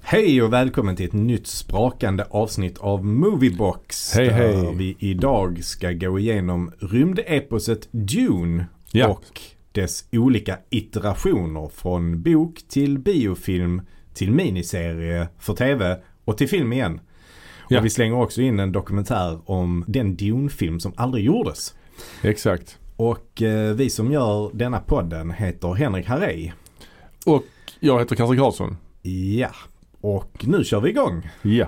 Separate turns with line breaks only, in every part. Hej och välkommen till ett nytt sprakande avsnitt av Moviebox.
Hej, hej.
Där vi idag ska gå igenom rymdeposet Dune
Ja.
och dess olika iterationer från bok till biofilm till miniserie för tv och till film igen.
Ja.
Och vi slänger också in en dokumentär om den Dune-film som aldrig gjordes.
Exakt.
Och eh, vi som gör denna podden heter Henrik Harrej.
Och jag heter Kanske Karlsson.
Ja, och nu kör vi igång.
Ja.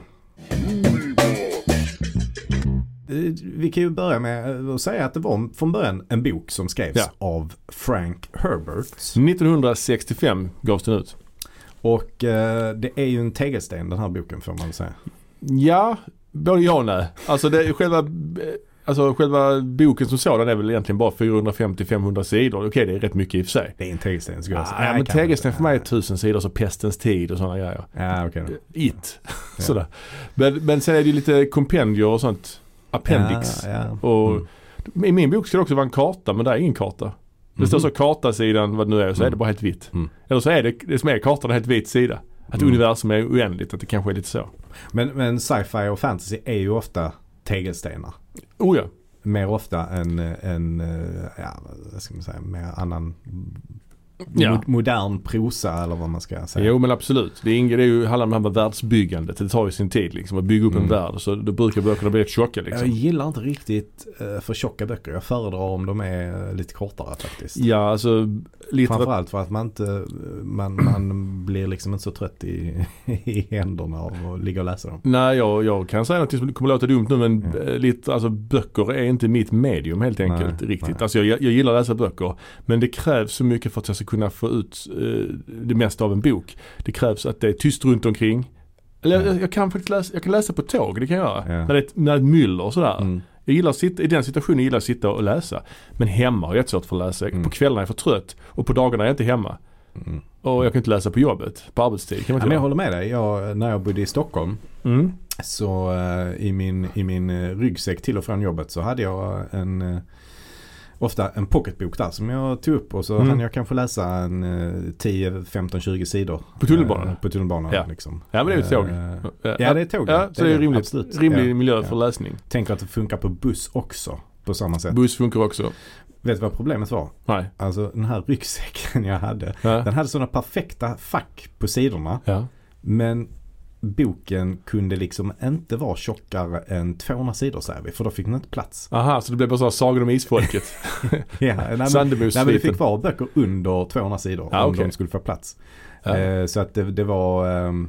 Eh, Vi kan ju börja med att säga att det var från början en bok som skrevs
Ja.
av Frank Herbert.
1965 gavs den ut.
Och eh, det är ju en tegelsten den här boken får man säga.
Ja, både ja och nej. Alltså, det, själva, alltså själva boken som sådan är väl egentligen bara 450-500 sidor. Okej, det är rätt mycket i och för sig.
Det är en tegelsten skulle jag säga.
Ah,
Nej,
men
kanske
tegelsten
inte.
för mig är 1000 sidor, så pestens tid och sådana grejer.
Ja, okej då.
It. Sådär. Men, men sen är det ju lite kompendier och sånt. Appendix.
Ja, ja.
Och
Mm.
I min bok ska det också vara en karta men där är ingen karta. Det står så kartasidan, vad det nu är, så är det bara helt vitt.
Mm.
Eller så är det, det som är kartan, en helt vit sida. Att
Mm.
universum är oändligt, att det kanske är lite så.
Men, men sci-fi och fantasy är ju ofta tegelstenar.
Oh ja.
Mer ofta än, eh, än eh, ja, vad ska man säga, mer annan
Ja.
mod- modern prosa eller vad man ska säga.
Jo men absolut. Det, ingår, det är ju, handlar om det här med världsbyggandet. Det tar ju sin tid liksom att bygga upp
Mm.
en värld. Så då brukar böckerna bli rätt tjocka liksom.
Jag gillar inte riktigt eh, för tjocka böcker. Jag föredrar om de är eh, lite kortare faktiskt.
Ja alltså, litteratur
Framförallt för att man inte, eh, man, man blir liksom inte så trött i, i händerna av att ligga och läsa dem.
Nej, jag, jag kan säga något som kommer låta dumt nu men
Ja.
eh, lite, alltså, böcker är inte mitt medium helt
Mm. Nej,
enkelt riktigt.
nej.
Alltså, jag, jag gillar att läsa böcker men det krävs så mycket för att jag ska kunna få ut eh, det mesta av en bok. Det krävs att det är tyst runt omkring. Eller
Ja.
jag, jag kan faktiskt läsa, jag kan läsa på tåg, det kan jag göra.
Ja.
När, det är ett, när det är ett myller och sådär.
Mm.
Jag gillar att sitta, I den situationen gillar jag att sitta och läsa. Men hemma har jag jättesvårt för att läsa.
Mm.
På kvällarna är jag för trött och på dagarna är jag inte hemma.
Mm.
Och jag kan inte läsa på jobbet, på arbetstid. Kan
Ja,
man
men
inte
jag
göra.
håller med dig. Jag, när jag bodde i Stockholm
mm.
så eh, i min, i min eh, ryggsäck till och från jobbet så hade jag en eh, ofta en pocketbok där som jag tog upp och så
Mm.
hann jag kanske läsa en eh, 10, 15, 20 sidor.
På tunnelbanan?
Eh, På tunnelbanan
Ja.
liksom.
Ja, men det är ju ett tåg.
Eh,
Ja,
Ja det är tåg.
Ja, så det är rimligt.
Absolut.
Rimlig
Ja.
miljö för läsning.
Tänker att det funkar på buss också på samma sätt.
Buss funkar också.
Vet du vad problemet var?
Nej.
Alltså den här ryggsäcken jag hade.
Ja.
Den hade sådana perfekta fack på sidorna.
Ja.
Men boken kunde liksom inte vara tjockare än 200 sidor säger vi. För då fick den inte plats.
Aha, så det blev bara så här Sagan om Isfolket.
Ja, nej, men, nej, men det
Sandebosviten.
fick vara böcker under 200 sidor
Ja,
om
okej.
de skulle få plats.
Ja.
Eh, så att det, det var ehm,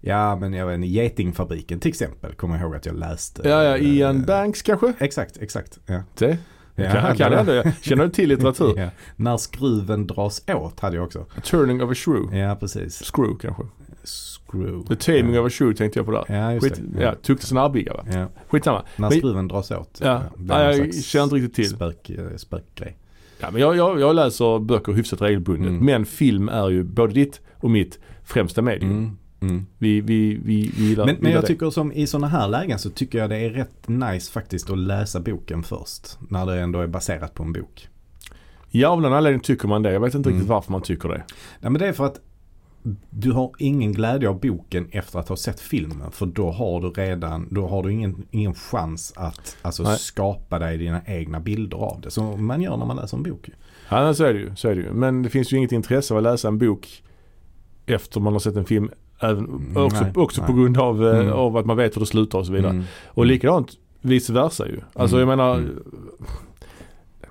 Ja men jag vet inte, Getingfabriken till exempel kommer jag ihåg att jag läste.
ja, ja, Ian
Eh,
Banks kanske?
Exakt, exakt. Ja.
Det.
Ja,
kan, jag kan
det-
ändå. Jag känner till litteratur.
Ja. När skruven dras åt hade jag också.
Turning of a shrew.
Ja precis.
Screw kanske.
Screw.
The taming
ja.
of a shrew tänkte jag på där.
Ja just
Skit,
det.
ja, tukten snarbiga va?
Ja.
Skitsamma.
När
Men-
skruven dras åt.
Ja,
Det är någon
nej, jag
slags
känner inte riktigt till.
Spök, eh, spökgrej.
Ja, men jag, jag, jag läser böcker hyfsat regelbundet.
Mm.
Men film är ju både ditt och mitt främsta medium. Vi, vi, vi, vi gillar,
Mm. Men, men jag
gillar Mm. det.
tycker som i sådana här lägen så tycker jag det är rätt nice faktiskt att läsa boken först. När det ändå är baserat på en bok.
Ja, av någon anledning tycker man det. Jag vet inte
Mm.
riktigt varför man tycker det.
Nej men det är för att du har ingen glädje av boken efter att ha sett filmen. För då har du redan, då har du ingen, ingen chans att alltså,
Nej.
skapa dig dina egna bilder av det. Som man gör när man läser en bok. ju.
Ja, men så är det ju. Så är det ju. Men det finns ju inget intresse av att läsa en bok efter man har sett en film. Även,
Mm,
också
nej,
också
nej.
på grund av, eh,
Mm.
av att man vet hur det slutar och så vidare. Och likadant vice versa ju. Alltså
Mm,
jag menar,
mm.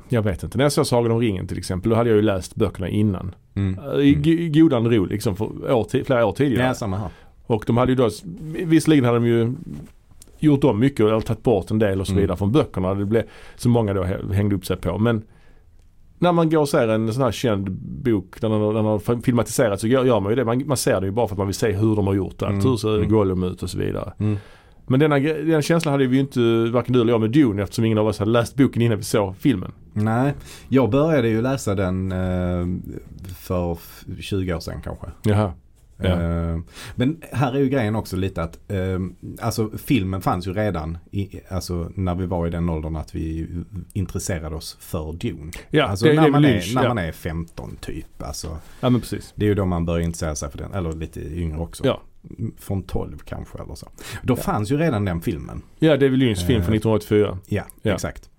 jag vet inte. När jag såg Sagan om ringen till exempel, då hade jag ju läst böckerna innan. Eh,
Mm.
I, go- i godan ro liksom, för år, ti- flera år tidigare.
Ja, samma här.
Och de hade ju då, visserligen hade de ju gjort om mycket eller tagit bort en del och så
Mm.
vidare från böckerna. Det blev, som många då hä- hängde upp sig på. Men när man går och ser en sån här känd bok, när den, har- när den har filmatiserats så gör, gör man ju det. Man, man ser det ju bara för att man vill se hur de har gjort det.
Mm.
Hur ser
Mm.
Gollum ut och så vidare.
Mm.
Men denna, gre- den känslan hade vi ju inte, varken du eller jag med Dune eftersom ingen av oss hade läst boken innan vi såg filmen.
Nej, jag började ju läsa den eh, för f- 20 år sedan kanske.
Jaha. Ja.
Eh, men här är ju grejen också lite att eh, alltså filmen fanns ju redan i, alltså, när vi var i den åldern att vi intresserade oss för Dune.
Ja,
alltså
det,
när,
det är
man,
väl
är,
Lynch.
när
Ja.
man är 15 typ. Alltså,
ja men precis.
det är ju då man börjar intressera sig för den, eller lite yngre också.
Ja.
Från 12 kanske eller så. Då fanns ju redan den filmen.
Ja, David Lynchs film från
Eh.
1984.
Ja,
Ja.
exakt.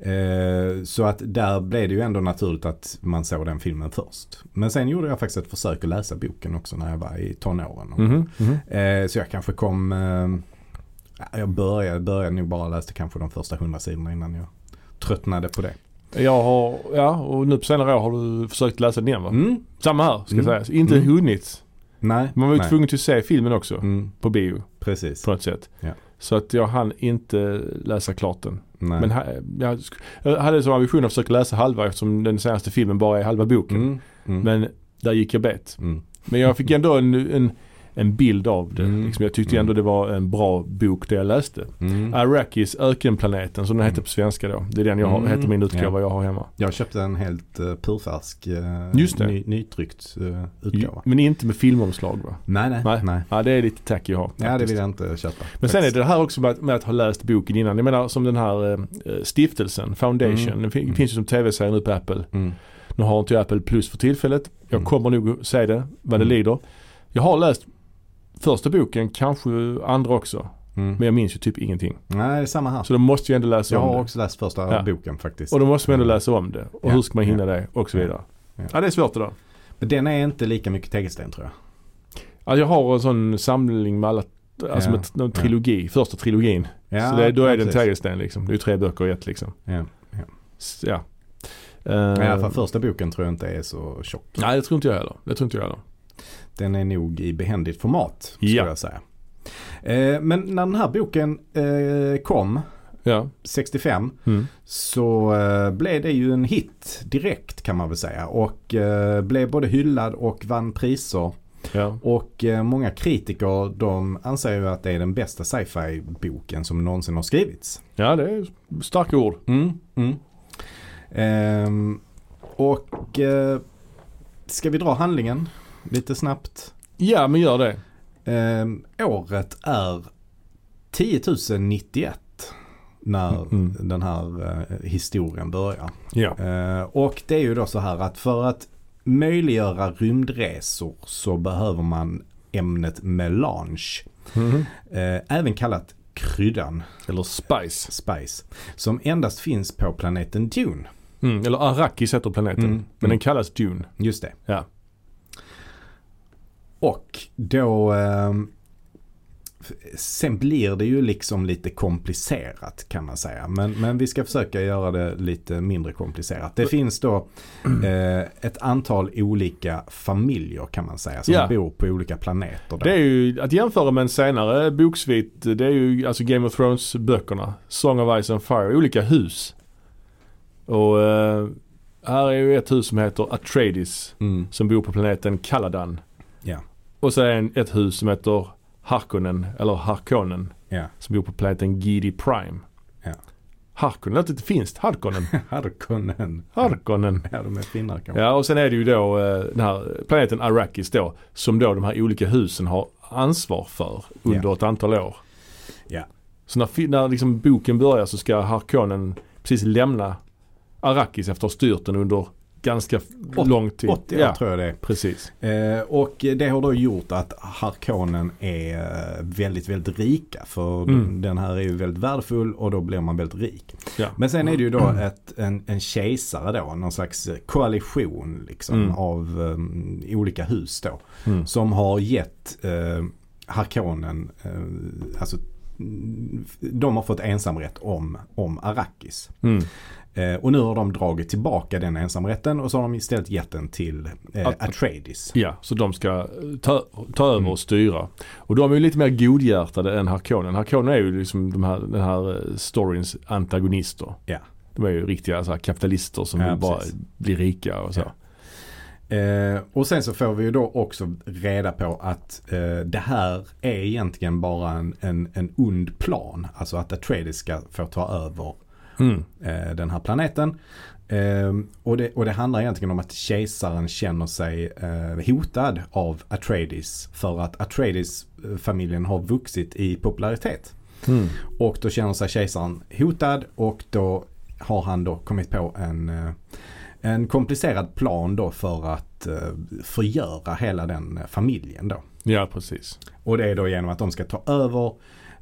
Eh, Så att där blev det ju ändå naturligt att man såg den filmen först. Men sen gjorde jag faktiskt ett försök att läsa boken också när jag var i tonåren.
Mhm, mhm.
Eh, Så jag kanske kom... eh, Jag började, började nog bara läste kanske de första hundra sidorna innan jag tröttnade på det.
Jag har, ja och nu på senare år har du försökt läsa den igen va?
Mm.
Samma här ska
Mm.
sägas. Inte
Mm.
hunnit.
Nej.
Man var ju
nej.
tvungen att se filmen också
Mm,
på bio
precis.
på något sätt.
Ja.
Så att jag hann inte läsa klart den.
Nej.
Men ha- jag, sk- jag hade som ambition att försöka läsa halva eftersom den senaste filmen bara är halva boken.
mm. Mm.
Men där gick jag bet.
Mm.
Men jag fick ändå en, en, en bild av det.
Mm.
Liksom, jag tyckte
Mm.
ändå det var en bra bok det jag läste.
Mm.
Arrakis, ökenplaneten som den heter på svenska då. Det är den jag har,
Mm.
heter min
Ja.
utgåva jag har hemma.
Jag köpte en helt eh, purfärsk eh,
Just det.
ny, nytryckt eh, utgåva.
Men inte med filmomslag va?
Nej, nej.
Nej.
nej. nej.
Ja det är lite tacky jag har.
Ja, det
faktiskt.
vill jag inte köpa.
Men sen är det det här också med att, med att ha läst boken innan. Jag menar som den här eh, stiftelsen, Foundation.
Mm.
Den fin-
Mm.
finns ju som tv-serie nu på Apple.
Mm.
Nu har inte jag Apple Plus för tillfället. Jag
Mm.
kommer nog säga det vad det
Mm.
lider. Jag har läst första boken, kanske andra också.
Mm.
Men jag minns ju typ ingenting.
Nej, det är samma här.
Så då måste jag ändå läsa
Jag
om
har
det.
också läst första
Ja.
boken faktiskt.
Och då måste man ändå läsa om det. Och
Ja,
hur ska man hinna det och så
ja,
vidare. Ja,
ja.
det är svårt idag.
Men den är inte lika mycket tegelsten tror jag.
Alltså jag har en sån samling med alla, alltså
Ja,
med t- en trilogi, första trilogin.
Ja,
så det, då är det en
precis.
tegelsten liksom. Det är ju tre böcker i ett liksom.
Ja.
S- Ja.
Men I alla fall
Uh,
första boken tror jag inte är så tjock.
nej, det tror inte jag heller. Det tror inte jag heller.
Den är nog i behändigt format skulle
Ja.
jag säga. Eh, men när den här boken eh, kom
Ja.
65
Mm.
så eh, blev det ju en hit direkt kan man väl säga. Och eh, blev både hyllad och vann priser.
ja.
Och eh, många kritiker de anser ju att det är den bästa sci-fi boken som någonsin har skrivits.
Ja, det är starka ord.
Mm, mm. Ehm, och eh, ska vi dra handlingen lite snabbt?
Ja, men gör det.
Ehm, året är 10 091 när
Mm.
den här eh, historien börjar.
Ja.
Eh, och det är ju då så här att för att möjliggöra rymdresor så behöver man ämnet melange.
Mhm.
Eh, även kallat kryddan,
Eller Spice.
spice, som endast finns på planeten Dune.
Mm. Eller Arrakis heter planeten.
Mm.
Men den
Mm.
kallas Dune.
Just det.
Ja.
Och då ehm, f- Sen blir det ju liksom lite komplicerat kan man säga. Men, men vi ska försöka göra det lite mindre komplicerat.
Mm.
Det finns då eh, ett antal olika familjer kan man säga som
Ja.
bor på olika planeter. Där.
Det är ju, att jämföra med en senare boksvit, det är ju alltså Game of Thrones böckerna. Song of Ice and Fire, olika hus. Och eh, här är ju ett hus som heter Atreides
Mm.
som bor på planeten Kaladan.
Ja.
Och så är en, ett hus som heter Harkonnen, eller Harkonnen,
Ja.
som bor på planeten Gidi Prime.
Ja.
Harkonnen låter lite finskt, Harkonnen.
Harkonnen.
Harkonnen.
Ja, de är finnar kanske.
Ja och sen är det ju då eh, den här planeten Arrakis då som då de här olika husen har ansvar för under ett antal år.
Ja.
Så när, fi- när liksom boken börjar så ska Harkonnen precis lämna Arrakis efter att ha styrt den under ganska f-
Åt-
lång tid.
80 år
ja,
tror jag det är.
precis.
Eh, och det har då gjort att Harkonen är eh, väldigt, väldigt rika. För
Mm.
den här är ju väldigt värdefull och då blir man väldigt rik.
Ja.
Men sen är det ju då
Mm.
ett, en, en kejsare då, någon slags koalition liksom
Mm.
av eh, olika hus då.
Mm.
Som har gett eh, Harkonen, eh, alltså mm, de har fått ensamrätt om, om Arrakis.
Mm.
Eh, och nu har de dragit tillbaka den ensamrätten och så har de istället gett den till eh,
Att-
Atreides.
ja, så de ska eh, ta, ta över
Mm.
och styra. Och de är ju lite mer godhjärtade än Harkonnen. Harkonnen är ju liksom de här, den här eh, storyns antagonister.
Ja.
De är ju riktiga så här, kapitalister som
Ja,
vill bara
precis.
bli rika och så.
Ja. Eh, och sen så får vi ju då också reda på att eh, det här är egentligen bara en, en, en ond plan. Alltså att Atreides ska få ta över
Mm.
eh, den här planeten. Eh, och, det, och det handlar egentligen om att kejsaren känner sig eh, hotad av Atreides. För att Atreides-familjen har vuxit i popularitet. Och då känner sig kejsaren hotad och då har han då kommit på en, eh, en komplicerad plan då för att eh, förgöra hela den familjen då.
Ja, precis.
Och det är då genom att de ska ta över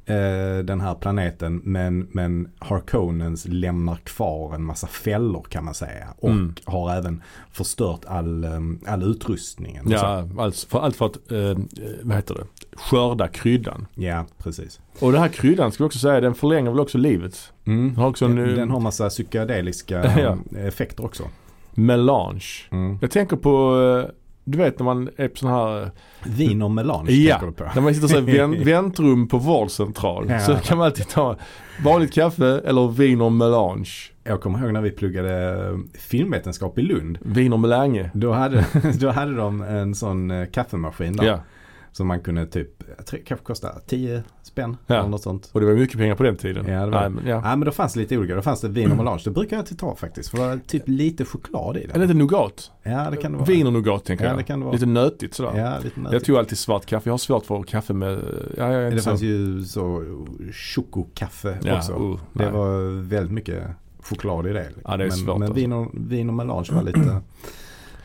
eh, den här planeten men, men Harkonnens lämnar kvar en massa fällor kan man säga. Och
Mm.
har även förstört all, eh, all utrustningen. och så.
Ja, allt för, allt för att, eh, eh, vad heter det, skörda kryddan.
ja precis.
Och den här kryddan ska vi också säga, den förlänger väl också livet.
Mm.
Den har också en
Den, den
den
har massa psykedeliska
Ja.
eh, effekter också.
melange.
Mm.
Jag tänker på, eh, du vet när man är på sån här eh,
Vin och melange
Ja,
tänker du på.
när man sitter så här i vän- väntrum på vårdcentral.
Ja.
Så kan man alltid ta vanligt kaffe eller vin och melange.
Jag kommer ihåg när vi pluggade eh, filmvetenskap i Lund.
Vin och melange.
Då hade, då hade de en sån eh, kaffemaskin där.
Ja,
Som man kunde typ, jag tror det kanske kostade 10 spänn
Ja.
eller något sånt.
och det var mycket pengar på den tiden.
Ja, det var-
Nej, men, ja.
Ja men då fanns det lite olika. Då fanns det vin och melange. Det brukar jag alltid ta faktiskt. För det var typ lite choklad i
Eller
den.
lite nougat.
Ja det kan det vara.
Vin och nougat tänker
Ja,
jag.
det kan det vara.
Lite nötigt sådär.
Ja, lite
Jag
nötigt.
tog alltid svart kaffe. Jag har svårt för kaffe med... Ja, jag är
Det
inte
fanns
så...
ju så chokokaffe
ja,
också.
uh,
det
nej.
var väldigt mycket choklad i det. liksom.
Ja, det är
men
svårt,
men
alltså.
vin, och, vin och melange var lite,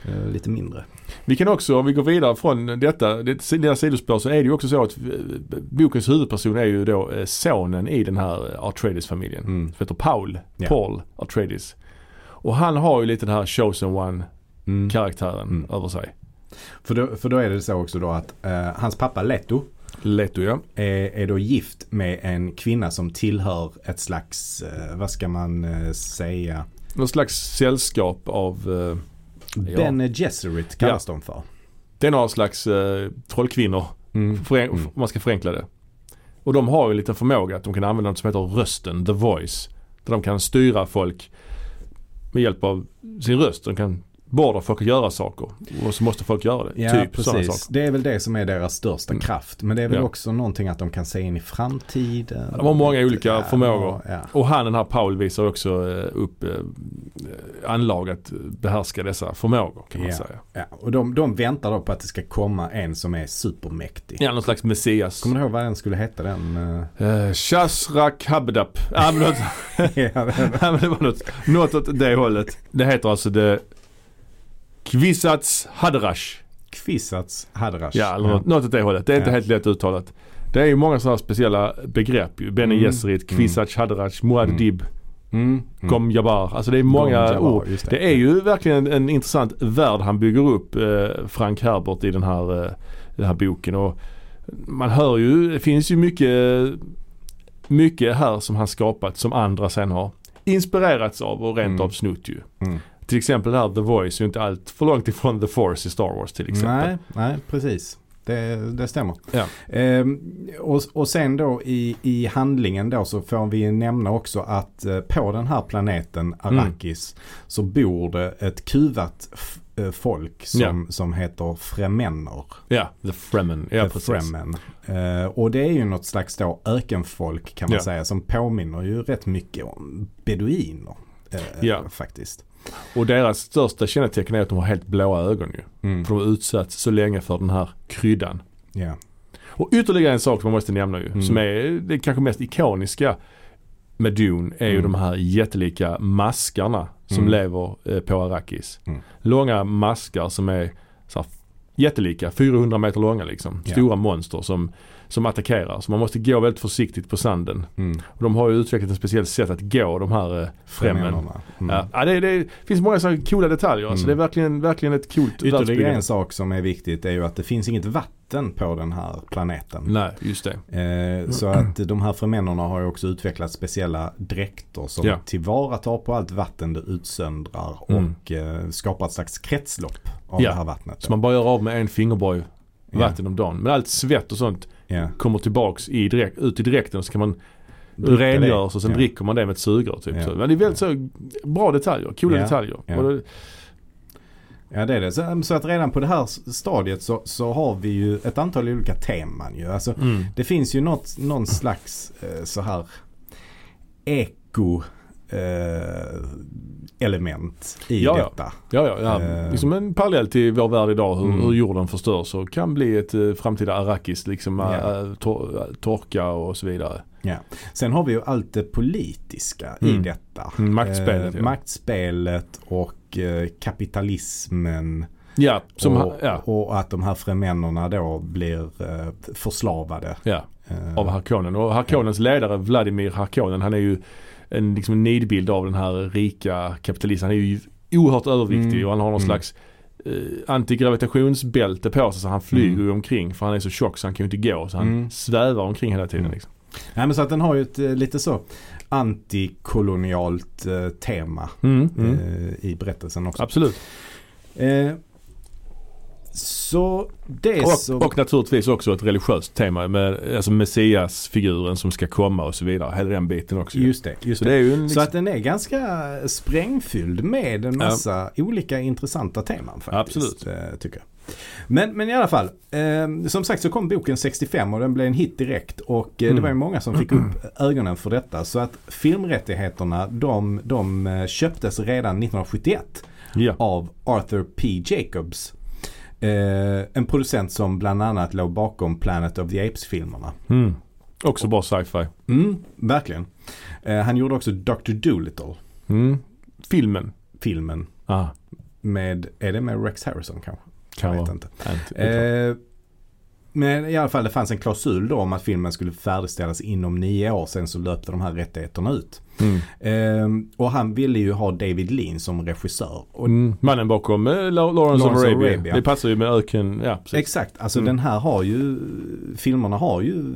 eh, lite mindre.
Vi kan också, om vi går vidare från detta, det lilla sidospår, så är det ju också så att eh, bokens huvudperson är ju då eh, sonen i den här eh, Atreides-familjen.
Mm.
Som heter Paul,
Ja.
Paul Atreides. Och han har ju lite den här chosen one-karaktären
Mm. Mm.
över sig.
För, då, för då är det så också då att eh, hans pappa Leto
Leto ja.
är, är då gift med en kvinna som tillhör ett slags, eh, vad ska man eh, säga,
Någon slags sällskap av, eh, Ja.
Bene Gesserit kallas de för.
det är några slags eh, trollkvinnor
Mm.
Fören-
Mm.
Om man ska förenkla det. Och de har ju en liten förmåga att de kan använda något som heter rösten, the voice. Där de kan styra folk med hjälp av sin röst. De kan beordra folk att göra saker. Och så måste folk göra det.
Ja,
typ sådana
precis.
saker. Mm.
Det är väl det som är deras största kraft. Men det är väl
Ja.
också någonting att de kan se in i framtiden.
De har många olika
Ja,
förmågor.
Ja.
Och han den här Paul visar också eh, upp eh, anlag att behärska dessa förmågor kan man
Ja.
säga.
Ja. Och de, de väntar då på att det ska komma en som är supermäktig.
Ja, någon slags Messias.
Kommer du ihåg vad den skulle heta den? eh?
Eh, Shazrak Habdap. Ja, men något-
ja, den-
Ja, men det var något, något åt det hållet. Det heter alltså det Kvisats Hadrash.
Kvissats Hadrash.
Ja, eller något, något åt det hållet. Det är inte
Ja.
helt lätt uttalat. Det är ju många sådana här speciella begrepp. ju. Bene
Mm.
Gesserit, Kvisats Hadrach, Muad
Mm.
Dib,
Mm. Mm.
Gom Jabbar. Alltså det är många
Gonja var,
ord.
just
Det är ju verkligen en, en intressant värld han bygger upp, eh, Frank Herbert, i den här, eh, den här boken. Och man hör ju, det finns ju mycket, mycket här som han skapat som andra sen har inspirerats av och rent
Mm.
av snott ju.
Mm.
Till exempel det här The Voice är ju inte allt för långt ifrån The Force i Star Wars till exempel.
Nej, nej precis. Det, det stämmer.
liksom Ja.
Ehm, och, och sen då i, i handlingen då så får vi nämna också att eh, på den här planeten Arrakis
Mm.
så bor det ett kuvat f- eh, folk som, som heter fremänner.
Ja, The Fremen. Ja,
The
precis.
Fremen. Eh, och det är ju något slags då ökenfolk kan man
Ja.
säga som påminner ju rätt mycket om beduiner. eh,
Ja.
Faktiskt.
Och deras största kännetecken är att de har helt blåa ögon ju.
Mm.
För de har utsatts så länge för den här kryddan.
Ja.
Och ytterligare en sak som man måste nämna ju,
Mm.
som är det kanske mest ikoniska med Dune är ju
Mm.
de här jättelika maskarna som
Mm.
lever eh, på Arrakis.
Mm.
Långa maskar som är så här, jättelika, 400 meter långa liksom.
Ja.
Stora monster som, som attackerar. Så man måste gå väldigt försiktigt på sanden.
Mm.
Och de har ju utvecklat ett speciellt sätt att gå de här eh, främmen.
Fremännerna. Mm.
Ja, ja det, det finns många sådana coola detaljer. Alltså, det
Mm.
är verkligen, verkligen ett coolt
Ytterligare
världsbygge.
en sak som är viktigt är ju att det finns inget vatten på den här planeten.
Nej, just det.
Eh, så
Mm.
att de här förmännerna har ju också utvecklat speciella dräkter som
Ja.
tillvaratar på allt vatten det utsöndrar
Mm.
och eh, skapar ett slags kretslopp av
Ja.
det här vattnet.
Så man bara gör av med en fingerborg
Ja.
vatten om dagen. Men allt svett och sånt
Ja.
kommer tillbaks i direkt, ut i dräkten och så kan man
Dricka det.
rengöras och sen
Ja.
dricker man det med ett sugrör. Typ.
Ja.
Så, men det är väldigt så bra detaljer, coola
Ja.
detaljer.
Ja.
Och det,
Ja det är det. Så, så att redan på det här s- stadiet så, så har vi ju ett antal olika teman ju. Alltså,
mm.
Det finns ju något, någon slags eh, så här eko eh, element i
Ja, ja.
detta.
Ja, ja, ja.
Eh.
Liksom en parallell till vår värld idag, hur,
Mm.
hur jorden förstörs och kan bli ett eh, framtida Arrakis, liksom
Ja.
eh, tor- torka och så vidare.
Sen har vi ju allt det politiska i
Mm.
detta.
Mm, maktspelet,
Eh,
ja.
Maktspelet och eh, kapitalismen.
Ja, som,
och,
han- ja,
och att de här fremännerna då blir eh, förslavade.
ja,
Eh,
av Harkonnen. Och Harkonnens ledare Vladimir Harkonnen han är ju en liksom, en nidbild av den här rika kapitalisten. Han är ju oerhört överviktig
Mm.
och han har någon
Mm.
slags eh, antigravitationsbälte på sig så han flyger
Mm.
ju omkring för han är så tjock så han kan ju inte gå så han
Mm.
svävar omkring hela tiden.
Mm.
Liksom.
Nej men så att den har ju ett eh, lite så antikolonialt eh, tema
Mm. Mm.
eh, i berättelsen också.
Absolut.
Eh, så det är så...
Och, och naturligtvis också ett religiöst tema med alltså Messias-figuren som ska komma och så vidare. Hela den biten också. ju.
just det, just
så
det.
det är ju en,
Så
liksom,
att den är ganska sprängfylld med en massa olika intressanta teman faktiskt.
Absolut.
eh, Tycker jag. Men, men i alla fall, eh, som sagt så kom boken 65 och den blev en hit direkt. Och eh, det
Mm.
var ju många som fick upp ögonen för detta. Så att filmrättigheterna de, de eh, köptes redan 1971
liksom- ja.
av Arthur P. Jacobs. Eh, en producent som bland annat låg bakom Planet of the Apes-filmerna.
mm. Också bra sci-fi.
Mm, verkligen. Eh, han gjorde också Dr. Dolittle
Mm. Filmen.
filmen
Ah,
med, är det med Rex Harrison kanske?
kan
jag vet
vara.
inte.
Nej, inte-
Eh, men i alla fall det fanns en klausul då om att filmen skulle färdigställas inom nio år. Sen så löpte de här rättigheterna ut.
Mm.
Eh, och han ville ju ha David Lean som regissör. Och
Mm. Mannen bakom eh, La- Lawrence of
Lawrence of
Arabia.
Arabia.
Det passar ju med öken. Ja, precis.
Exakt, alltså
Mm.
den här har ju, filmerna har ju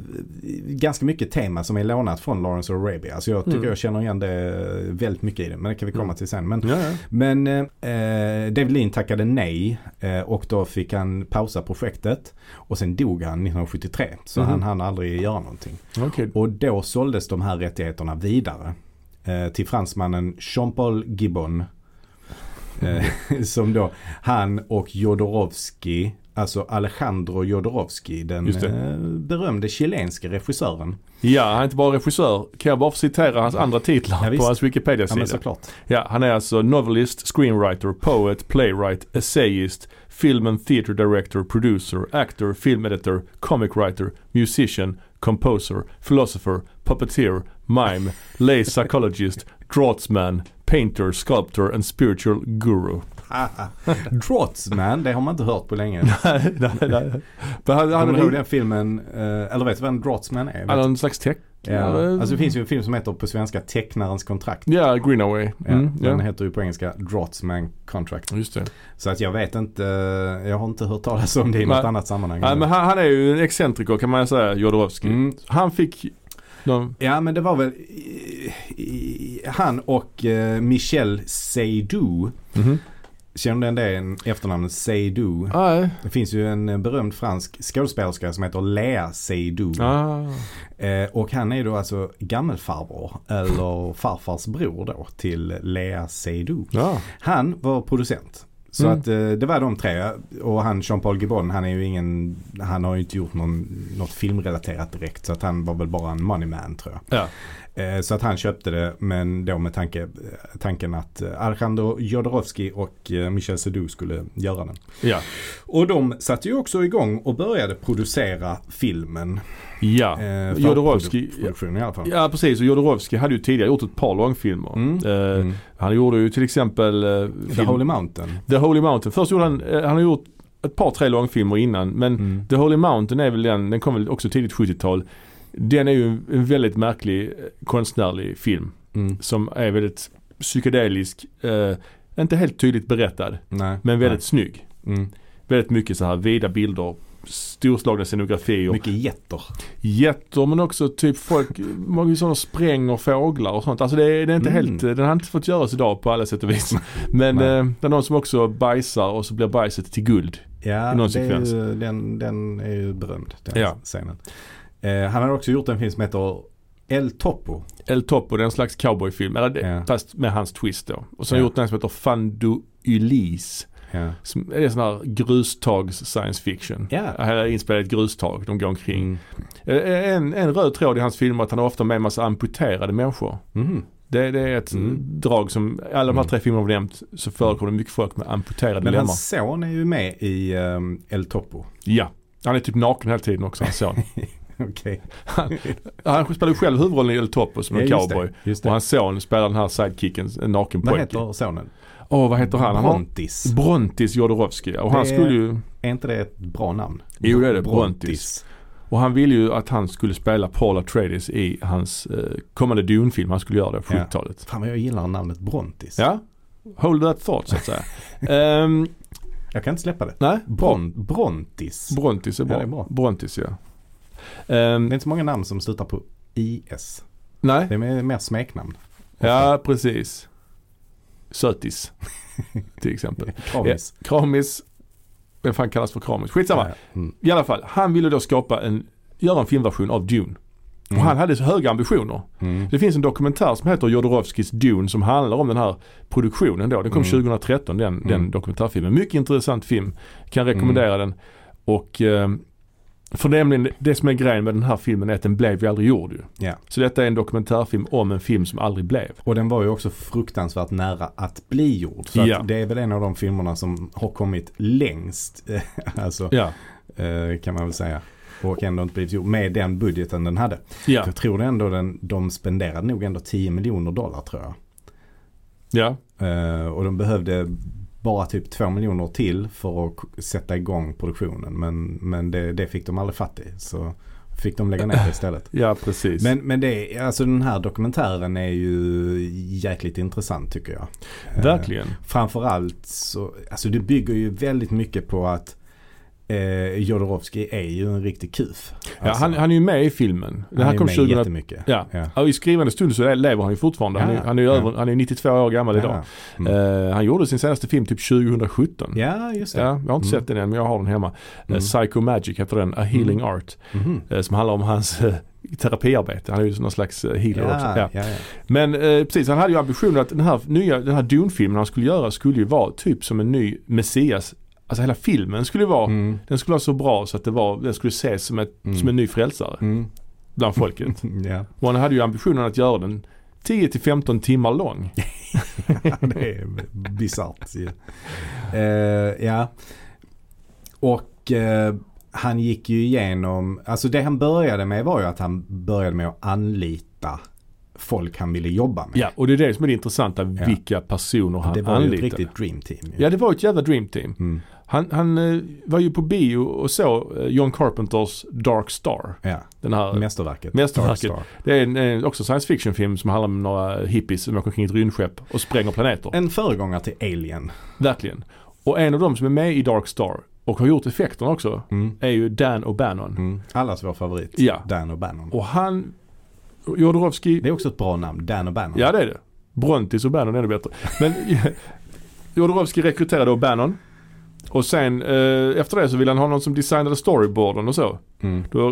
ganska mycket tema som är lånat från Lawrence of Arabia. Alltså jag tycker
Mm.
jag känner igen det väldigt mycket i det, men det kan vi komma
Mm.
till sen. Men
Ja, ja.
Men eh, eh, David Lean tackade nej eh, och då fick han pausa projektet. Och sen dog han 1973. Så
Mhm.
han hann aldrig göra någonting.
Okej.
Och då såldes de här rättigheterna vidare. Eh, till fransmannen Jean-Paul Gibbon. Eh, som då han och Jodorowsky, alltså Alejandro Jodorowsky, den
Just det.
eh, berömde chilenske regissören.
Ja, han är inte bara regissör. Kan jag bara få citera hans andra
Ja,
titlar
visst.
på hans
Ja men
Wikipedia-sida? Ja,
såklart.
han är alltså novelist, screenwriter, poet, playwright, essayist, film and theater director, producer, actor, film editor, comic writer, musician, composer, philosopher, puppeteer, mime, lay psychologist, draftsman, painter, sculptor and spiritual guru.
Drotsman, det har man inte hört på länge.
nej, nej, nej. Men han, han,
Kommer du ihåg
han,
den filmen, eh, eller vet du vem Drotsman är?
han har en slags tech.
ja. Alltså det finns ju en film som heter på svenska Tecknarens kontrakt.
Ja, Greenaway.
Ja,
Mm, ja.
Den heter ju på engelska Drotsman Contract.
Just det.
Så att jag vet inte, eh, jag har inte hört talas om det i något
Nej.
annat sammanhang.
Ja, men han, han är ju en excentriker kan man säga, Jodorowsky.
Mm.
Han fick de,
Ja men det var väl i- i- han och eh, Michel Seydoux.
Mhm.
Känner du igen det en- efternamnet Seydoux?
Nej.
Det finns ju en eh, berömd fransk skådespelerska som heter Lea Seydoux.
Ah.
Eh, och han är då alltså gammelfarbror eller farfars bror då till Lea Seydoux.
Ja.
Han var producent. Så
Mm.
att eh, det var de tre och han Jean-Paul Gibbon han är ju ingen, han har ju inte gjort någon, något filmrelaterat direkt så att han var väl bara en money man tror jag.
Ja.
Eh, så att han köpte det men då med tanke, eh, tanken att eh, Alejandro Jodorowsky och eh, Michel Seydoux skulle göra den.
Ja.
Och de satte ju också igång och började producera filmen.
ja.
Eh, för
Jodorowsky.
produ- Produktion i alla fall.
Ja precis och Jodorowsky hade ju tidigare gjort ett par långfilmer.
Mm.
Eh,
Mm.
Han gjorde ju till exempel eh,
The
film-
Holy Mountain.
The Holy Mountain. Först gjorde han, eh, han har gjort ett par tre långfilmer innan men
Mm.
The Holy Mountain är väl den, den kom väl också tidigt 70-tal. Den är ju en en väldigt märklig eh, konstnärlig film
Mm.
som är väldigt psykedelisk, eh, inte helt tydligt berättad
Nej.
men väldigt snygg.
Nej. Mm.
Väldigt mycket så här vida bilder, storslagna scenografier,
Mycket getter.
jätter men också typ folk, många sådana spränger fåglar och sånt. Alltså det, är- det är inte
Mm.
helt, den har inte fått göras idag på alla sätt och vis. Men
Nej.
eh, det är någon som också bajsar och så blir bajset till guld.
Ja,
I någon
det är
sekvens.
ju, den, den är ju berömd. Den
Ja.
scenen. Eh, han har också gjort en film som heter El Topo.
El Topo, det är en slags cowboyfilm. Eller, det-
Ja.
Fast med hans twist då. Och så har
Ja.
han gjort en som heter Fandu Ulis.
Ja.
Som, det är sån här grustags science fiction.
Ja.
Här är inspelat ett grustag, de går omkring.
Mm.
Eh, En, en röd tråd i hans filmer är att han har ofta med en massa amputerade människor.
Mhm.
Det, det är ett
Mm.
drag som, alla de här
Mm.
tre filmerna vi nämnt så förekommer det mycket folk med amputerade
Men
lemmar.
hans son är ju med i ehm, El Topo.
Ja. Han är typ naken hela tiden också, hans son.
Okej.
han spelar ju själv huvudrollen i El Topo som en
Ja, just
cowboy.
det, Just
Och
det.
hans son spelar den här sidekicken, en naken
Vad
pojke.
heter sonen?
Åh, vad heter han? han har-
Brontis.
Brontis Jodorowsky. Och han
Det-
skulle ju...
Är inte det ett bra namn?
Jo, det är det.
Brontis.
Och han ville ju att han skulle spela Paul Atreides i hans eh, kommande Dune-film. Han skulle göra det på
Ja.
70-talet.
Fan vad jag gillar namnet Brontis.
Ja. Hold that thought så att säga. Ehm,
Jag kan inte släppa det.
nej,
Bron, Brontis.
Brontis är
Ja,
bra.
det är bra.
Brontis ja. Ehm,
Det är inte så många namn som slutar på IS.
nej,
Det är mer mer smeknamn.
ja precis. Sötis till exempel.
Kramis.
Kramis, vem fan kallas för Kramis? Skitsamma.
Mm.
I alla fall, han ville då skapa en, göra en filmversion av Dune. Och han hade så höga ambitioner.
Mm.
Det finns en dokumentär som heter Jodorowskis Dune som handlar om den här produktionen då. Den kom
Mm.
2013 den, den
Mm.
dokumentärfilmen. Mycket intressant film. Kan rekommendera den. Och eh, för nämligen det som är grejen med den här filmen är att den blev ju aldrig gjord ju.
Ja.
Så detta är en dokumentärfilm om en film som aldrig blev.
Och den var ju också fruktansvärt nära att bli gjord. Så
Ja.
att det är väl en av de filmerna som har kommit längst. alltså,
Ja.
eh, kan man väl säga. Och ändå inte blivit gjord med den budgeten den hade.
Ja.
Jag tror ändå den, de spenderade nog ändå 10 miljoner dollar tror jag.
Ja.
Eh, och de behövde bara typ 2 miljoner till för att k- sätta igång produktionen. Men, men det, det fick de aldrig fatt i. Så fick de lägga ner det istället.
Ja precis.
Men, men det, är- alltså den här dokumentären är ju jäkligt intressant tycker jag. Eh,
Verkligen.
Framförallt så, alltså det bygger ju väldigt mycket på att eh, Jodorowsky är ju en riktig kuf. Alltså,
Ja, han, han är ju med i filmen. Den här
är
kom
med
2000
jättemycket.
Ja. ja, i skrivande stund så lever han ju fortfarande. Han är,
Ja,
han är, ju
ja.
över, han är 92 år gammal idag.
Ja. Mm.
Eh, han gjorde sin senaste film typ 2017.
ja, just
Ja,
det.
jag har inte
Mm.
sett den än men jag har den hemma. Mm.
Mm.
Psycho Magic heter den, A Healing Art.
Mhm.
eh, Som handlar om hans eh, terapiarbete. Han är ju någon slags eh, healer också. Ja.
Ja, ja, ja.
Men eh, precis, han hade ju ambitionen att den här nya, den här Dune-filmen han skulle göra skulle ju vara typ som en ny Messias. Alltså hela filmen skulle ju vara,
Mm.
den skulle vara så bra så att det var, den skulle ses som, ett,
Mm.
som en ny frälsare
Mm.
bland folket.
Ja,
Och han hade ju ambitionen att göra den 10 till 15 timmar lång.
det är bisarrt. ju. Eh, ja. Och eh, han gick ju igenom, alltså det han började med var ju att han började med att anlita folk han ville jobba med.
Ja, och det är det som är det intressanta,
Ja.
vilka personer han
det var ju ett
anlitade.
riktigt dream team. ju.
Ja, det var ett jävla dream team.
Mm.
Han, han eh, var ju på bio och så eh, John Carpenters Dark Star.
ja.
Den här,
Mästerverket.
Mästerverket.
Star Star.
det är en, en, också science fiction film som handlar om några hippies som åker omkring i ett rymdskepp och spränger planeter.
En föregångare till Alien.
Verkligen. Och en av dem som är med i Dark Star och har gjort effekterna också
Mm.
är ju Dan O'Bannon.
Mm. Allas vår favorit.
Ja.
Dan O'Bannon.
Och han, Jodorowsky,
Det är också ett bra namn. Dan O'Bannon.
ja det är det. Brontis O'Bannon är det bättre. Men Jodorowsky rekryterade O'Bannon. Och sen eh, efter det så ville han ha någon som designade storyboarden och så.
Mm.
Då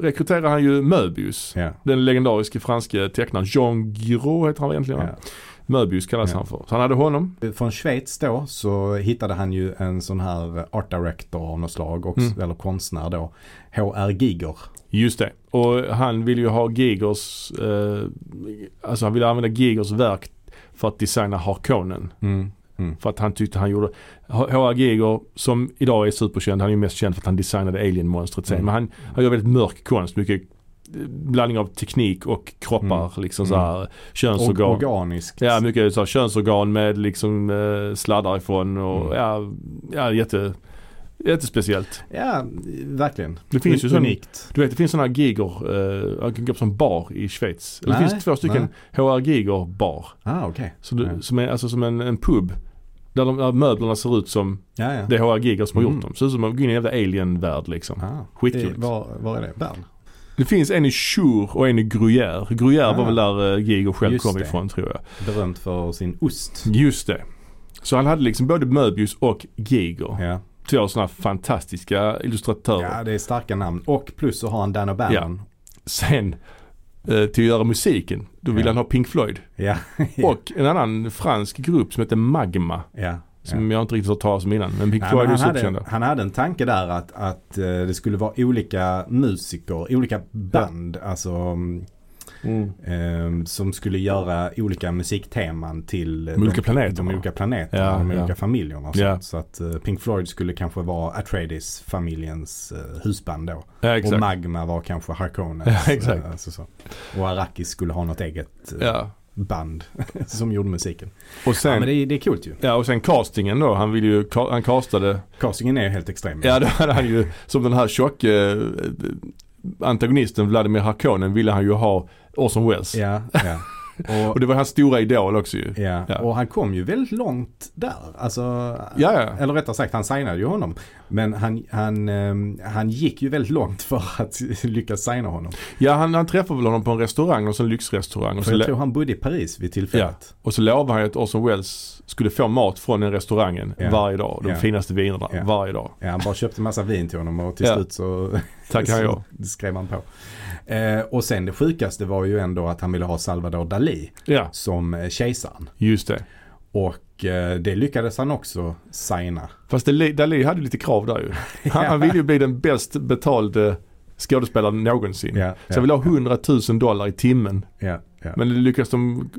rekryterade han ju Möbius.
Ja.
Den legendariske franske tecknaren Jean Giraud heter han egentligen.
Ja.
va? Möbius kallas
Ja.
han för. Så han hade honom.
Från Schweiz då så hittade han ju en sån här art director av något slag, också,
Mm.
eller konstnär då. H.R. Giger.
Just det. Och han ville ju ha Gigers, eh, alltså han ville använda Gigers verk för att designa Harkonnen. För att han tyckte han gjorde, H.R. Giger som idag är superkänd, han är ju mest känd för att han designade Alien-monstret sen.
Mm.
Men han, han gör väldigt mörk konst, mycket eh, blandning av teknik och kroppar, liksom så här
Mm. Och,
könsorgan.
organiskt.
Ja, mycket så här, könsorgan med liksom eh, sladdar ifrån
Mm.
och ja, ja jätte, jättespeciellt.
Ja, verkligen.
Det finns ju sån-
Unikt.
Du vet det finns sådana giger, eh, jag kan gå på som bar i Schweiz. Eller det
Nej,
finns två stycken
nej.
HR Giger bar.
Ah, okej.
Så du,
Ja.
Som är alltså som en, en pub. Där, de, där möblerna ser ut som
Ja, ja.
det är HR Giger som har gjort
Mm.
dem. Ser ut som att gå in i en jävla alien-värld liksom.
ah.
Skitcoolt.
I- Var, var är det? Bern?
Det finns en i Chur och en i Gruyère. Gruyère var
Ah.
väl där eh, Giger själv
Just
kom
det.
ifrån tror jag.
Berömt för sin ost.
Just det. Så han hade liksom både Möbius och Giger.
Ja.
två sådana fantastiska illustratörer.
ja, det är starka namn. Och plus så har han Dan O'Bannon.
Sen eh, till att göra musiken, då ville
Ja.
han ha Pink Floyd.
Ja.
Och en annan fransk grupp som heter Magma.
ja. ja.
Som jag inte riktigt har hört talas om innan. Men Pink
Nej,
Floyd
men
är
han,
superkända.
hade, han hade en tanke där att, att eh, det skulle vara olika musiker, olika band. Alltså mm, Ehm, som skulle göra olika musikteman till eh,
De olika
de
planeterna.
olika planeterna,
Ja,
de
ja.
olika familjerna. och
Ja.
sånt. Så att eh, Pink Floyd skulle kanske vara Atreides-familjens eh, husband då.
Ja,
Och
exakt.
Magma var kanske Harkonnens.
Ja, exakt.
eh, Alltså så. Och Arrakis skulle ha något eget eh,
ja.
band som gjorde musiken.
Och
Ja, men
sen,
det, är- det är kul ju.
ja, och sen castingen då. Han, ville ju, ka- han castade
Castingen är ju helt extrem.
Ja då hade han ju som den här tjocke eh, antagonisten Vladimir Harkonnen ville han ju ha Orson Welles.
ja, ja. Och,
Och det var hans stora idol också ju.
ja.
Ja.
och han kom ju väldigt långt där. Alltså,
Ja, ja.
Eller rättare sagt, han signade ju honom. Men han, han, ehm, han gick ju väldigt långt för att lyckas signa honom.
ja han, han träffade väl honom på en restaurang, och så en lyxrestaurang. Och
För
så,
jag
lo-
tror han bodde i Paris vid tillfället.
och så lovade han ju att Orson Welles skulle få mat från den restaurangen
Ja.
varje dag. De
Ja.
finaste vinerna
Ja.
varje dag.
Ja, han bara köpte massa vin till honom och till
Ja.
slut så,
Tack han jag.
så skrev han på. Eh, och sen det sjukaste var ju ändå att han ville ha Salvador Dalí
Ja,
som eh, kejsaren.
just det.
Och eh, det lyckades han också signa.
Fast Dali- Dalí hade ju lite krav där ju. Han, han ville ju bli den bäst betalde skådespelaren någonsin.
Ja,
Mm. Så han
ja,
ville ha 100 000 dollar i timmen.
ja, ja.
Men det lyckas de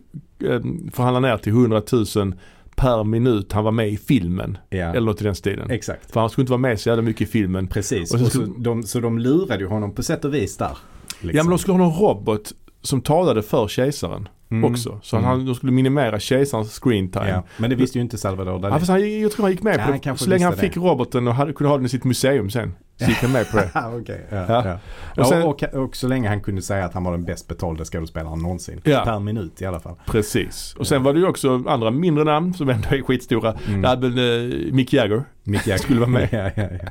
eh, förhandla ner till 100 000 per minut han var med i filmen.
ja.
Eller något i den stilen.
Exakt.
För han skulle inte vara med så jävla mycket i filmen.
Precis.
Och
Och
så
så,
skulle-
de, så de lurade ju honom på sätt och vis där. liksom.
Ja men de skulle ha någon robot som talade för kejsaren
Mm.
också. Så
Mm.
han, de skulle minimera kejsarens screen time.
Ja,
Ja.
men det visste ju inte Salvador Dalí.
fast han, jag tror han gick med
Ja,
på
han
det.
kanske
Så länge han
visste
fick roboten och hade, kunde ha den i sitt museum sen. Så gick han med på det.
Ah, okej. ja,
Ja.
ja.
Och sen-
och, och, och så länge han kunde säga att han var den bäst betalda skådespelaren någonsin.
Ja.
Per minut i alla fall.
Precis. Och sen var det ju också andra mindre namn som ändå är skitstora.
Mm.
Det hade väl eh, Mick Jagger
Mick Jagger.
Skulle vara med.
ja, ja, ja.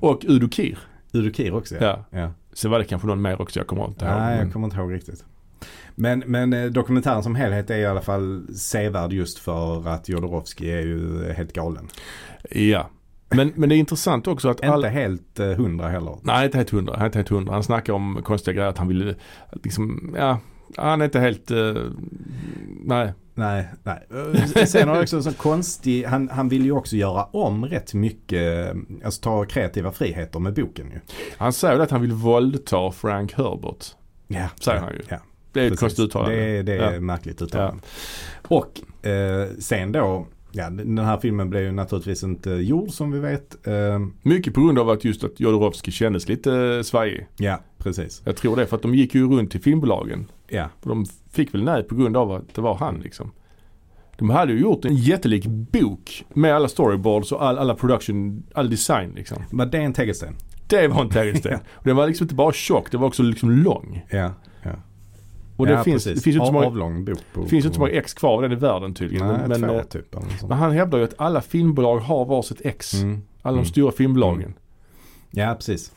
och Udo Kir.
Udo Kier också ja. Ah,
Ja.
ja.
Sen var det kanske någon mer också, jag kommer inte ihåg.
Nej,
Men-
jag kommer inte ihåg riktigt. Men, men eh, dokumentären som helhet är i alla fall sevärd just för att Jodorowsky är ju helt galen.
Ja. Men, men det är intressant också att alla...
Inte helt eh, hundra heller.
Nej, inte helt hundra. Han är Inte helt hundra. Han snackar om konstiga grejer att han ville liksom, ja. Han är inte helt, eh, nej.
Nej, nej. Eh, Sen har jag också en sån konstig, han, han vill ju också göra om rätt mycket, alltså ta kreativa friheter med boken ju.
Han säger att han vill våldta Frank Herbert.
Ja,
Säger
ja,
han ju.
Ja,
Det är ett
precis.
konstigt uttalande.
Det, är- det är
Ja.
märkligt uttalande. Och eh, sen då, ja, den här filmen blev ju naturligtvis inte gjord som vi vet. Eh,
Mycket på grund av att just att Jodorowsky kändes lite eh, svajig.
ja, precis.
Jag tror det, för att de gick ju runt till filmbolagen.
Ja,
Och de fick väl nej på grund av att det var han liksom. De hade ju gjort en jättelik bok med alla storyboards och all, alla production, all design liksom.
men det är en tegelsten.
Det var en tegelsten. Och den var liksom inte bara tjock, den var också liksom lång.
Ja, ja.
Och det,
ja,
finns, det
precis.
finns ju inte så
Av-
många,
Avlång bok. på-
det finns ju inte så
på-
många ex kvar av den i världen tydligen.
Nej,
men,
två
men, eh,
typ. Eller något sånt.
men han hävdar ju att alla filmbolag har varsitt ex.
Mm.
Alla de
Mm.
stora filmbolagen.
Ja, precis.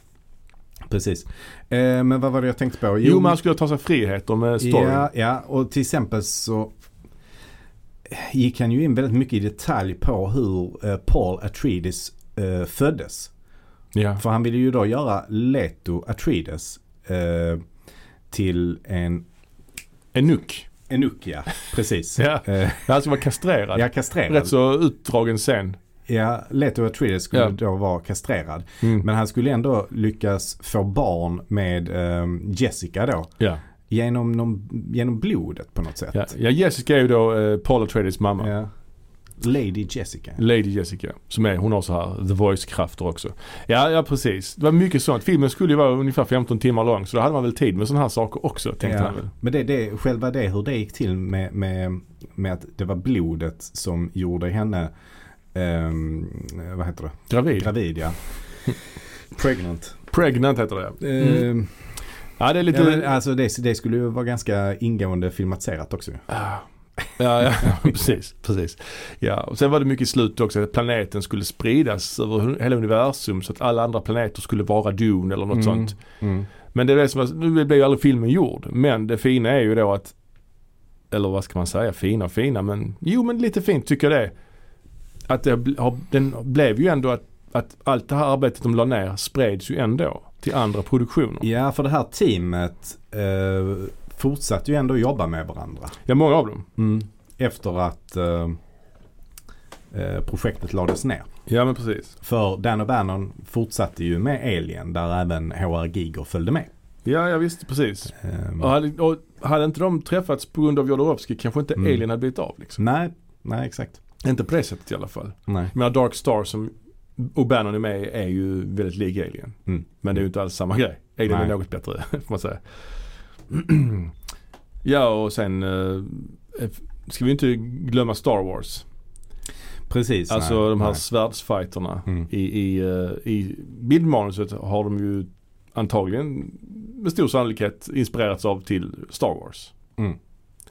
Precis. Eh, men vad var det jag tänkte på?
Jo, men han skulle ta sig friheter med storyn.
Ja, ja, och till exempel så gick han ju in väldigt mycket i detalj på hur eh, Paul Atreides eh, föddes.
Ja.
För han ville ju då göra Leto Atreides eh, till en
Enuk.
enukia. Precis.
Ja.
Eh,
Han skulle vara kastrerad.
ja, kastrerad.
Rätt så utdragen scen.
Ja, Leto Atreides skulle
Ja.
då vara kastrerad.
Mm.
Men han skulle ändå lyckas få barn med eh, Jessica då.
Ja.
Genom, någon, genom blodet på något sätt.
Ja. ja, Jessica är ju då eh, Paul Atreides mamma.
Ja. Lady Jessica.
Lady Jessica. Som är, hon har så här The Voice-krafter också. Ja, ja precis. Det var mycket sånt. Filmen skulle ju vara ungefär 15 timmar lång så då hade man väl tid med sådana här saker också tänkte han väl.
Men det, det, själva det, hur det gick till med, med, med att det var blodet som gjorde henne, ehm, vad heter det,
Gravid.
gravid ja. Pregnant.
Pregnant heter det. ja. Mm.
Ehm,
Ja det är lite...
ja, men, alltså det, det skulle ju vara ganska ingående filmatiserat också.
Ah. Ja, ja, precis. precis. Ja, och sen var det mycket i slutet också att planeten skulle spridas över hu- hela universum så att alla andra planeter skulle vara Dune eller något
Mm.
sånt.
Mm.
Men det är det som, var- nu blev ju aldrig filmen gjord. Men det fina är ju då att, eller vad ska man säga, fina och fina men jo men lite fint tycker jag det. är. Att det bl- har, den blev ju ändå att, att allt det här arbetet de la ner spreds ju ändå till andra produktioner.
Ja, för det här teamet eh, fortsatte ju ändå att jobba med varandra.
Ja, många av dem.
Efter att eh, eh, projektet lades ner.
Ja men precis.
För Dan O'Bannon fortsatte ju med Alien där även H.R. Giger följde med.
Ja, ja visst precis.
Ehm,
Och hade, och hade inte de träffats på grund av Jodorowsky kanske inte
Mm.
Alien hade blivit av. Liksom.
Nej, nej exakt.
Inte på det sättet i alla fall.
Nej.
Jag menar Dark Star som O'Bannon är med i är ju väldigt lik Alien.
Mm.
Men det är ju inte alls samma grej. Alien
Nej.
är något bättre får man säga. Ja och sen eh, ska vi inte glömma Star Wars.
Precis.
Alltså
nej,
de här
nej.
svärdsfighterna.
Mm.
I, i, eh, I bildmanuset har de ju antagligen med stor sannolikhet inspirerats av till Star Wars.
Mm.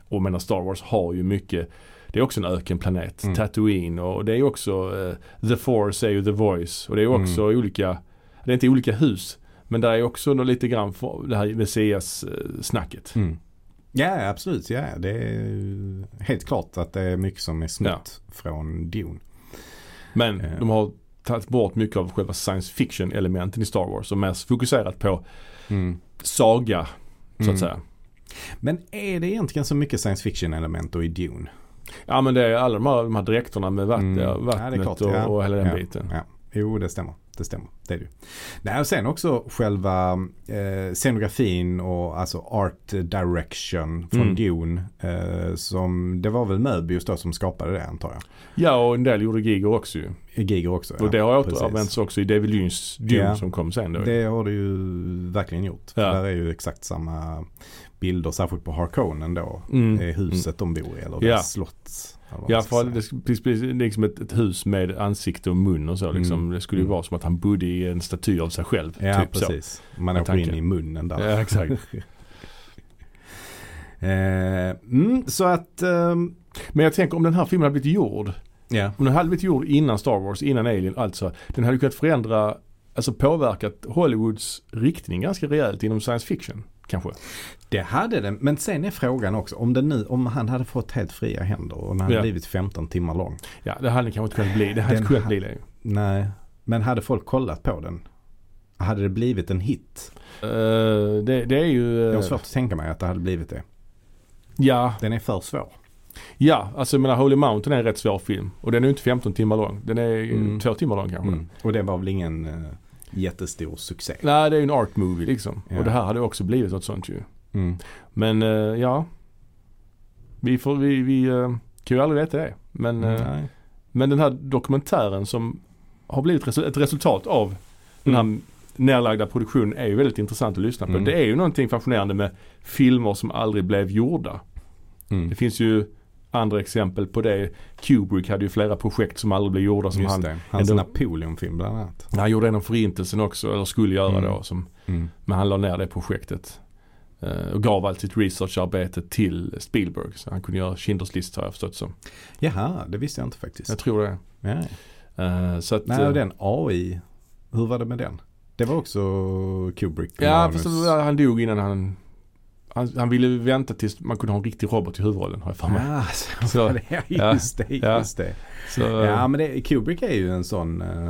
Och jag menar Star Wars har ju mycket det är också en ökenplanet.
Mm.
Tatooine och det är ju också eh, The Force är ju The Voice. Och det är ju också
Mm.
olika, det är inte olika hus. Men där är ju också något lite grann för- det här eh, Messias-snacket.
Mm. Ja, absolut. Ja, det är helt klart att det är mycket som är snott från Dune.
Men
Eh.
de har tagit bort mycket av själva science fiction elementen i Star Wars och mest fokuserat på
Mm.
saga så
Mm.
att säga.
Men är det egentligen så mycket science fiction element då i Dune?
Ja men det är alla de här, de här dräkterna med vatt,
Mm. Ja, det är
vattnet
klart,
och,
ja.
och hela den biten.
Ja. Jo, det stämmer. Det stämmer. Det är det ju. Nej, och sen också själva eh, scenografin och alltså art direction från
Mm.
Dune. Eh, som, det var väl Möbius då som skapade det antar jag.
Ja och en del gjorde Giger också ju.
Giger också.
och det har
precis.
återanvänts också i David Lynchs Dune
Ja.
som kom sen då.
Det har du ju verkligen gjort.
Ja.
Där är ju exakt samma bilder, särskilt på Harkonnen då.
Mm.
Det är huset de bor i eller
Ja.
deras slott. eller vad
Ja
man ska
för
säga.
det sk- precis- precis, liksom ett, ett hus med ansikte och mun och så liksom.
Mm.
Det skulle ju
Mm.
vara som att han bodde i en staty av sig själv.
Ja,
typ så.
precis. Man
Med
åker in
tanken.
i munnen där.
Ja exakt.
Eh, mm, så att... ehm,
Men jag tänker om den här filmen hade blivit gjord
ja.
Om den hade blivit gjord innan Star Wars, innan Alien, alltså. Den hade kunnat förändra, alltså påverkat Hollywoods riktning ganska rejält inom science fiction. Kanske.
Det hade den. Men sen är frågan också om, den nu, om han hade fått helt fria händer och den hade
Ja.
blivit 15 timmar lång.
Ja, det hade kanske inte kunnat bli. Det hade
Den
inte kunnat
ha-
bli det.
Nej, men hade folk kollat på den? Hade det blivit en hit?
Eh, det, det är ju...
Jag
eh,
har svårt att tänka mig att det hade blivit det.
ja,
Den är för svår.
ja, alltså jag menar Holy Mountain är en rätt svår film. Och den är ju inte 15 timmar lång. Den är eh,
Mm.
två timmar lång kanske.
Och det var väl ingen eh, jättestor succé.
Nej, det är ju en art movie liksom.
Ja.
Och det här hade också blivit något sånt ju.
Mm.
Men eh, ja. Vi, får, vi, vi eh, kan ju aldrig veta det. Men eh,
Nej.
Men den här dokumentären som har blivit resu- ett resultat av den här nedlagda produktionen är ju väldigt intressant att lyssna på.
Mm.
Det är ju någonting fascinerande med filmer som aldrig blev gjorda.
Mm.
Det finns ju andra exempel på det. Kubrick hade ju flera projekt som aldrig blev gjorda som
Just
han,
det. Hans
ändå-
Napoleonfilm bland annat.
han gjorde en om förintelsen också, eller skulle göra
Mm.
då. Som,
Mm.
men han la ner det projektet. eh, Och gav allt sitt researcharbete till Spielberg. Så han kunde göra Schindler's list har jag förstått som.
Jaha, det visste jag inte faktiskt.
Jag tror det.
Nej.
Eh, Så att,
Nej,
eh,
och den AI. Hur var det med den? Det var också Kubrick. på
Ja,
manus.
fast det var- han dog innan han... Han, han ville vänta tills man kunde ha en riktig robot i huvudrollen har jag för mig.
Ah, så,
Så-
var det.
ja,
Just det,
ja.
just det.
Så,
Ja, men det, Kubrick är ju en sån. eh,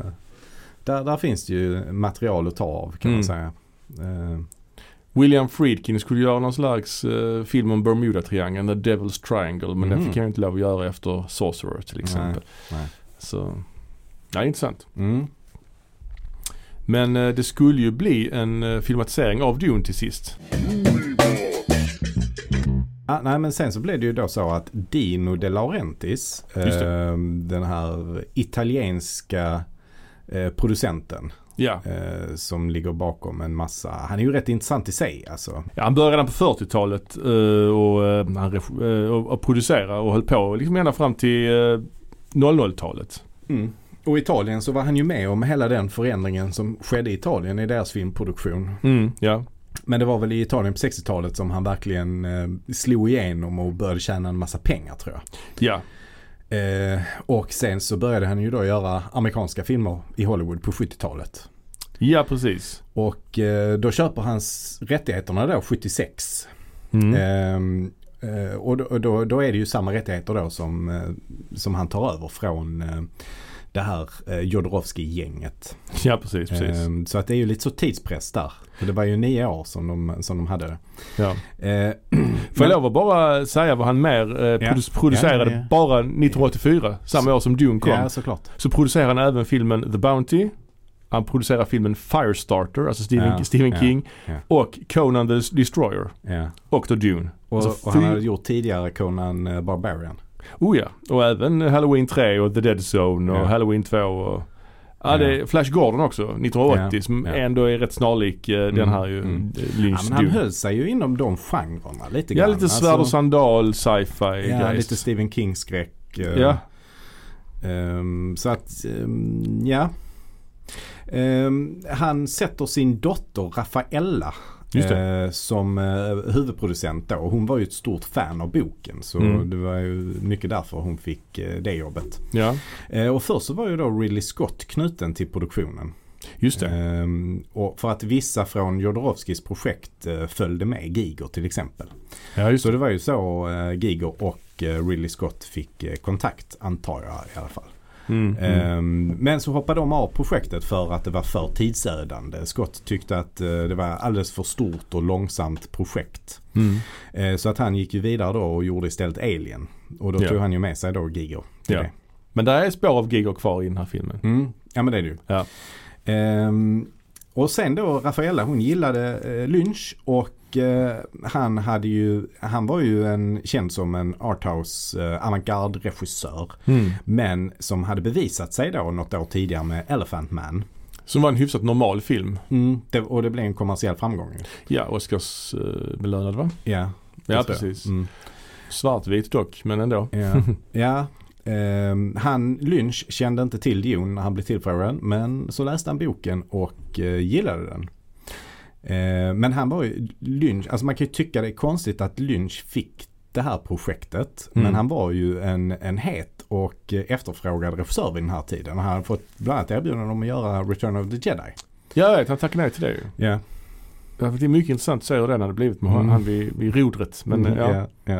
där, där finns det ju material att ta av kan
Mm.
man säga. Eh,
William Friedkin skulle göra någon slags eh, film om Bermuda-triangeln, The Devil's Triangle. Men den
Mhm.
fick han ju inte lov att göra efter Sorcerer till exempel.
nej.
Så, ja intressant.
mm.
Men eh, det skulle ju bli en eh, filmatisering av Dune till sist.
Ah, nej men sen så blev det ju då så att Dino De Laurentiis, eh,
Just
den här italienska eh, producenten
Ja.
eh, som ligger bakom en massa, han är ju rätt intressant i sig alltså.
ja han började redan på 40-talet eh, och, eh, han regi- eh, och, och producera och höll på liksom ända fram till eh, 00-talet.
Och i Italien så var han ju med om hela den förändringen som skedde i Italien i deras filmproduktion.
Mm, ja.
Men det var väl i Italien på 60-talet som han verkligen eh, slog igenom och började tjäna en massa pengar tror jag.
Ja,
Eh, och sen så började han ju då göra amerikanska filmer i Hollywood på 70-talet.
ja precis.
Och eh, då köper han s- rättigheterna då 76. Mm.
Mm.
Eh, eh, och då, och då, då är det ju samma rättigheter då som, eh, som han tar över från eh, det här eh, Jodorowsky-gänget.
Ja precis, precis.
Eh, så att det är ju lite så tidspress där. För det var ju nio år som de, som de hade det.
ja.
Eh,
Får jag lov att bara säga vad han mer eh,
Ja.
produ-
Ja,
producerade
ja, ja.
bara 1984, samma år som Dune kom.
ja, såklart.
Så producerade han även filmen The Bounty. Han producerade filmen Firestarter, alltså Stephen,
Ja,
Stephen
ja,
King.
ja.
Och Conan the Destroyer.
Ja.
Och då Dune.
Och,
Alltså
och han
fy-
hade gjort tidigare Conan eh, Barbarian.
Oh ja, och även Halloween 3 och The Dead Zone och
Ja.
Halloween 2 och Ja, det är Flash Gordon också, 1980,
Ja,
som
ja.
ändå är rätt snarlik eh, den här ju, eh,
mm. Ja,
Lynch
men han höll sig ju inom de genrerna lite
Ja,
grann.
lite svärd och
Alltså,
sandal, sci-fi,
Ja,
guys.
lite Stephen King-skräck. eh,
Ja.
Ehm, så att, ehm, ja. Ehm, han sätter sin dotter Rafaella
Just
eh, som eh, huvudproducent då. Hon var ju ett stort fan av boken så
Mm.
det var ju mycket därför hon fick eh, det jobbet.
ja,
Eh, och först så var ju då Ridley Scott knuten till produktionen.
just det.
Ehm, och för att vissa från Jodorowskis projekt eh, följde med, Giger till exempel.
Ja, just
Så
det.
det var ju så eh, Giger och eh, Ridley Scott fick eh, kontakt, antar jag i alla fall.
Mm, mm.
Ehm, men så hoppade de av projektet för att det var för tidsödande. Scott tyckte att eh, det var alldeles för stort och långsamt projekt.
Mm.
Eh, så att han gick ju vidare då och gjorde istället Alien. Och då
Ja.
tog han ju med sig då Giger. till
Ja.
det.
Men där är spår av Giger kvar i den här filmen.
Mm. Ja men det är det ju.
Ja.
Ehm, och sen då Rafaella hon gillade eh, Lynch och eh, han, hade ju, han var ju en, känd som en arthouse eh, avantgarde regissör. Men som hade bevisat sig då något år tidigare med Elephant Man.
Som var en hyfsat normal film.
Det, och det blev en kommersiell framgång. ju.
Ja, Oscarsbelönad va?
Ja,
Ja,
så.
precis.
Mm,
Svartvit dock, men ändå.
ja. ja. Ehm, han, Lynch kände inte till Jon när han blev tillfrågad men så läste han boken och eh, gillade den. Ehm, men han var ju Lynch, alltså man kan ju tycka det är konstigt att Lynch fick det här projektet.
Mm.
Men han var ju en, en het och eh, efterfrågad regissör vid den här tiden. Han hade fått bland annat erbjudande om att göra Return of the Jedi.
Ja, jag vet, han tackade nej till det ju.
Ja.
Ja, för Det är mycket intressant att se hur den hade blivit med
Mm.
han vid, vid rodret. Men
Mm,
ja.
ja. ja.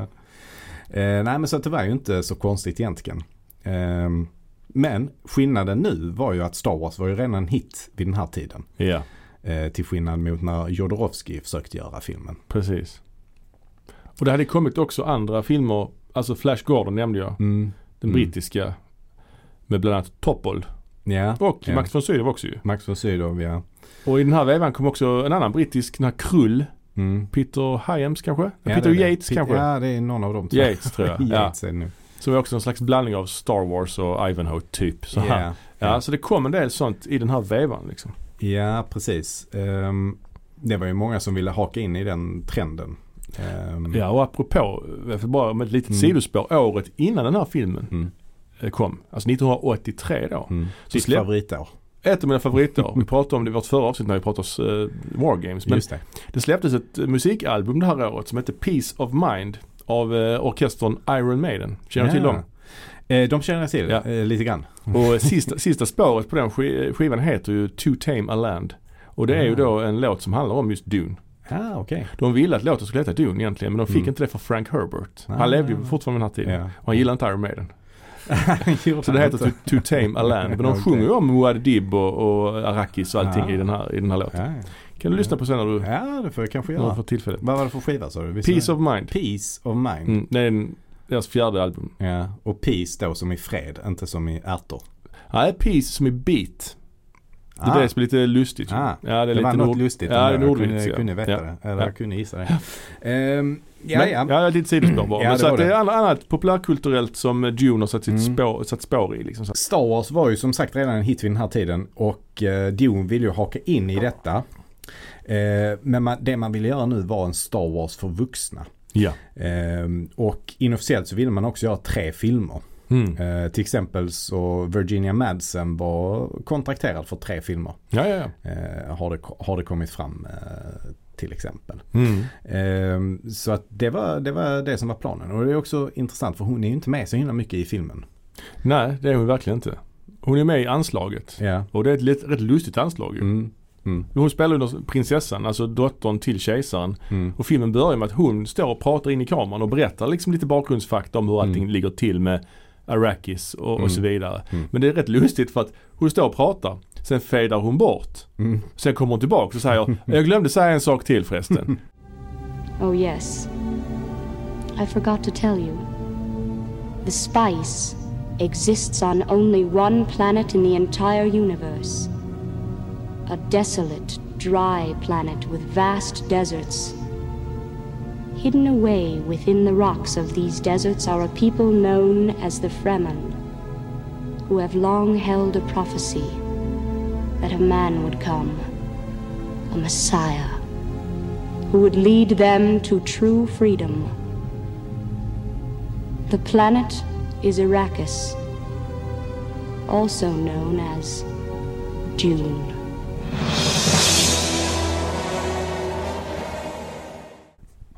Eh, nej men så att det var ju inte så konstigt egentligen. Ehm, men skillnaden nu var ju att Star Wars var ju redan en hit vid den här tiden.
ja,
Eh, till skillnad mot när Jodorowsky försökte göra filmen.
precis. Och det hade kommit också andra filmer. Alltså Flash Gordon nämnde jag.
Mm.
Den
Mm.
brittiska. Med bland annat Topol.
Ja.
Och
Ja.
Max von Sydow också ju.
Max von Sydow ja.
Och i den här vevan kom också en annan brittisk, den här Krull.
Mm.
Peter Hyams kanske?
Ja,
Peter
det är det.
Yates
Pit-
kanske?
Ja det är någon av dem två.
Yates tror jag. ja.
Yates är det nu.
Som var också en slags blandning av Star Wars och Ivanhoe typ. Så här.
Ja.
Ja, så det kom en del sånt i den här vevan liksom.
ja precis. Ehm, det var ju många som ville haka in i den trenden. Ehm,
Ja, och apropå, för bara med ett litet
Mm.
sidospår, året innan den här filmen
Mm.
eh, kom, alltså 1983 då.
Mm.
Så
Ditt
släpp-
favoritår.
Ett av mina favoriter, vi pratade om det i vårt förra avsnitt när vi pratade om eh, War Games, men
Just det.
det släpptes ett eh, musikalbum det här året som hette Peace of Mind av eh, orkestern Iron Maiden. Känner du till dem?
Eh, de känner jag till
Ja.
eh, lite grann.
Och sista, sista spåret på den sk- skivan heter ju To Tame A Land. Och det är ju
Ah.
då en låt som handlar om just Dune.
Ah, okej.
De ville att låten skulle heta Dune egentligen men de fick
Mm.
inte det för Frank Herbert.
Ah.
Han levde ju fortfarande den här tiden.
Ja.
Och han gillade inte Iron Maiden.
Gjorde
Så det
han
heter
inte.
To, to Tame A Land. Men de
Okej.
sjunger ju om Muad Dib och, och Arrakis och allting
Ah.
i, den här, i den här låten.
Ja,
Kan du lyssna på sen när du,
ja. ja, det får jag kanske
när du
göra.
får tillfället.
Vad var det för skiva sa du? Visst
Peace
var
of Mind.
det- Peace of Mind.
Mm, det är en, deras fjärde album.
Ja. Och peace då som i fred, inte som i ärtor.
Nej, Peace som är beat. Det är det som är lite lustigt. ju.
Ah.
Ja, det är
det
lite
var något
nord-
lustigt.
Ja,
ändå.
det är
jag
nordvits,
kunde,
ja.
kunde veta
Ja.
det. Eller
Ja.
jag kunde gissa det. Ehm, ja,
Men-
ja.
ja. det är lite sidospår bara.
Ja,
men
det
så
var
att det
det.
är annat, annat populärkulturellt som eh, Dune har satt, sitt
Mm.
spår, satt spår i. Liksom, så. att-
Star Wars var ju som sagt redan en hit vid den här tiden och eh, Dune ville ju haka in i detta. Eh, men man, det man ville göra nu var en Star Wars för vuxna.
Ja.
Ehm, och inofficiellt så ville man också göra tre filmer.
Mm.
Eh, till exempel så Virginia Madsen var kontrakterad för tre filmer.
Ja, ja, ja.
Eh, har, det, har det kommit fram eh, till exempel.
Mm.
Ehm, så att det var, det var det som var planen. Och det är också intressant för hon är ju inte med så himla mycket i filmen.
Nej, det är hon verkligen inte. Hon är med i anslaget.
Ja.
Och det är ett lite, rätt lustigt anslag ju.
Mm. Mm.
Hon spelar ju då prinsessan, alltså dottern till kejsaren.
Mm.
Och filmen börjar med att hon står och pratar in i kameran och berättar liksom lite bakgrundsfakta om hur allting
Mm.
ligger till med Arrakis och, och så
Mm.
vidare.
Mm.
Men det är rätt lustigt för att hon står och pratar, sen fejdar hon bort.
Mm.
Sen kommer hon tillbaka och säger, jag glömde säga en sak till
Mm.
förresten.
Oh, yes. I forgot to tell you. The spice exists on only one planet in the entire universe a desolate, dry planet with vast deserts. Hidden away within the rocks of these deserts are a people known as the Fremen, who have long held a prophecy that a man would come, a Messiah, who would lead them to true freedom. The planet is Arrakis, also known as Dune.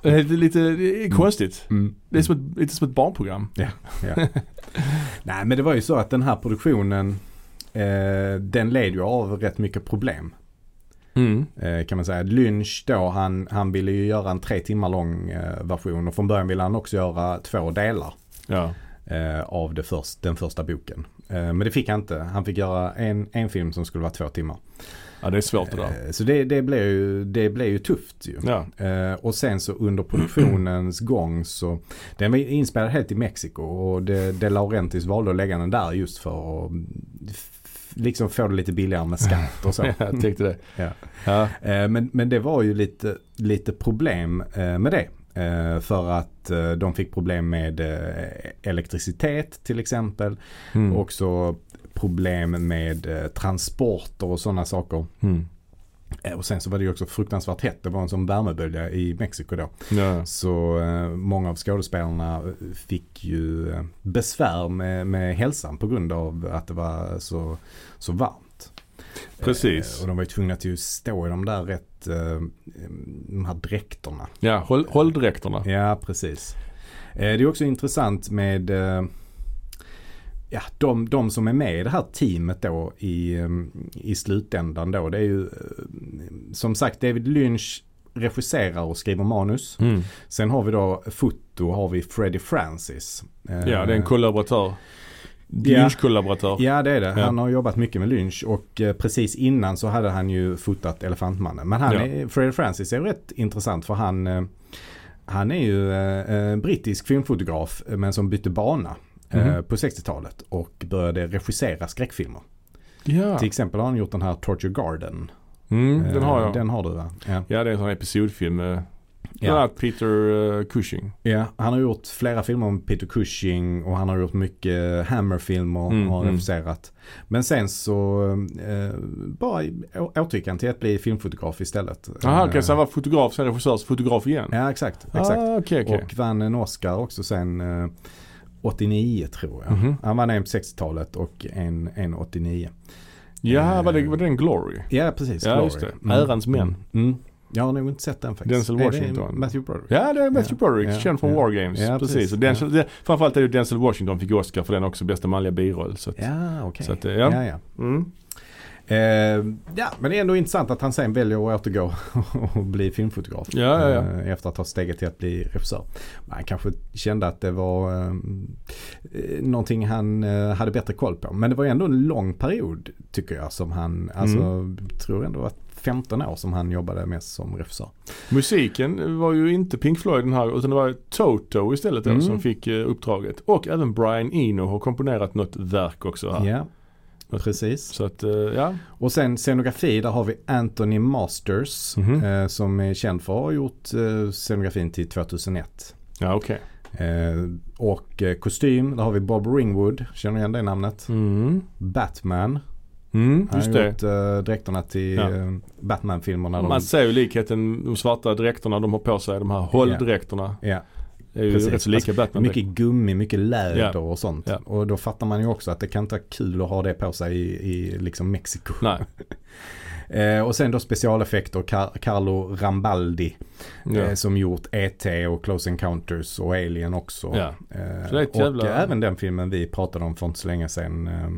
Det är lite det är konstigt.
Mm.
Det är som ett, lite som ett barnprogram.
Ja, ja. Nej men det var ju så att den här produktionen eh, den led ju av rätt mycket problem. Eh, kan man säga. Lynch då han, han ville ju göra en tre timmar lång eh, version och från början ville han också göra två delar
Ja.
eh, av det först, den första boken. Eh, men det fick han inte. Han fick göra en, en film som skulle vara två timmar.
ja, det är svårt det där.
Eh, så det, det, blev ju, det blev ju tufft ju.
Ja.
Eh, och sen så under produktionens gång så den var inspelad helt i Mexiko och det, det Laurentis valde att lägga den där just för att f- liksom få det lite billigare med skatt och så.
Jag tänkte det.
Ja.
Ja.
Eh, men, men det var ju lite, lite problem eh, med det. Eh, För att eh, de fick problem med eh, elektricitet till exempel.
Mm.
Också problem med eh, transporter och sådana saker.
Mm.
Eh, Och sen så var det ju också fruktansvärt hett. Det var en sån värmebölja i Mexiko då.
Ja.
Så eh, många av skådespelarna fick ju eh, besvär med, med hälsan på grund av att det var så, så varmt. Eh,
Precis.
Och de var ju tvungna till att stå i de där rätt, eh, de här dräkterna.
Ja, håll, hålldräkterna.
Ja, precis. Eh, Det är också intressant med eh, ja, de, de som är med i det här teamet då i, eh, i slutändan då. Det är ju eh, som sagt David Lynch regisserar och skriver manus.
Mm.
Sen har vi då foto har vi Freddie Francis. Eh,
Ja, det är en kollaboratör.
Ja.
Lynch-kollaboratör.
Ja det är det.
Ja.
Han har jobbat mycket med Lynch och eh, precis innan så hade han ju fotat Elefantmannen. Men han
Ja.
är, Freddie Francis är ju rätt intressant för han, eh, han är ju eh, en brittisk filmfotograf eh, men som bytte bana eh,
Mhm.
på 60-talet och började regissera skräckfilmer.
Ja.
Till exempel har han gjort den här Torture Garden.
Mm,
Eh,
den har jag.
Den har du va? Ja.
Ja, det är en sån episodfilm. eh, Bland
Ja.
annat Peter eh, Cushing.
Ja, han har gjort flera filmer om Peter Cushing och han har gjort mycket Hammer-filmer
Mm,
och har
mm.
regisserat. Men sen så eh, bara å- återgick han till att bli filmfotograf istället.
Jaha, okej,
Eh,
så han var fotograf, sen regissörsfotograf igen?
Ja, exakt. exakt.
Ah, okej, okej.
Och vann en Oscar också sen eh, 89 tror jag.
Mhm.
Han vann en på 60-talet och en, en 89. eh,
Ja, var det, var det en Glory?
Ja, precis.
Ja,
Glory.
just det. Ärans män.
Mm. Jag har nog inte sett den faktiskt.
Denzel
Är det
Washington.
Matthew Broderick.
Ja, det är Matthew
Ja,
Broderick,
ja,
känd från
ja.
War Games.
Ja,
precis.
precis.
Och Denzel, det, framförallt är det Denzel Washington fick Oscar för den också, bästa manliga biroll. Så att,
Ja, okej.
Så att, eh, ja.
ja, ja.
Mm.
Eh, ja, men det är ändå intressant att han sen väljer att återgå och bli filmfotograf.
Ja, ja, ja.
Eh, Efter att ha steget till att bli regissör. Men han kanske kände att det var eh, eh, någonting han eh, hade bättre koll på. Men det var ju ändå en lång period tycker jag som han, alltså
Mm.
tror ändå att 15 år som han jobbade mest som regissör.
Musiken var ju inte Pink Floyd den här utan det var Toto istället då,
Mm.
som fick eh, uppdraget. Och även Brian Eno har komponerat något verk också här.
Ja, precis.
Så att, eh, ja.
Och sen scenografi, där har vi Anthony Masters
Mhm.
eh, som är känd för att ha gjort eh, scenografin till 2001.
Ja, okej.
Eh, och eh, kostym, där har vi Bob Ringwood. Känner du igen det namnet?
Mm.
Batman.
Mm,
Han
just
har
det.
gjort eh, dräkterna till
Ja.
eh, Batman-filmerna.
Man
De,
ser ju likheten, de svarta dräkterna de har på sig, de här hålldräkterna.
ja,
Det är ju
Precis. Alltså,
rätt så lika Batman.
mycket gummi, mycket läder
Ja.
och sånt.
Ja.
Och då fattar man ju också att det kan inte vara kul att ha det på sig i, i liksom Mexiko.
Nej.
Eh, och sen då specialeffekter, Car- Carlo Rambaldi.
Ja.
Eh, som gjort E.T. och Close Encounters och Alien också.
Ja.
Eh,
Så det är ett
och
jävla-
eh, även den filmen vi pratade om för inte så länge sedan. Eh,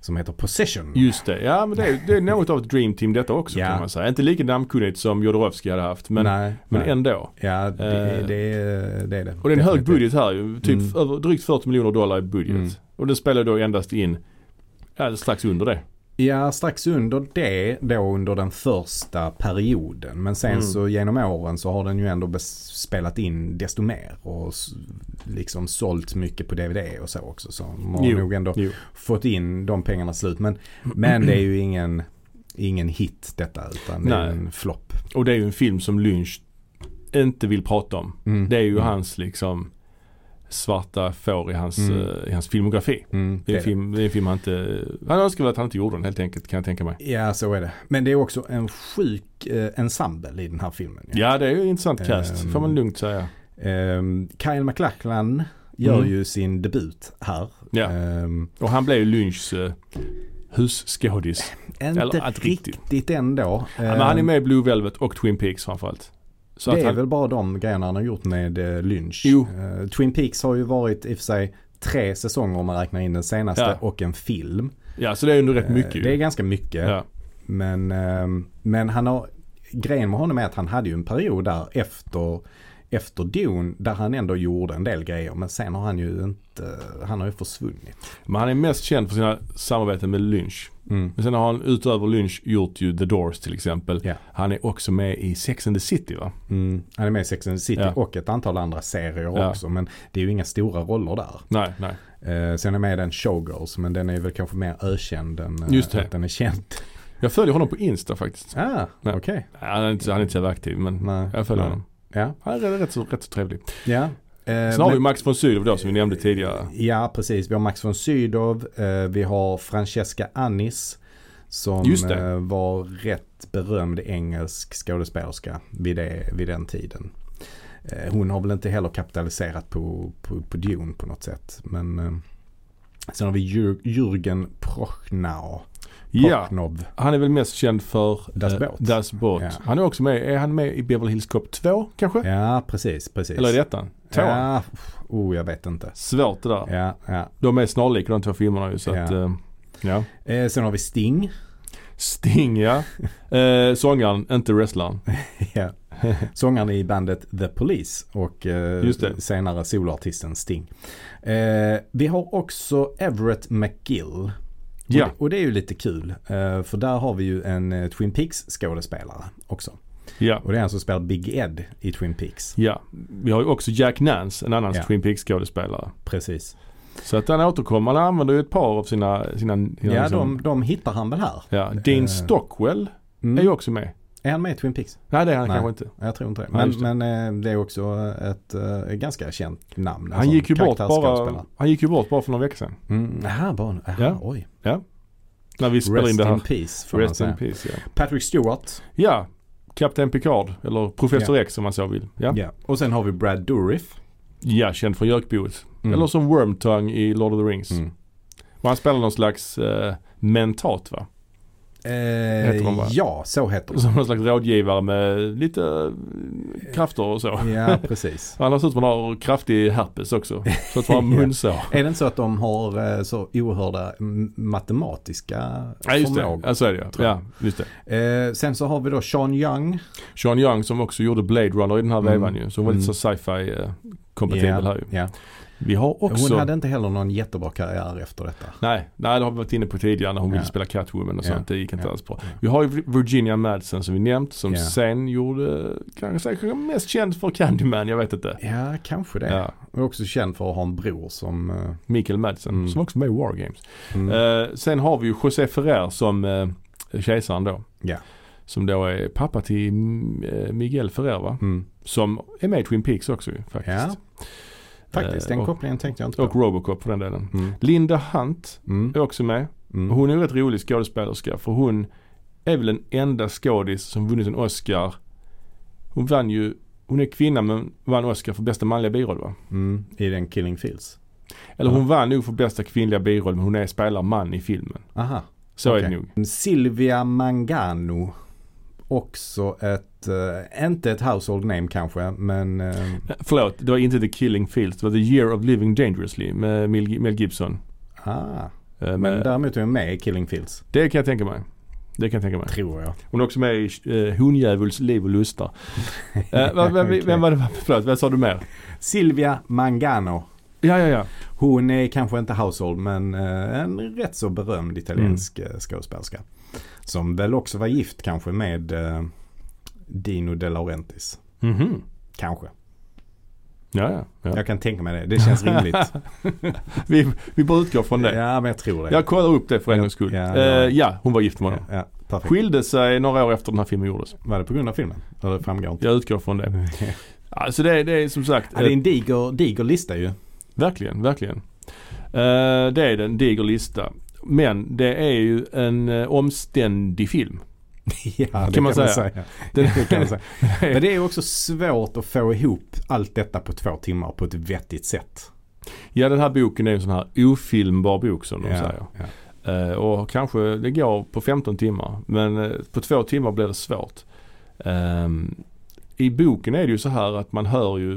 som heter Possession.
Just det. Ja, men det är, det är något av ett dreamteam detta också
Ja.
kan man säga. Inte lika namnkunnigt som Jodorowsky hade haft, men,
nej,
men
nej.
ändå.
Ja, det,
Eh,
det, är- det är det.
Och det är en hög
Definitivt.
budget här ju. Typ
Mm.
över, drygt 40 miljoner dollar i budget.
Mm.
Och den spelar då endast in ja, strax under det.
Ja, strax under det då under den första perioden. Men sen
Mm.
så genom åren så har den ju ändå bes- spelat in desto mer. Och s- liksom sålt mycket på DVD och så också. Så de har
Jo,
nog ändå
jo.
fått in de pengarna till slut. Men, men det är ju ingen, ingen hit detta utan det är
Nej.
en flopp.
Och det är ju en film som Lynch inte vill prata om.
Mm.
Det är ju
Mm.
hans liksom svarta får i hans,
Mm.
eh, i hans filmografi.
Mm,
Det är,
det
en film, det är en film han inte... Han önskar väl att han inte gjorde den helt enkelt kan jag tänka mig.
Ja, så är det. Men det är också en sjuk eh, ensemble i den här filmen. ju.
Ja det är ju en intressant cast
Ehm.
får man lugnt säga.
Ehm, Kyle MacLachlan gör
Mm.
ju sin debut här.
Ja.
Ehm,
Och han blev ju Lynchs eh, husskådis.
inte
Eller att
riktigt,
riktigt.
ändå.
Ja, men han är
Ehm,
med i Blue Velvet och Twin Peaks framförallt. Så
det
att
är
han,
väl bara de grejerna han har gjort med eh, Lynch.
Jo.
Eh, Twin Peaks har ju varit i och för sig tre säsonger om man räknar in den senaste
Ja.
och en film.
Ja så det är ju ändå rätt
Eh,
mycket ju.
Det är ganska mycket.
ja.
Men, ehm, men han har, grejen med honom är att han hade ju en period där efter, efter Dune där han ändå gjorde en del grejer. Men sen har han ju inte, han har ju försvunnit.
Men han är mest känd för sina samarbeten med Lynch.
Mm.
Men sen har han utöver Lynch gjort ju The Doors till exempel.
Ja.
Han är också med i Sex and the City va?
Mm. Han är med i Sex and the City
Ja.
och ett antal andra serier
Ja.
också. Men det är ju inga stora roller där.
Nej, nej.
Eh, sen är med i den Showgirls men den är väl kanske mer ökänd än eh,
Just det.
att den är känd.
Jag följer honom på Insta faktiskt.
Ah, okej.
Nej. Nej, Han är inte, han är inte så jävla aktiv men
Nej.
jag följer
Nej.
honom.
Ja.
Han är rätt, rätt, så, rätt så trevlig.
ja. Eh,
Sen har
men-
vi Max von Sydow då som vi nämnde tidigare.
Ja, precis. Vi har Max von Sydow. eh, Vi har Francesca Annis. Som
Just det.
eh, var rätt berömd engelsk skådespelerska vid, det, vid den tiden. Eh, Hon har väl inte heller kapitaliserat på, på, på Dune på något sätt. Men eh, sen har vi Jür- Jürgen Prochnau.
Ja,
Prochnov.
han är väl mest känd för
Das
eh,
Boot.
Das Boot.
Ja.
Han är också med, är han med i Beverly Hills Cop 2 kanske?
Ja, precis. precis.
Eller är det ettan? Tvåan?
Ja, pff, oh, jag vet inte.
Svårt det där.
Ja, ja.
De är snarlika de två filmerna ju så
Ja.
att, eh, ja.
Eh, sen har vi Sting.
Sting ja. Eh, sångaren, inte wrestlaren.
Ja. Sångaren i bandet The Police och eh,
Just det.
senare soloartisten Sting. Eh, vi har också Everett McGill.
Ja.
Och, det, och det är ju lite kul eh, för där har vi ju en eh, Twin Peaks skådespelare också.
Ja.
Och det är han som spelar Big Ed i Twin Peaks.
ja. Vi har ju också Jack Nance, en annan
Ja.
Twin Peaks skådespelare.
Precis.
Så att han återkommer, han använder ju ett par av sina... sina, sina
Ja,
liksom-
de, de hittar han väl här.
ja. Dean
Eh.
Stockwell är ju
Mm.
också med.
Är han med i Twin Peaks?
Nej det är han
Nej.
kanske inte.
Jag tror inte det.
Ja,
Men,
just det.
men eh, det är också ett eh, ganska känt namn. Alltså,
Han gick, ju bort bara,
karaktärsskådespelare.
han gick ju bort bara för några veckor sedan.
Mm, aha, bara, aha,
Ja.
oj.
När vi spelade in
Rest
det
in
här.
peace får man
Rest
säga.
in peace ja.
Patrick Stewart.
Ja, Kapten Picard eller Professor X om man så vill. Ja,
Ja. Och sen har vi Brad Dourif.
ja känd från Jökboet.
Mm.
Eller som Wormtongue i Lord of the Rings.
Mm.
Och han spelar någon slags eh, mentat va?
Eh,
de bara?
ja, så heter de.
Som någon slags rådgivare med lite eh, krafter och så.
Ja, precis.
Han ser ut som han har kraftig herpes också. Så att han har
Ja.
munsår.
Är det inte så att de har eh, så oerhörda mm, matematiska
Ja just det,
förmågor?
ja, så är det ja.
tror jag.
ja just det.
Eh, sen så har vi då Sean Young.
Sean Young som också gjorde Blade Runner i den här
Mm.
vevan ju. Så hon var lite
Mm.
så sci-fi eh, kompatibel
Ja,
här ju.
ja.
Vi har också...
Hon hade inte heller någon jättebra karriär efter detta.
Nej, nej, det har vi varit inne på tidigare när hon
Ja.
ville spela Catwoman och
Ja.
sånt. Det gick inte
Ja.
alls bra.
Ja.
Vi har ju Virginia Madsen som vi nämnt som
Ja.
sen gjorde, kanske säkert mest känd för Candyman, jag vet inte.
Ja, kanske det.
Ja,
Hon är också känd för att ha en bror som... eh,
Mikael Madsen
Mm.
som också var med i War Games.
Mm.
Eh, sen har vi ju José Ferrer som eh, kejsaren då.
Ja.
Som då är pappa till eh, Miguel Ferrer va?
Mm.
Som är med i Twin Peaks också ju faktiskt.
Faktiskt, den
Eh, och-
kopplingen tänkte jag inte
Och
på.
Robocop för den delen.
Mm.
Linda Hunt
Mm.
är också med.
Mm.
Hon är en rätt rolig skådespelerska för hon är väl den enda skådis som vunnit en Oscar. Hon vann ju, hon är kvinna men vann Oscar för bästa manliga biroll va?
Mm. I den Killing Fields.
Eller hon vann nog för bästa kvinnliga biroll men hon är spelar man i filmen.
Aha.
Så är
Okej.
det nog.
Silvia Mangano. Också ett, eh, inte ett household name kanske, men eh,
Förlåt, det var inte The Killing Fields, det var The Year of Living Dangerously med Mel Mel Gibson.
ah,
Eh,
men
Men
däremot är hon med i Killing Fields,
det kan jag tänka mig. Det kan jag tänka mig.
tror jag.
Hon är också med i eh, Honjävuls liv och lustar. Eh, vad- vad-
Okej.
Vem var det? Förlåt, vad sa du mer?
Silvia Mangano.
Ja, ja, ja.
Hon är kanske inte household, men eh, en rätt så berömd italiensk mm. skådespelerska. Som väl också var gift kanske med eh, Dino De Laurentiis.
Mhm.
Kanske.
Ja, ja. ja.
Jag kan tänka mig det. Det känns rimligt.
Vi, vi bara utgår från det.
ja, men jag tror det.
Jag kollar upp det för en gångs skull.
ja,
Eh,
ja.
ja, hon var gift med honom.
ja, perfekt.
Skilde sig några år efter den här filmen gjordes.
Var det på grund av filmen? Eller det framgår inte.
Jag utgår från det. Alltså det, det är som sagt.
Ja, det är
eh,
en diger, diger lista ju.
Verkligen, verkligen. Eh, det är en diger lista. Men det är ju en eh, omständig film.
Ja, det kan,
man
man
säga.
säga.
Den-
Det kan man säga. Men det är också svårt att få ihop allt detta på två timmar på ett vettigt sätt.
ja, den här boken är ju en sån här ofilmbar bok som de
Ja,
säger.
ja.
Eh, och kanske det går på 15 timmar. Men eh, på två timmar blir det svårt. Ehm, I boken är det ju så här att man hör ju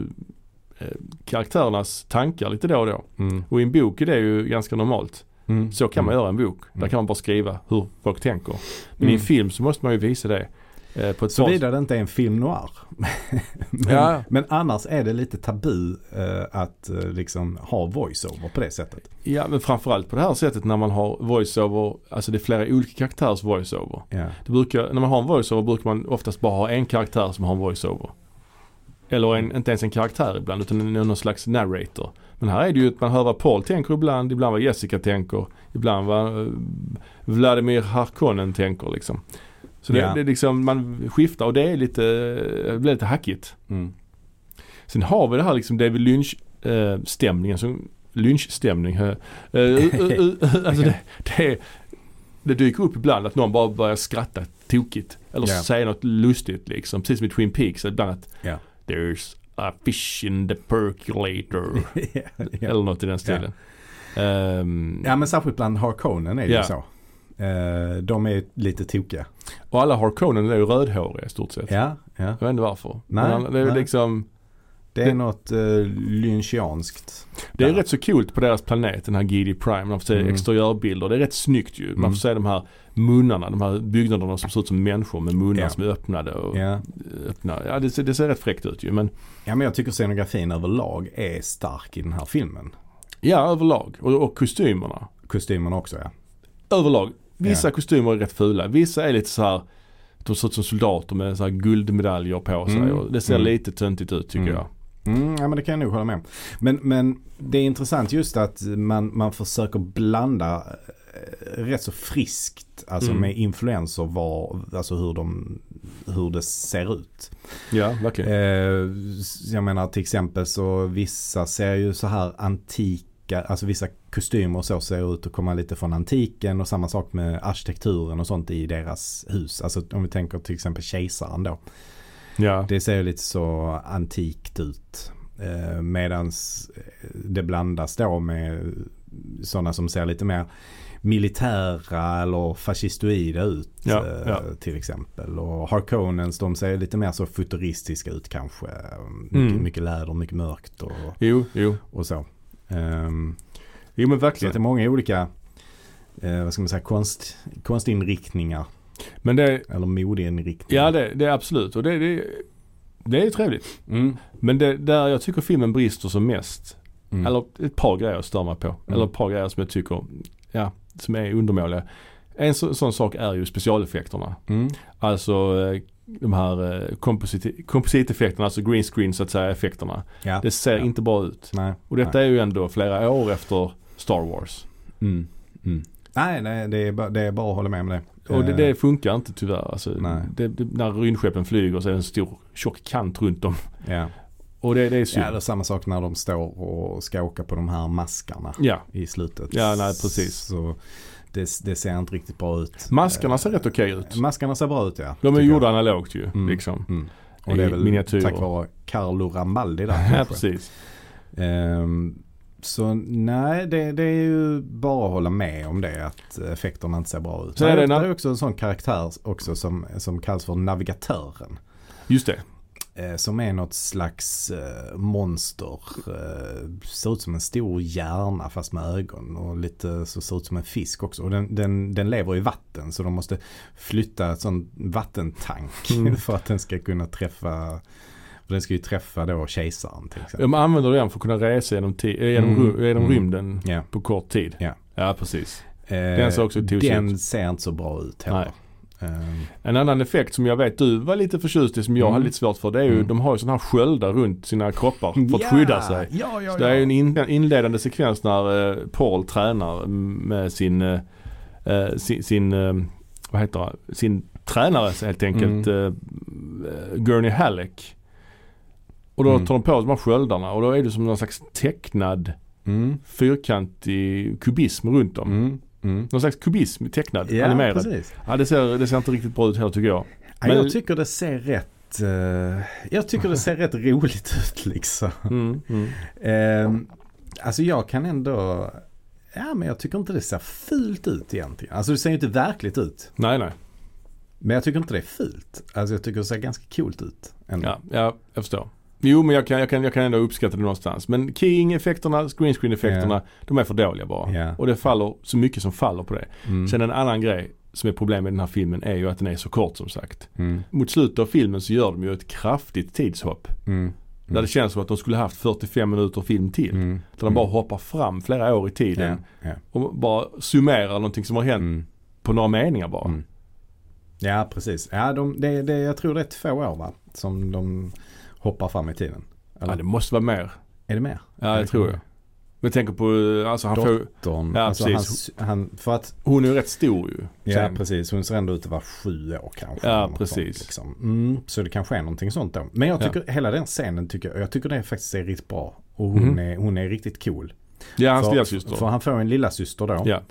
eh, karaktärernas tankar lite då och då.
Mm.
Och i en bok är det ju ganska normalt.
Mm.
Så kan man göra en bok. Där
Mm.
kan man bara skriva hur folk tänker. Men i
Mm.
en film så måste man ju visa det. eh, På ett bra
Såvida det inte är en film noir. men,
Ja.
men annars är det lite tabu eh, att eh, liksom ha voiceover på det sättet.
Ja men framförallt på det här sättet när man har voiceover, alltså det är flera olika karaktärers voiceover.
Ja.
Det brukar, när man har en voiceover brukar man oftast bara ha en karaktär som har en voiceover. Eller en, inte ens en karaktär ibland utan en- någon slags narrator. Men här är det ju att man hör vad Paul tänker ibland, ibland vad Jessica tänker, ibland vad eh, Vladimir Harkonnen tänker liksom. Så det,
Ja.
det är liksom, man skiftar och det är lite, det blir lite hackigt.
Mm.
Sen har vi det här liksom David Lynch eh, stämningen som Lynch-stämning. eh, Eh, eh, eh, alltså det, det, det dyker upp ibland att någon bara börjar skratta tokigt. Eller
Ja.
säga något lustigt liksom. Precis som i Twin Peaks. Ibland att
Ja.
There's a fish in the percolator.
ja, ja.
Eller något i den stilen. Ehm,
ja men särskilt bland Harkonnen är det
Ja.
ju så. Eh, de är ju lite tokiga.
Och alla Harkonnen är ju rödhåriga i stort sett.
Ja, ja.
Jag vet inte varför.
Nej,
Men han- det är ju
nej.
liksom
Det är
Det-
något eh, lynchianskt.
Det är
Ja.
rätt så kul på deras planet, den här GD Prime. Man får se
Mm.
exteriörbilder. Det är rätt snyggt ju. Man
Mm.
får se de här munnarna, de här byggnaderna som ser ut som människor med munnar
Ja.
som är öppnade. Och
Ja.
öppna. ja, det, ser, det ser rätt fräckt ut ju. Men
ja men jag tycker scenografin överlag är stark i den här filmen.
ja, överlag. Och, och kostymerna.
Kostymerna också ja.
Överlag. Vissa kostymer är rätt fula. Vissa är lite så här de ser ut som soldater med så här guldmedaljer på sig.
Mm.
Och det ser
Mm.
lite töntigt ut tycker
Mm.
jag.
Mm, ja men det kan jag nog hålla med om. Men, men det är intressant just att man, man försöker blanda eh, rätt så friskt alltså
Mm.
med influenser var, alltså hur, de, hur det ser ut.
Ja, verkligen.
Eh, s- jag menar till exempel så vissa ser ju så här antika, alltså vissa kostymer och så ser ut att komma lite från antiken och samma sak med arkitekturen och sånt i deras hus. Alltså om vi tänker till exempel kejsaren då.
Ja.
Det ser ju lite så antikt ut. Eh, medans eh, det blandas då med sådana som ser lite mer militära eller fascistoida ut
Ja,
eh,
ja.
till exempel. Och Harkonnens de ser lite mer så futuristiska ut kanske. Mycket,
Mm.
mycket läder, mycket mörkt och,
Jo, jo.
och så. Ehm,
Jo men
så att det
verkligen.
är många olika eh, vad ska man säga, konst, konstinriktningar
Men det,
eller modeinriktningar.
ja det, det är absolut. Och det, det, det är ju trevligt.
Mm.
Men det, där jag tycker filmen brister som mest.
Mm.
Eller ett par grejer jag stör mig på. Eller ett par grejer som jag tycker, ja, som är undermåliga. En så, sån sak är ju specialeffekterna.
Mm.
Alltså eh, de här eh, komposit- kompositeffekterna, alltså green screen så att säga, effekterna.
Ja.
Det ser
Ja.
inte bra ut.
Nej.
Och
Nej.
detta är ju ändå flera år efter Star Wars.
Mm. Mm. Nej, nej det, är bara, det är bara att hålla med om det.
Och det,
Eh,
det funkar inte tyvärr. Alltså,
Nej.
det, det, när rymdskeppen flyger så är det en stor tjock kant runt dem.
ja.
Och det, det är
ja, det är
synd.
samma sak när de står och ska åka på de här maskarna
Ja,
i slutet.
Ja, nej, precis.
Så det, det ser inte riktigt bra ut.
maskarna ser rätt okej ut.
Maskarna ser bra ut ja.
De är
tycker
gjorda analogt ju.
Mm.
Liksom.
jag. Mm. Och det är
i
väl
miniatyrer.
tack vare Carlo Rambaldi där
Ja,
kanske.
precis.
Ehm, så nej, det, det är ju bara att hålla med om det att effekterna inte ser bra ut.
Så
Så
är
är
det
det,
när-
är också en sån karaktär också som, som kallas för navigatören.
Just det.
Eh, som är något slags eh, monster. Eh, ser ut som en stor hjärna fast med ögon och lite så ser ut som en fisk också. Och den, den, den lever i vatten så de måste flytta en sån vattentank
Mm.
för att den ska kunna träffa för den ska ju träffa då kejsaren till exempel.
De använder den för att kunna resa genom, ti- eh, genom,
Mm.
ru- genom
Mm.
rymden
Ja.
på kort tid.
Ja.
ja, precis.
Eh,
den ser också tosig
Den ser inte så bra ut heller. Ehm,
En annan effekt som jag vet du var lite förtjust i som jag
Mm.
hade lite svårt för det är ju
Mm.
de har ju sådana här sköldar runt sina kroppar för att skydda sig.
Ja, ja,
Så
ja.
det är ju en in- inledande sekvens när eh, Paul tränar med sin, eh, eh, sin, sin eh, vad heter han? sin tränare helt enkelt, eh, Gurney Halleck. Och då
Mm.
tar de på sig de här sköldarna och då är det som någon slags tecknad
Mm,
fyrkantig kubism runt om.
mm, mm.
Någon slags kubism tecknad,
Ja,
animerad.
precis.
Ja, det ser, det ser inte riktigt bra ut heller tycker jag.
Ja,
Men-
Jag tycker det ser rätt eh, jag tycker det ser rätt roligt ut liksom.
Mm, mm.
Ehm, alltså jag kan ändå, ja men jag tycker inte det ser fult ut egentligen. Alltså det ser ju inte verkligt ut.
Nej, nej.
Men jag tycker inte det är fult. Alltså jag tycker det ser ganska coolt ut. Ändå.
Ja, ja, jag förstår. Jo, men jag kan, jag, kan, jag kan ändå uppskatta det någonstans. Men keying-effekterna, screen screen-effekterna, de är för dåliga bara.
Ja.
Och det faller så mycket som faller på det.
Mm.
Sen en annan grej som är problem med den här filmen är ju att den är så kort som sagt.
Mm.
Mot slutet av filmen så gör de ju ett kraftigt tidshopp.
Mm.
Där det känns som att de skulle haft 45 minuter film till.
Mm.
Där de bara hoppar fram flera år i tiden.
Ja. Ja.
Och bara summerar någonting som har hänt
Mm.
på några meningar bara.
Mm. ja precis. Ja, de, det, det, jag tror det är två år va? Som de hoppar fram i tiden. Eller?
Ja, det måste vara mer.
Är det mer?
Ja, det tror jag. Men tänk på, alltså han får,
Dottern.
Ja,
alltså
precis.
Han, han, för att,
hon är ju rätt stor ju.
ja
Sen.
precis. Hon ser ändå ut att vara sju år kanske.
Ja,
eller något
precis.
Sånt, liksom. mm, så det kanske är någonting sånt då. Men jag
Ja.
tycker hela den scenen tycker jag, jag tycker det faktiskt är riktigt bra. Och hon,
Mhm.
är, hon är riktigt cool.
Ja, hans
För-
lillasyster.
För han får en lilla syster då.
Ja.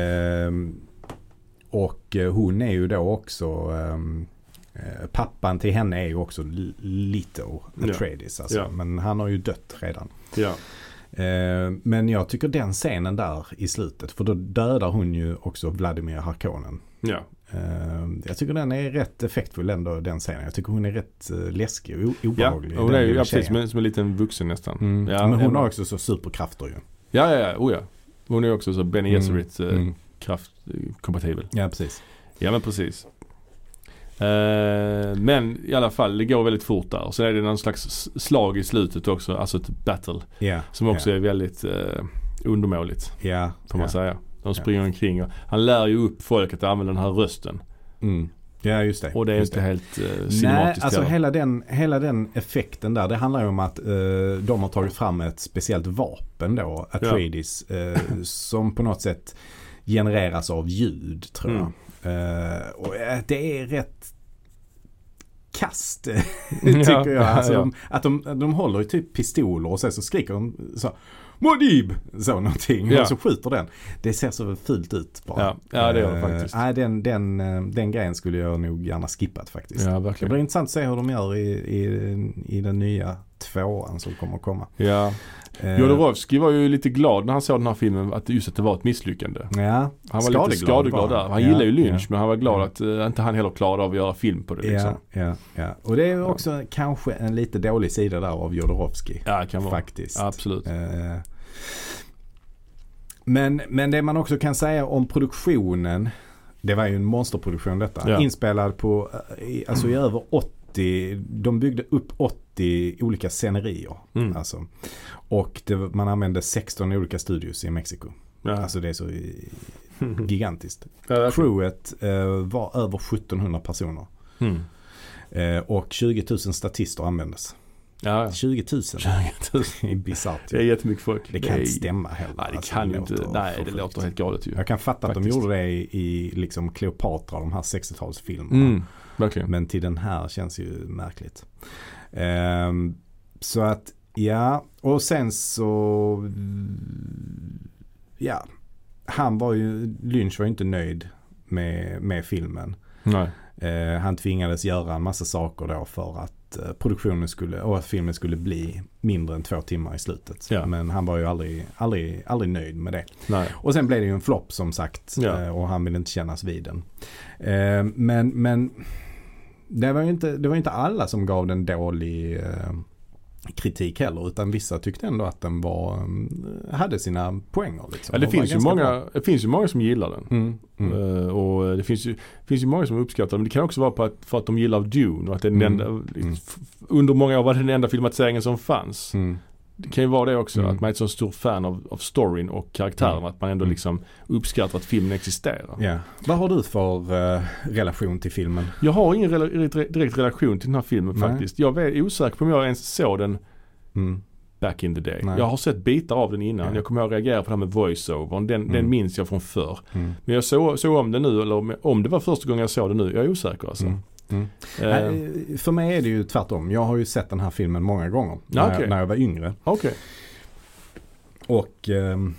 Ehm, och eh, hon är ju då också ehm, eh, Pappan till henne är ju också L- Little
Ja.
Atreides. Alltså.
Ja.
Men han har ju dött redan.
ja.
Ehm, men jag tycker den scenen där i slutet. För då dödar hon ju också Vladimir Harkonnen.
Ja.
Ehm, jag tycker den är rätt effektfull ändå den scenen. Jag tycker hon är rätt eh, läskig och o-
ja.
obehaglig.
Hon är
den
ju,
lilla
ja, precis,
tjejen.
som en, som en liten vuxen nästan.
Mm.
Ja,
men hon
Emma.
har också så superkrafter ju.
Ja, ja, ja. Oh, ja. Hon är också så Benny
Mm.
Gesserit eh,
Mm.
kraft eh, kompatibel.
Ja precis.
Ja men precis. Eh, men i alla fall, det går väldigt fort där. Och sen är det någon slags s- slag i slutet också, alltså ett battle.
Ja.
Som också
ja.
är väldigt eh, undermåligt,
Ja.
får man
ja.
säga. De springer omkring och han lär ju upp folk att använda den här rösten.
Mm. Ja just det.
Och det är
just
inte helt eh,
Nej,
cinematiskt
alltså
heller.
hela den, hela den effekten där. Det handlar ju om att eh, de har tagit fram ett speciellt vapen då. Atreides. Eh, som på något sätt genereras av ljud tror jag.
Mm.
Eh, och eh, det är rätt kast tycker
Ja,
jag. Alltså,
ja, ja.
De, att de, de håller i typ pistoler och sen så skriker de så Modib! Så någonting.
Ja.
Och så skjuter den. Det ser så fult ut bara.
Ja, ja, det gör det
Eh,
faktiskt.
Nej, den, den, eh, den grejen skulle jag nog gärna skippat faktiskt.
Ja,
Det blir
verkligen.
intressant att se hur de gör i, i, i den nya tvåan som kommer att komma.
Ja.
Eh,
Jodorowsky var ju lite glad när han såg den här filmen att just att det var ett misslyckande.
Ja,
Han var
Skadeglad
lite skadeglad
var
där.
han.
Han
Ja,
gillar ju Lynch
ja.
men han var glad
Ja.
att eh, inte han heller klarade av att göra film på det liksom.
ja, ja, ja. Och det är ju också kanske en lite dålig sida där av Jodorowsky.
Ja, det kan vara.
Faktiskt.
Absolut.
Eh, Men, men det man också kan säga om produktionen. Det var ju en monsterproduktion detta.
Ja.
Inspelad på, eh, i- alltså i över 80, de byggde upp 80 olika scenerier.
Mm.
Alltså. Och det, var- man använde 16 olika studios i Mexiko.
Ja. Mm.
Alltså det är så i- gigantiskt.
Ja, verkligen.
Crewet eh, var över 1700 personer.
Mm.
Eh, och 20 000 statister användes.
Ja, ja.
20 000? 20 000. det är bisarrt.
Det är jättemycket folk.
Det kan
är-
inte stämma heller.
Nej, det
Alltså,
kan ju
låter
inte. Nej, det
förfärligt.
låter helt galet ju.
Jag kan fatta att
Faktiskt.
de gjorde det i, i liksom Cleopatra, de här 60-talsfilmerna.
Mm, verkligen.
Men till den här känns ju märkligt. Ehm, så att, ja. Och sen så, mm, ja. Han var ju, Lynch var ju inte nöjd med, med filmen.
Nej.
Eh, han tvingades göra en massa saker då för att eh, produktionen skulle och att filmen skulle bli mindre än två timmar i slutet.
Ja.
Men han var ju aldrig, aldrig, aldrig nöjd med det.
Nej.
Och sen blev det ju en flopp som sagt
Ja.
eh, och han ville inte kännas vid den. Eh, Men, men det var ju inte, det var ju inte alla som gav den dålig eh, kritik heller utan vissa tyckte ändå att den var, eh, hade sina poänger. Liksom.
Ja, det,
Den var
finns ju
ganska bra.
många, det finns ju många som gillar den.
Mm, mm.
Eh, Och det finns ju, finns ju många som uppskattar den. Men det kan också vara på att, för att de gillar Dune och att det är den
Mm.
enda, f- under många år var det den enda filmatiseringen som fanns.
Mm.
Det kan ju vara det också,
Mm.
att man är ett så stor fan av, av storyn och karaktärerna.
Mm.
Att man ändå
Mm.
liksom uppskattar att filmen existerar.
Ja. Vad har du för eh, relation till filmen?
Jag har ingen rela- re- direkt relation till den här filmen
Nej.
faktiskt. Jag är osäker på om jag ens såg den
Mm.
back in the day.
Nej.
Jag har sett bitar av den innan.
Ja.
Jag kommer ihåg att reagera på det här med voiceovern. Den, den
Mm.
minns jag från förr.
Mm.
Men jag såg, såg om den nu, eller om- om det var första gången jag såg den nu. Jag är osäker alltså.
Mm. Mm.
Eh,
Nej, För mig är det ju tvärtom. Jag har ju sett den här filmen många gånger
Ja,
när,
okej.
jag, när jag var yngre.
Okej.
Och ehm,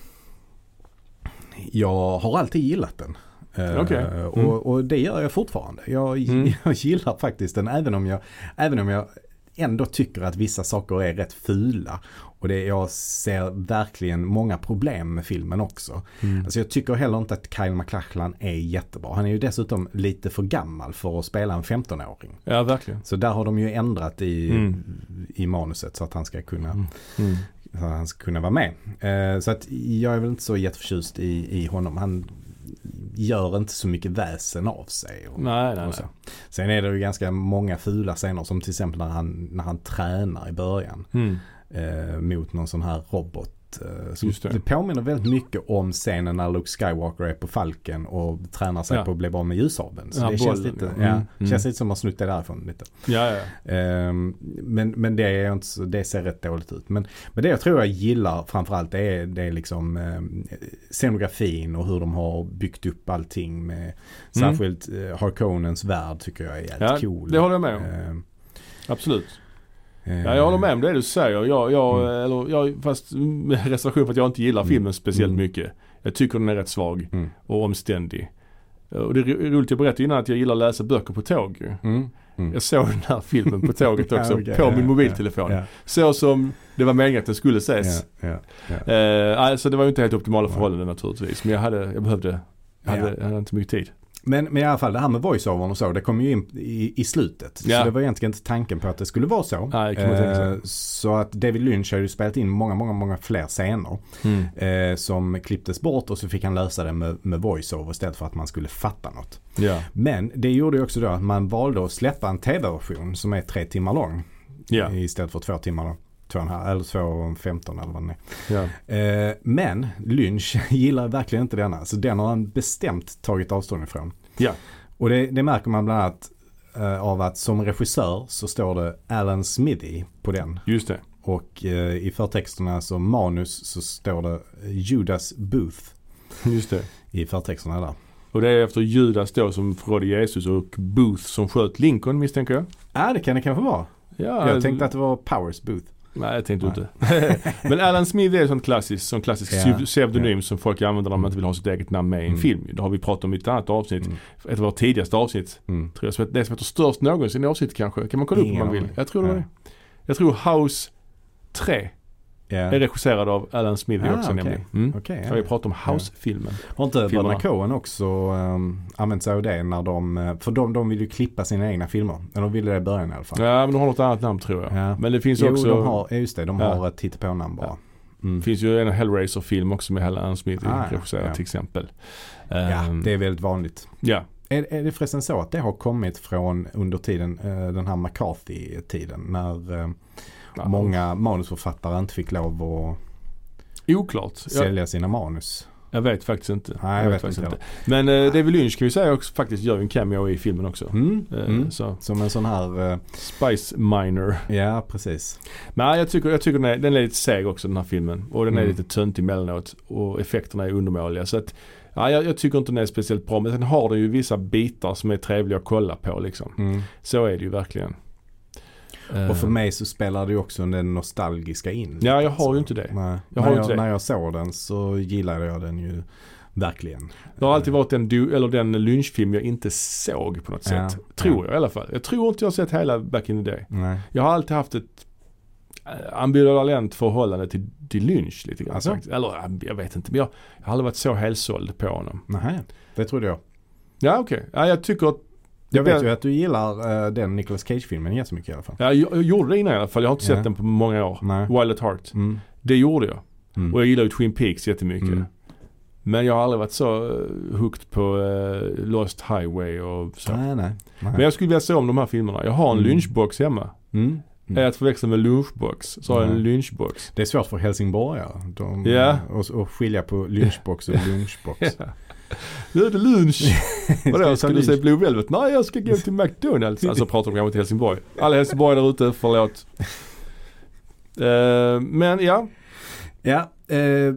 jag har alltid gillat den. Eh,
Okej. Mm.
och, och det gör jag fortfarande. Jag,
Mm.
jag gillar faktiskt den även om, jag, även om jag ändå tycker att vissa saker är rätt fula. Och det, jag ser verkligen många problem med filmen också.
Mm.
Alltså jag tycker heller inte att Kyle MacLachlan är jättebra. Han är ju dessutom lite för gammal för att spela en 15-åring.
Ja, verkligen.
Så där har de ju ändrat i,
Mm.
i manuset så att han ska kunna
Mm.
så att han ska kunna vara med. Eh, så att jag är väl inte så jätteförtjust i, i honom. Han gör inte så mycket väsen av sig. Och,
Nej, nej,
och
nej.
så. Sen är det ju ganska många fula scener som till exempel när han, när han tränar i början
Mm.
eh, mot någon sån här robot. eh, som-
Just det.
det påminner väldigt mycket om scenen när Luke Skywalker är på Falken och tränar sig
Ja.
på att bli bra med ljushaven. Så
Ja,
det känns
bollen,
lite,
ja.
ja,
Mm, mm.
känns lite som att snutta därifrån lite.
Ja, ja.
Ehm, men, men det, är inte, så- det ser rätt dåligt ut. Men, men det jag tror jag gillar framförallt det är, det är liksom ehm, scenografin och hur de har byggt upp allting. Med,
Mm.
Särskilt eh, Harkonnens värld tycker jag är jävligt
Ja,
cool.
det håller jag med om.
Ehm,
Absolut.
ehm,
Ja, jag håller med om det du säger. Jag, jag, eh, eller, jag, fast med reservation för att jag inte gillar filmen speciellt
Mm. Mm.
mycket. Jag tycker den är rätt svag
Mm.
och omständig. Och det är ro- roligt, jag berättade innan att jag gillar att läsa böcker på tåg. ju.
Mm. Mm.
Jag såg den här filmen på tåget
Ja,
också,
okej,
på
ja,
min
ja,
mobiltelefon.
Ja,
Så som det var meningen att den skulle ses.
ja, ja.
Eh, alltså det var ju inte helt optimala
Nej.
förhållanden naturligtvis. Men jag, hade, jag behövde, jag hade,
Ja.
jag hade inte mycket tid.
Men, men i alla fall det här med voiceovern och så, det kom ju in i, i slutet.
Ja.
Så det var egentligen inte tanken på att det skulle vara så.
Nej, kan man tänka sig.
Ehm, så att David Lynch har ju spelat in många, många, många fler scener. eh, som klipptes bort och så fick han lösa det med, med voice-over istället för att man skulle fatta något.
Ja.
Men det gjorde ju också då att man valde att släppa en tv-version som är tre timmar lång
Ja.
istället för två timmar lång. Två och en halv, eller två och femton eller vad det
ja.
är. Eh, men Lynch gillar verkligen inte denna. Så den har han bestämt tagit avstånd ifrån.
Ja.
Och det, det märker man bland annat eh, av att som regissör så står det Alan Smithy på den.
Just det.
Och eh, i förtexterna som manus så står det Judas Booth
Just det.
i förtexterna där.
Och det är efter Judas då som förrådde Jesus och Booth som sköt Lincoln misstänker jag.
Ja, det kan det kanske vara.
Ja, alltså,
Jag tänkte att det var Powers Booth.
Nej, det tänkte du
Nej.
inte. Men Alan Smith är en sån klassisk, sån klassisk
Ja.
pseudo- pseudonym som folk använder när man inte vill ha sitt eget namn med i en
Mm.
film. Det har vi pratat om i ett annat avsnitt.
Mm.
Ett av våra tidigaste avsnitt.
Mm.
Tror jag, som heter- det som heter störst någonsin i avsnitt kanske. Kan man kolla upp
Ingen
om man vill?
aning.
Jag tror det var
Ja.
det. Jag tror House 3
Ja.
är regisserad av Alan Smith
Ah,
också
okej.
nämligen. Mm.
Okej.
Jag har ju pratat om House-filmen.
ja. Har inte
filmerna.
bröderna Coen också um, använt sig av det när de, eh, för de, de vill ju klippa sina egna filmer. Eller de ville det i början i alla fall.
Ja. men de har något annat namn tror jag.
Ja.
Men det finns
Jo,
också,
de har, ja, just det, de
Ja.
har ett hittepånamn bara.
det
Mm.
finns ju en Hellraiser-film också med Alan Smith
Ah, ja.
regisserad
Ja.
till exempel.
Ja,
Ehm,
det är väldigt vanligt.
ja.
Är, är det förresten så att det har kommit från under tiden, eh, den här McCarthy-tiden när eh,
Ja.
många manusförfattare inte fick lov att
Oklart. Jag,
sälja sina manus?
Jag vet faktiskt inte.
Nej, jag vet inte
Men eh, David Lynch kan vi säga också faktiskt gör ju en cameo i filmen också.
Mm.
Eh,
Mm.
Så,
Som en sån här, eh,
Spice Miner.
ja precis.
Nej, jag tycker, jag tycker den, är, den är lite seg också den här filmen. Och den är
Mm.
lite töntig emellanåt. Och effekterna är undermåliga. Så att, ja, jag, jag tycker inte den är speciellt bra. Men sen har den ju vissa bitar som är trevliga att kolla på liksom.
Mm.
Så är det ju verkligen.
Och för
Eh,
mig så spelar det ju också den nostalgiska in.
Ja, jag har ju inte det.
Nej.
Jag har
när,
ju inte
jag,
det.
när jag såg den så gillade jag den ju verkligen.
Det har alltid varit den, du, eller den lynchfilm jag inte såg på något
Ja.
sätt. Tror jag i alla fall. Jag tror inte jag har sett hela Back in the Day.
Nej.
Jag har alltid haft ett eh, ambivalent förhållande till, till Lynch lite grann
Alltså?
faktiskt. Eller eh, jag vet inte, men jag, jag har aldrig varit så helsåld på honom.
Nej, det trodde jag.
Ja okej, ja, jag tycker att
Jag vet
bäst-
ju att du gillar eh, den Nicolas Cage-filmen jättemycket i alla fall.
ja, jag, jag gjorde det innan i alla fall. Jag har inte
Ja.
sett den på många år.
Nej.
Wild at Heart.
Mm.
Det gjorde jag.
Mm.
Och jag gillar ju Twin Peaks jättemycket.
Mm.
Men jag har aldrig varit så eh, hooked på eh, Lost Highway och så.
Nej, nej. nej.
Men jag skulle vilja se om de här filmerna. Jag har en
Mm.
lynchbox hemma.
mm.
Är att förväxla med lunchbox. Så har jag en
Mm.
lynchbox.
Det är svårt för helsingborgare de, eh,
Ja.
och, och skilja på lunchbox och lunchbox.
Nu är det lunch! Vadå, ska du
lunch?
säga Blue Velvet? Nej, jag ska gå till McDonalds. Alltså pratar de kanske till Helsingborg. Alla Helsingborg där ute, förlåt. Uh, men ja.
Ja, eh,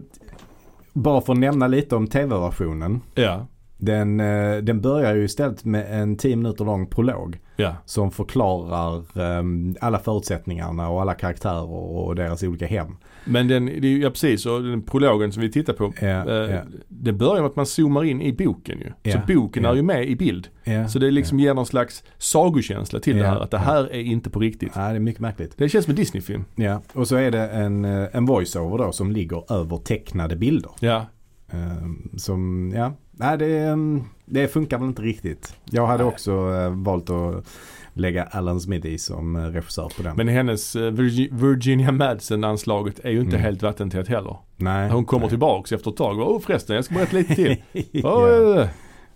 bara för att nämna lite om tv-versionen.
Ja.
Den, eh, den börjar ju istället med en 10 minuter lång prolog
Ja.
som förklarar ehm, alla förutsättningarna och alla karaktärer och deras olika hem.
Men den, det är ju, ja precis, och den prologen som vi tittar på.
Ja,
eh,
ja.
Det börjar med att man zoomar in i boken ju.
Ja,
så boken
ja.
är ju med i bild.
Ja.
Så det liksom ger någon slags sagokänsla till det
Ja,
här. Att det
ja.
här är inte på riktigt.
Ja, det är mycket märkligt.
Det känns som en Disney-film.
Ja, och så är det en, eh, en voiceover då som ligger över tecknade bilder.
Ja.
Ehm, som, ja, nej det, ehm, det funkar väl inte riktigt. Jag hade
Nej.
också eh, valt att lägga Alan Smithy som eh, regissör på den.
Men hennes eh, Virgi- Virginia Madsen-anslaget är ju inte
Mm.
helt vattentätt heller.
nej,
Hon kommer
nej.
tillbaks efter ett tag. och, Åh förresten, jag ska berätta lite till. Åh,
ja,
eh, Det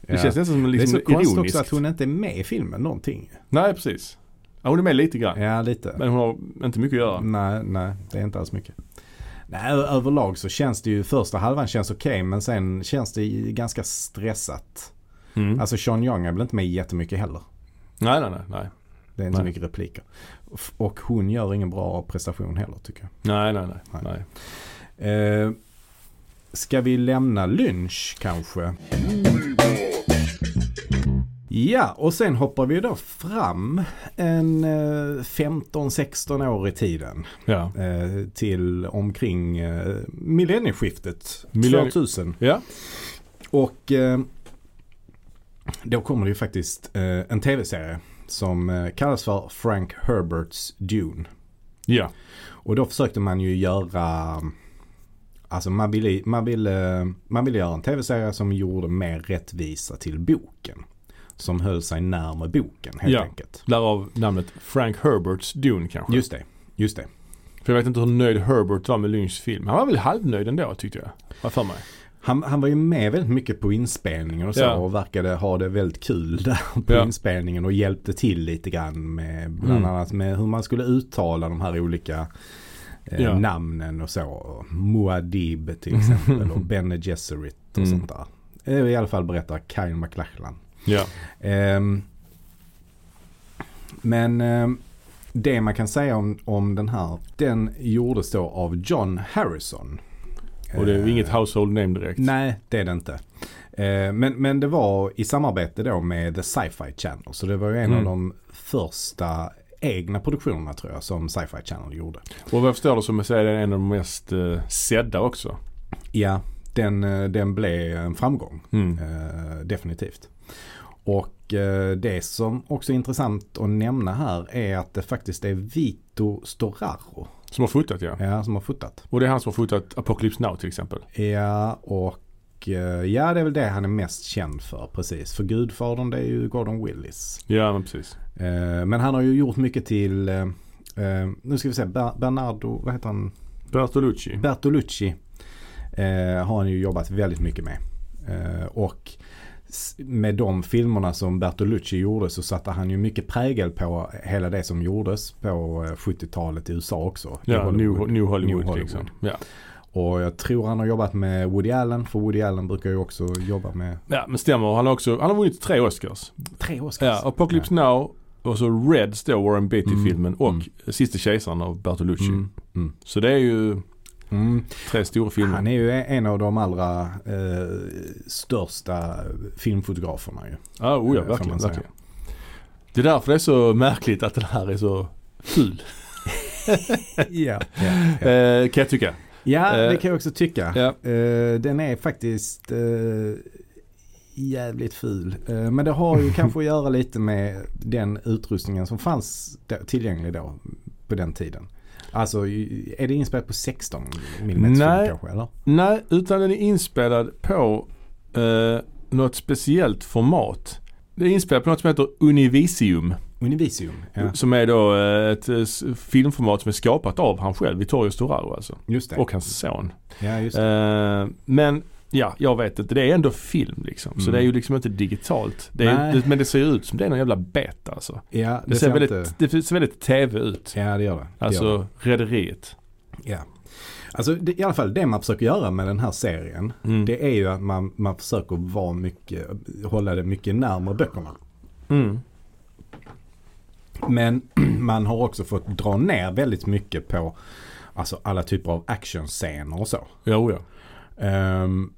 ja.
känns nästan som liksom
det är så konstigt
ironiskt.
också att hon inte är med i filmen någonting.
Nej, precis. Ja, hon är med lite grann.
Ja, lite.
Men hon har inte mycket att göra.
Nej, nej, det är inte alls mycket. Nej, ö- överlag så känns det ju, första halvan känns okej men sen känns det ju ganska stressat.
Mm.
Alltså Sean Young är väl inte med jättemycket heller.
Nej, nej, nej, nej.
Det är inte så
Nej.
mycket repliker. F- Och hon gör ingen bra prestation heller tycker jag.
Nej, nej, nej.
Nej.
nej.
Eh, ska vi lämna lynch kanske? Ja, och sen hoppar vi då fram en eh, 15-16 år i tiden.
Ja.
eh, till omkring eh, millennieskiftet
Millenni-
2000.
Ja.
Och eh, då kommer det ju faktiskt eh, en tv-serie som eh, kallas för Frank Herberts Dune.
Ja.
Och då försökte man ju göra Alltså man ville, man ville, man ville göra en tv-serie som gjorde mer rättvisa till boken. Som höll sig närmare boken helt
Ja.
enkelt.
Därav namnet Frank Herberts Dune kanske.
Just det, just det.
För jag vet inte hur nöjd Herbert var med Lynchs film. Han var väl halvnöjd ändå tyckte jag. Vad för mig.
Han, han var ju med väldigt mycket på inspelningen och så
Ja.
och verkade ha det väldigt kul där på
Ja.
inspelningen och hjälpte till lite grann med bland
Mm.
annat med hur man skulle uttala de här olika eh,
Ja.
namnen och så. Muad'Dib till exempel och Bene Gesserit och
Mm.
sånt där. Eh, I alla fall berättar Kyle MacLachlan.
Ja.
Ehm, men ehm, det man kan säga om, om den här, den gjordes då av John Harrison.
Och det är ju
Ehm,
inget household name direkt.
Nej, det är det inte. Eh, Men, men det var i samarbete då med The Sci-Fi Channel. Så det var ju en av
Mm.
de första egna produktionerna tror jag som Sci-Fi Channel gjorde.
Och vad jag förstår det som jag säger, det är en av de mest eh, sedda också.
Ja, den, eh, den blev en framgång.
Mm.
Eh, definitivt. Och eh, det som också är intressant att nämna här är att det faktiskt är Vito Storaro
Som har fotat ja.
ja, som har fotat.
Och det är han som har fotat Apocalypse Now till exempel.
Ja, och eh, ja det är väl det han är mest känd för precis. För Gudfadern det är ju Gordon Willis.
Ja men precis.
Eh, men han har ju gjort mycket till, eh, eh, nu ska vi se, Ber- Bernardo, vad heter han?
Bertolucci.
Bertolucci eh, har han ju jobbat väldigt mycket med. Eh, och s- med de filmerna som Bertolucci gjorde så satte han ju mycket prägel på hela det som gjordes på eh, 70-talet i USA också. i
Ja, New, New Hollywood,
New Hollywood.
liksom. Ja.
Och jag tror han har jobbat med Woody Allen för Woody Allen brukar ju också jobba med
ja men stämmer. Han har också, han har vunnit tre Oscars.
tre Oscars.
Ja, Apocalypse Now och så Reds då, Warren Beatty-filmen
Mm,
och
mm.
Sista Kejsaren av Bertolucci.
Mm, mm.
Så det är ju
Mm.
tre stora filmer.
Han är ju en av de allra eh, största filmfotograferna ju.
Ja, oh ja,
Eh, får
verkligen.
man säga.
verkligen. Det är därför det är så märkligt att den här är så ful.
Ja, ja.
Eh, kan jag tycka.
ja det
Eh,
kan jag också tycka.
ja.
Eh, den är faktiskt eh, jävligt ful. Eh, men det har ju kanske att göra lite med den utrustningen som fanns då, tillgänglig då på den tiden. Alltså i- är det inspelat på 16 mm
Nej.
kanske eller?
Nej, utan den är inspelad på eh, något speciellt format. Det är inspelat på något som heter Univisium.
Univisium. Ja,
Som är då eh, ett eh, s- filmformat som är skapat av han själv, Vittorio Storaro alltså.
just det.
Och hans son.
ja, just det.
Eh, men ja, jag vet inte. Det är ändå film liksom. Så
Mm.
det är ju liksom inte digitalt. Det är,
Nej.
det, men det ser ju ut som det är någon jävla beta alltså.
ja,
Det, ser väldigt,
inte-
det ser väldigt tv ut.
Ja det gör det. det gör det.
Alltså Rederiet.
Ja. Alltså det, i alla fall det man försöker göra med den här serien.
Mm.
Det är ju att man, man försöker vara mycket, hålla det mycket närmare böckerna.
Mm.
Men man har också fått dra ner väldigt mycket på alltså alla typer av actionscener och så.
Jo, ja.
Ehm,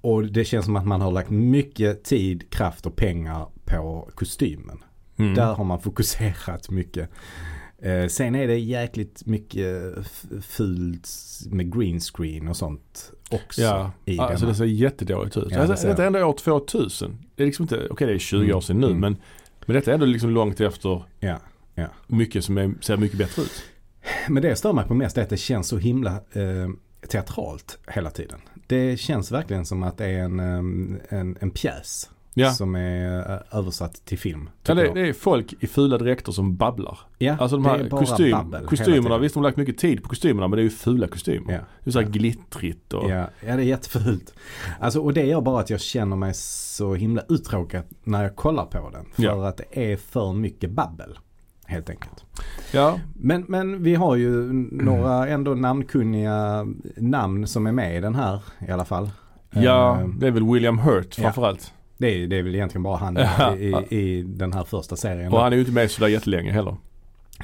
Och det känns som att man har lagt mycket tid, kraft och pengar på kostymen.
Mm.
Där har man fokuserat mycket. Eh, sen är det jäkligt mycket f- fult med green screen och sånt också.
Ja,
i
alltså
denna.
det ser jättedåligt ut.
Ja, det
alltså,
ser
detta är
jag.
ändå år 2000. Det är liksom inte, okej det är 20
Mm,
år sedan nu
mm.
men, men detta är ändå liksom långt efter
Ja, ja.
mycket som är, ser mycket bättre ut.
Men det jag stör mig på mest är att det känns så himla eh, teatralt hela tiden. Det känns verkligen som att det är en, eh, en, en pjäs
Ja,
som är eh, översatt till film. tycker
ja det,
jag.
det är folk i fula dräkter som babblar.
ja,
Alltså de
det
här
är bara
kostym,
babbel hela
kostymerna,
tiden.
visst de har lagt mycket tid på kostymerna men det är ju fula kostymer.
Ja.
Det är så här glittrigt och...
Ja, ja, det är jättefult. Alltså, och det gör bara att jag känner mig så himla uttråkad när jag kollar på den. För
Ja.
att det är för mycket babbel. Helt enkelt.
Ja,
Men, men vi har ju n- några ändå namnkunniga namn som är med i den här i alla fall.
ja
Eh,
det är väl William Hurt
ja.
framförallt.
Det är, det är väl egentligen bara han
Ja.
i, i, i den här första serien.
Och han är ju inte med sådär jättelänge heller.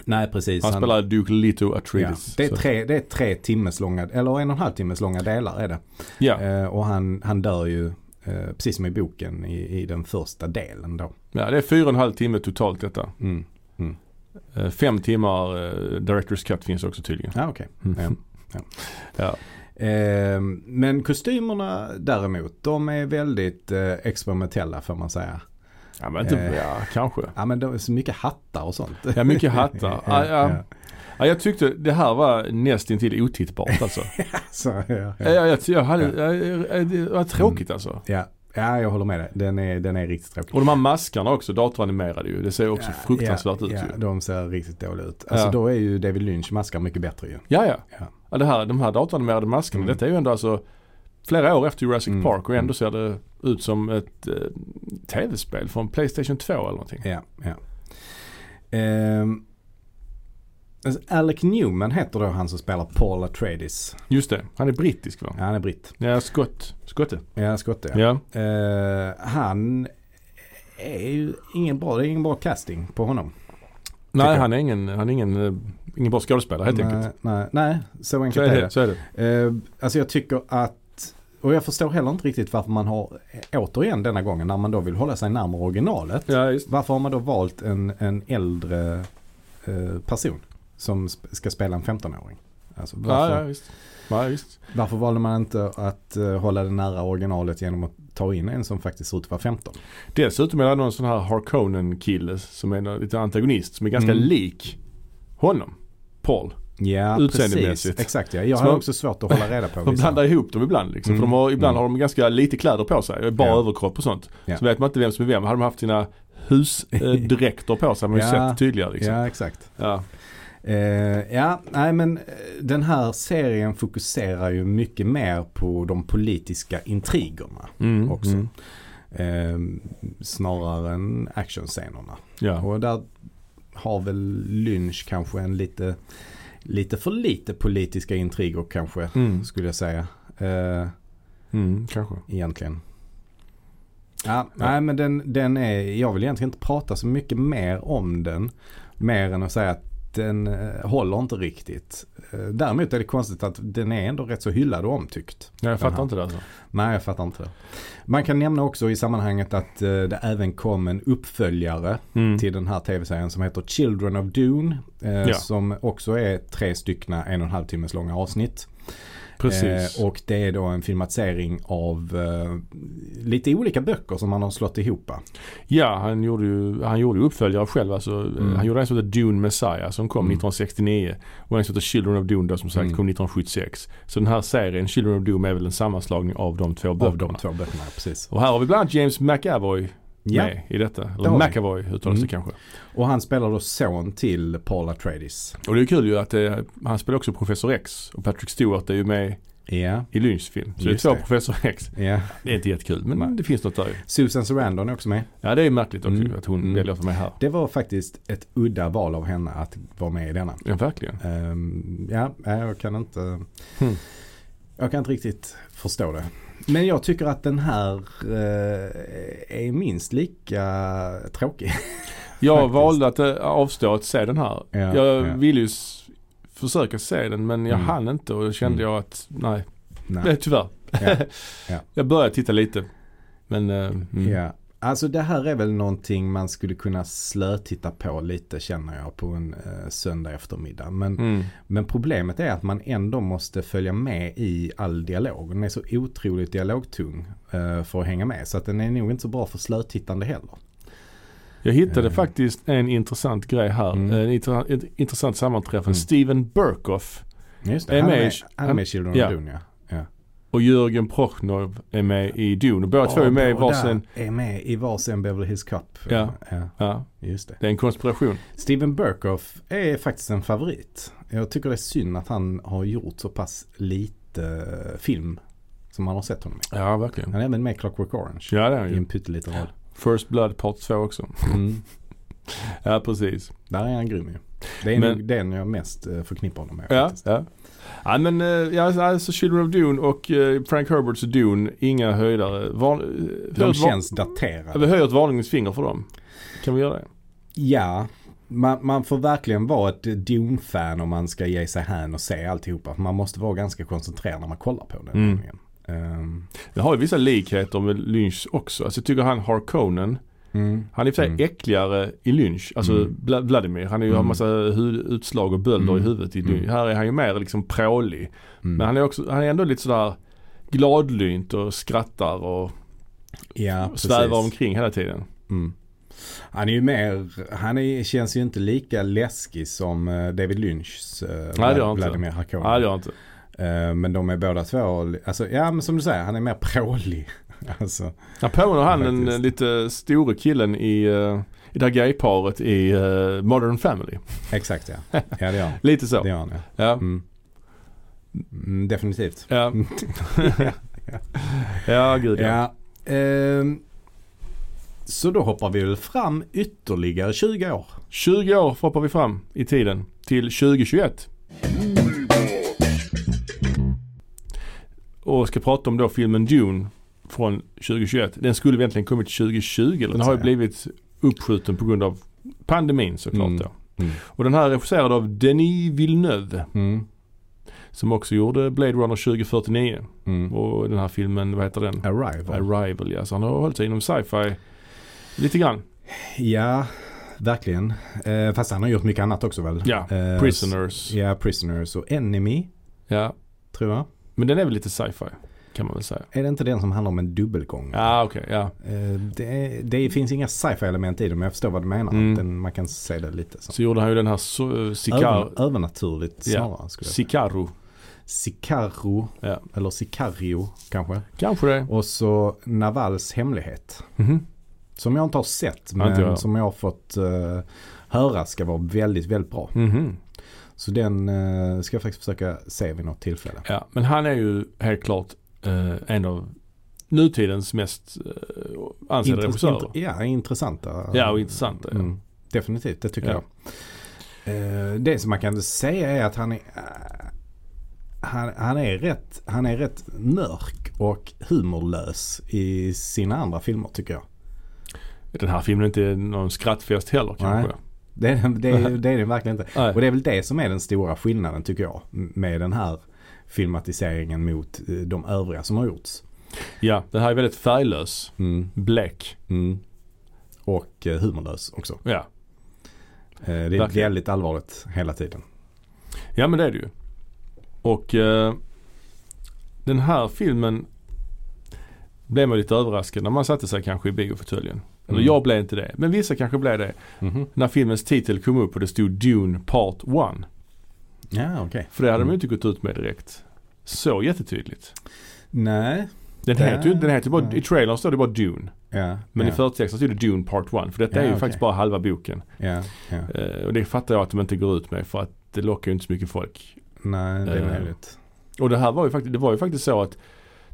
Nej precis.
Han spelar Duke Leto
ja.
Atreides.
det, är
så-
tre, det är tre timmes långa, eller en och en halv timmes långa delar är det.
Ja,
Eh, och han, han dör ju, eh, precis som i boken, i, i den första delen då.
ja, det är fyra och en halv timme totalt detta.
Mm.
Eh, Fem timmar eh, Directors Cut finns också tydligen.
Ja, okej.
Mm.
Ja.
Ja.
Eh, men kostymerna däremot, de är väldigt eh, experimentella får man säga.
Ja, men inte,
Eh.
ja, kanske.
Ja men det är så mycket hattar och sånt.
Ja, mycket hattar. Ja, ja. Ja, jag tyckte det här var nästintill otittbart alltså.
Så, ja,
ja.
ja. Mm.
jag, jag, jag hade, jag, jag, det var tråkigt alltså.
Ja. ja, jag håller med dig. Den är, den är riktigt tråkig.
Och de här maskarna också, datoranimerade ju. Det ser också
Ja,
fruktansvärt
ja,
ut
ja,
ju.
De ser riktigt dåliga ut. Alltså
Ja.
då är ju David Lynch maskar mycket bättre ju.
Ja, ja.
Ja.
ja det här, de här datoranimerade maskerna,
Mm.
detta är ju ändå alltså flera år efter Jurassic
Mm.
Park och
Mm.
ändå ser det ut som ett eh, tv-spel från Playstation 2 eller någonting.
Ja, ja. Ehm, alltså Alec Newman heter då han som spelar Paul Atreides.
Just det, han är brittisk va?
Ja, han är britt.
Ja, skott. Skotte.
Ja, skotte ja.
Ja.
Eh, han är ju ingen bra, det är ingen bra casting på honom. Tycker
Nej,
jag.
han är ingen, han är ingen, eh, ingen bra skådespelare helt
nej,
enkelt.
Nej, nej, så
Så
enkelt
är
är
det.
det.
Så är det.
Eh, alltså jag tycker att, och jag förstår heller inte riktigt varför man har, återigen denna gången när man då vill hålla sig närmare originalet.
Ja, just
Varför har man då valt en, en äldre eh, person som sp- ska spela en 15-åring? Alltså varför,
Ja, ja, visst. Ja, visst.
varför valde man inte att eh, hålla det nära originalet genom att ta in en som faktiskt ser ut att vara 15?
Dessutom är det någon sån här Harkonnen-kille som är en liten antagonist som är ganska
Mm.
lik honom. Paul.
Ja,
Utseendemässigt.
precis. Exakt ja. Jag
Så
har
man-
också svårt att hålla reda på
De
vissa.
blandar ihop dem ibland liksom.
Mm.
För de har, ibland
Mm.
har de ganska lite kläder på sig. Bara
Ja.
överkropp och sånt.
Ja.
Så vet man inte vem som är vem. Hade de haft sina husdräkter på sig hade man ju
Ja.
sett tydligare liksom. Ja.
Ja, exakt. Eh, ja, nej men eh, den här serien fokuserar ju mycket mer på de politiska intrigerna
Mm.
också.
Mm.
Eh, snarare än actionscenerna.
Ja.
Och där har väl Lynch kanske en lite, lite för lite politiska intriger kanske,
Mm.
skulle jag säga. Eh,
Mm, kanske.
egentligen. Ja, Nej men den, den är, jag vill egentligen inte prata så mycket mer om den. Mer än att säga att den eh, håller inte riktigt. Eh, däremot är det konstigt att den är ändå rätt så hyllad och omtyckt.
Ja, jag fattar
Jaha.
inte det alltså.
Nej jag fattar inte det. Man kan nämna också i sammanhanget att eh, det även kom en uppföljare
Mm.
till den här tv-serien som heter Children of Dune. Eh,
Ja.
Som också är tre styckna en och en halv timmes långa avsnitt.
Precis.
Eh, och det är då en filmatisering av eh, lite olika böcker som man har slått ihop.
Ja, han gjorde ju, han gjorde ju uppföljare själv. Alltså,
Mm.
Han gjorde en som heter Dune Messiah som kom
Mm.
1969 och en som heter Children of Dune då, som sagt
Mm.
kom 1976. Så den här serien Children of Dune är väl en sammanslagning av de två
Av
böckerna.
de två böckerna, precis.
Och här har vi bland annat James McAvoy
Ja.
med i detta.
Det
Eller
har vi.
McAvoy uttalas det
Mm.
kanske.
Och han spelar då son till Paul Atreides.
Och det är kul ju att det, han spelar också Professor X och Patrick Stewart är ju med
Ja.
i Lynchs film. Så
Just
det är
det.
två Professor X.
ja.
Det är inte jättekul men
Nej.
det finns något där ju.
Susan Sarandon är också med.
Ja det är märkligt också
Mm.
att hon
Mm.
väljer att vara med här.
Det var faktiskt ett udda val av henne att vara med i denna.
Ja verkligen.
Ehm, ja, nej, jag kan inte...
Hmm.
Jag kan inte riktigt förstå det. Men jag tycker att den här eh, är minst lika tråkig.
Jag
Faktiskt.
valde att eh, avstå att se den här.
Ja,
jag
ja.
ville ju s- försöka se den men jag
Mm.
hann inte och då kände
Mm.
jag att nej,
Nej.
nej. tyvärr.
Ja.
Jag började titta lite. Men eh, mm.
Ja. Alltså det här är väl någonting man skulle kunna slötitta på lite känner jag på en eh, söndag eftermiddag. Men,
Mm.
men problemet är att man ändå måste följa med i all dialog. Den är så otroligt dialogtung eh, för att hänga med. Så att den är nog inte så bra för slötittande heller.
Jag hittade
Eh.
faktiskt en intressant grej här. Eh,
Mm.
En inter- ett intressant sammanträffande.
Mm.
Steven Burkoff
Just
Är
det, han är
med
med,
i-
han är med i Children
ja.
of Dune ja. ja.
och Jörgen Prochnov är med i Dune. Båda två är med i
Båda
varsin.
är med i varsin Beverly Hills Cup.
Ja.
ja.
Ja,
Just det.
det är en konspiration.
Steven Burkoff är faktiskt en favorit. Jag tycker det är synd att han har gjort så pass lite eh, film som man har sett honom i.
Ja, verkligen.
Han är även med i Clockwork Orange.
Ja, det är han
I en
ju.
pytteliten roll.
First Blood Part 2 också.
Mm.
Ja, precis.
Där är han grym ju. Det är
Men-
nog den jag mest eh, förknippar honom med.
Ja,
faktiskt.
ja. Ja men eh, ja, alltså Children of Dune och eh, Frank Herberts Dune, inga höjdare. Var,
De känns daterade.
vi höjer ett varningens finger för dem. Kan vi göra det?
Ja, man, man får verkligen vara ett Dune-fan om man ska ge sig hän och se alltihopa. Man måste vara ganska koncentrerad när man kollar på den.
Mm.
nämligen. Ehm,
Det har ju vissa likheter med Lynch också. Alltså jag tycker han Harkonnen,
mm.
han är i och för sig
Mm.
äckligare i Lynch, alltså
Mm.
Bla- Vladimir. Han är ju, har
Mm.
massa hudutslag och bölder
Mm.
i huvudet i Lynch.
Mm.
Här är han ju mer liksom prålig.
Mm.
Men han är, också, han är ändå lite sådär gladlynt och skrattar och
ja,
svävar
precis.
omkring hela tiden.
Mm. Han är ju mer, han är, känns ju inte lika läskig som eh, David Lynchs eh,
Nej, det gör
Vlad-
han inte.
Vladimir Harkonnen.
Nej det gör han inte.
Eh, men de är båda två, alltså, ja men som du säger, han är mer prålig. alltså,
Han påminner han den
Faktiskt.
lite store killen i, eh, i det här gayparet i eh, Modern Family.
exakt ja. Ja det gör han.
Lite
Det
så.
gör han ja.
Ja.
Mm. Mm, definitivt.
Ja. ja gud ja.
Ja. ehm, så då hoppar vi väl fram ytterligare 20 år.
20 år hoppar vi fram i tiden till 2021. Och ska prata om då filmen Dune från 2021. Den skulle vi egentligen kommit 2020. Den har ju
säga.
blivit uppskjuten på grund av pandemin såklart
Mm.
då.
Mm.
Och den här är regisserad av Denis Villeneuve.
Mm.
Som också gjorde Blade Runner 2049.
Mm.
Och den här filmen, vad heter den?
Arrival.
Arrival ja. Så han har hållit sig inom sci-fi lite grann.
Ja, verkligen. Eh, fast han har gjort mycket annat också väl?
Ja,
Eh,
Prisoners.
s- Ja, Prisoners och Enemy,
Ja.
tror jag.
Men den är väl lite sci-fi kan man väl säga.
Är det inte den som handlar om en dubbelgång?
Ja okej, ja.
Eh, det, det finns inga sci-fi element i det, men jag förstår vad du menar.
Mm.
Den, man kan se det lite så.
Så gjorde han ju den här so- eh, Sicar-
Över, övernaturligt
Ja.
snarare skulle jag säga.
Sicaro.
Sicaro,
Ja.
eller Sicario kanske.
Kanske det.
Och så Navals hemlighet.
Mhm.
Som jag inte har sett
Ja, inte
men
jag.
som jag har fått eh, höra ska vara väldigt, väldigt bra.
Mhm.
Så den eh, ska jag faktiskt försöka se vid något tillfälle.
Ja, men han är ju helt klart eh, en av nutidens mest eh, ansedda
Intress-
regissörer.
int- ja, intressanta.
Ja, och intressanta. ja.
Mm, definitivt, det tycker
Ja.
jag. Eh, det som man kan säga är att han är, eh, han, han, är rätt, han är rätt mörk och humorlös i sina andra filmer tycker jag.
Den här filmen är inte någon skrattfest heller kanske.
Det är, det är, det är den verkligen inte.
Nej.
Och det är väl det som är den stora skillnaden tycker jag med den här filmatiseringen mot eh, de övriga som har gjorts.
Ja, den här är väldigt färglös. Blek.
Mm. Och eh, humorlös också.
Ja.
Eh, Det är
Verkligen.
väldigt allvarligt hela tiden.
ja, men det är det ju. Och eh, den här filmen blev man lite överraskad när man satte sig kanske i biofåtöljen. Eller
Mm.
jag blev inte det, men vissa kanske blev det.
Mhm.
När filmens titel kom upp och det stod Dune Part 1.
Ja, okej.
För det hade
Mm.
de ju inte gått ut med direkt. Så jättetydligt.
Nej.
Den
Ja.
heter ju den heter ju bara,
Ja.
i trailern står det bara Dune.
Ja,
Men
ja,
i förtexten stod det Dune Part 1. För detta
Ja,
är ju
okej.
faktiskt bara halva boken.
ja, ja.
Eh, och det fattar jag att de inte går ut med för att det lockar ju inte så mycket folk.
Nej, det
Eh.
är möjligt.
Och det här var ju faktiskt, det var ju faktiskt så att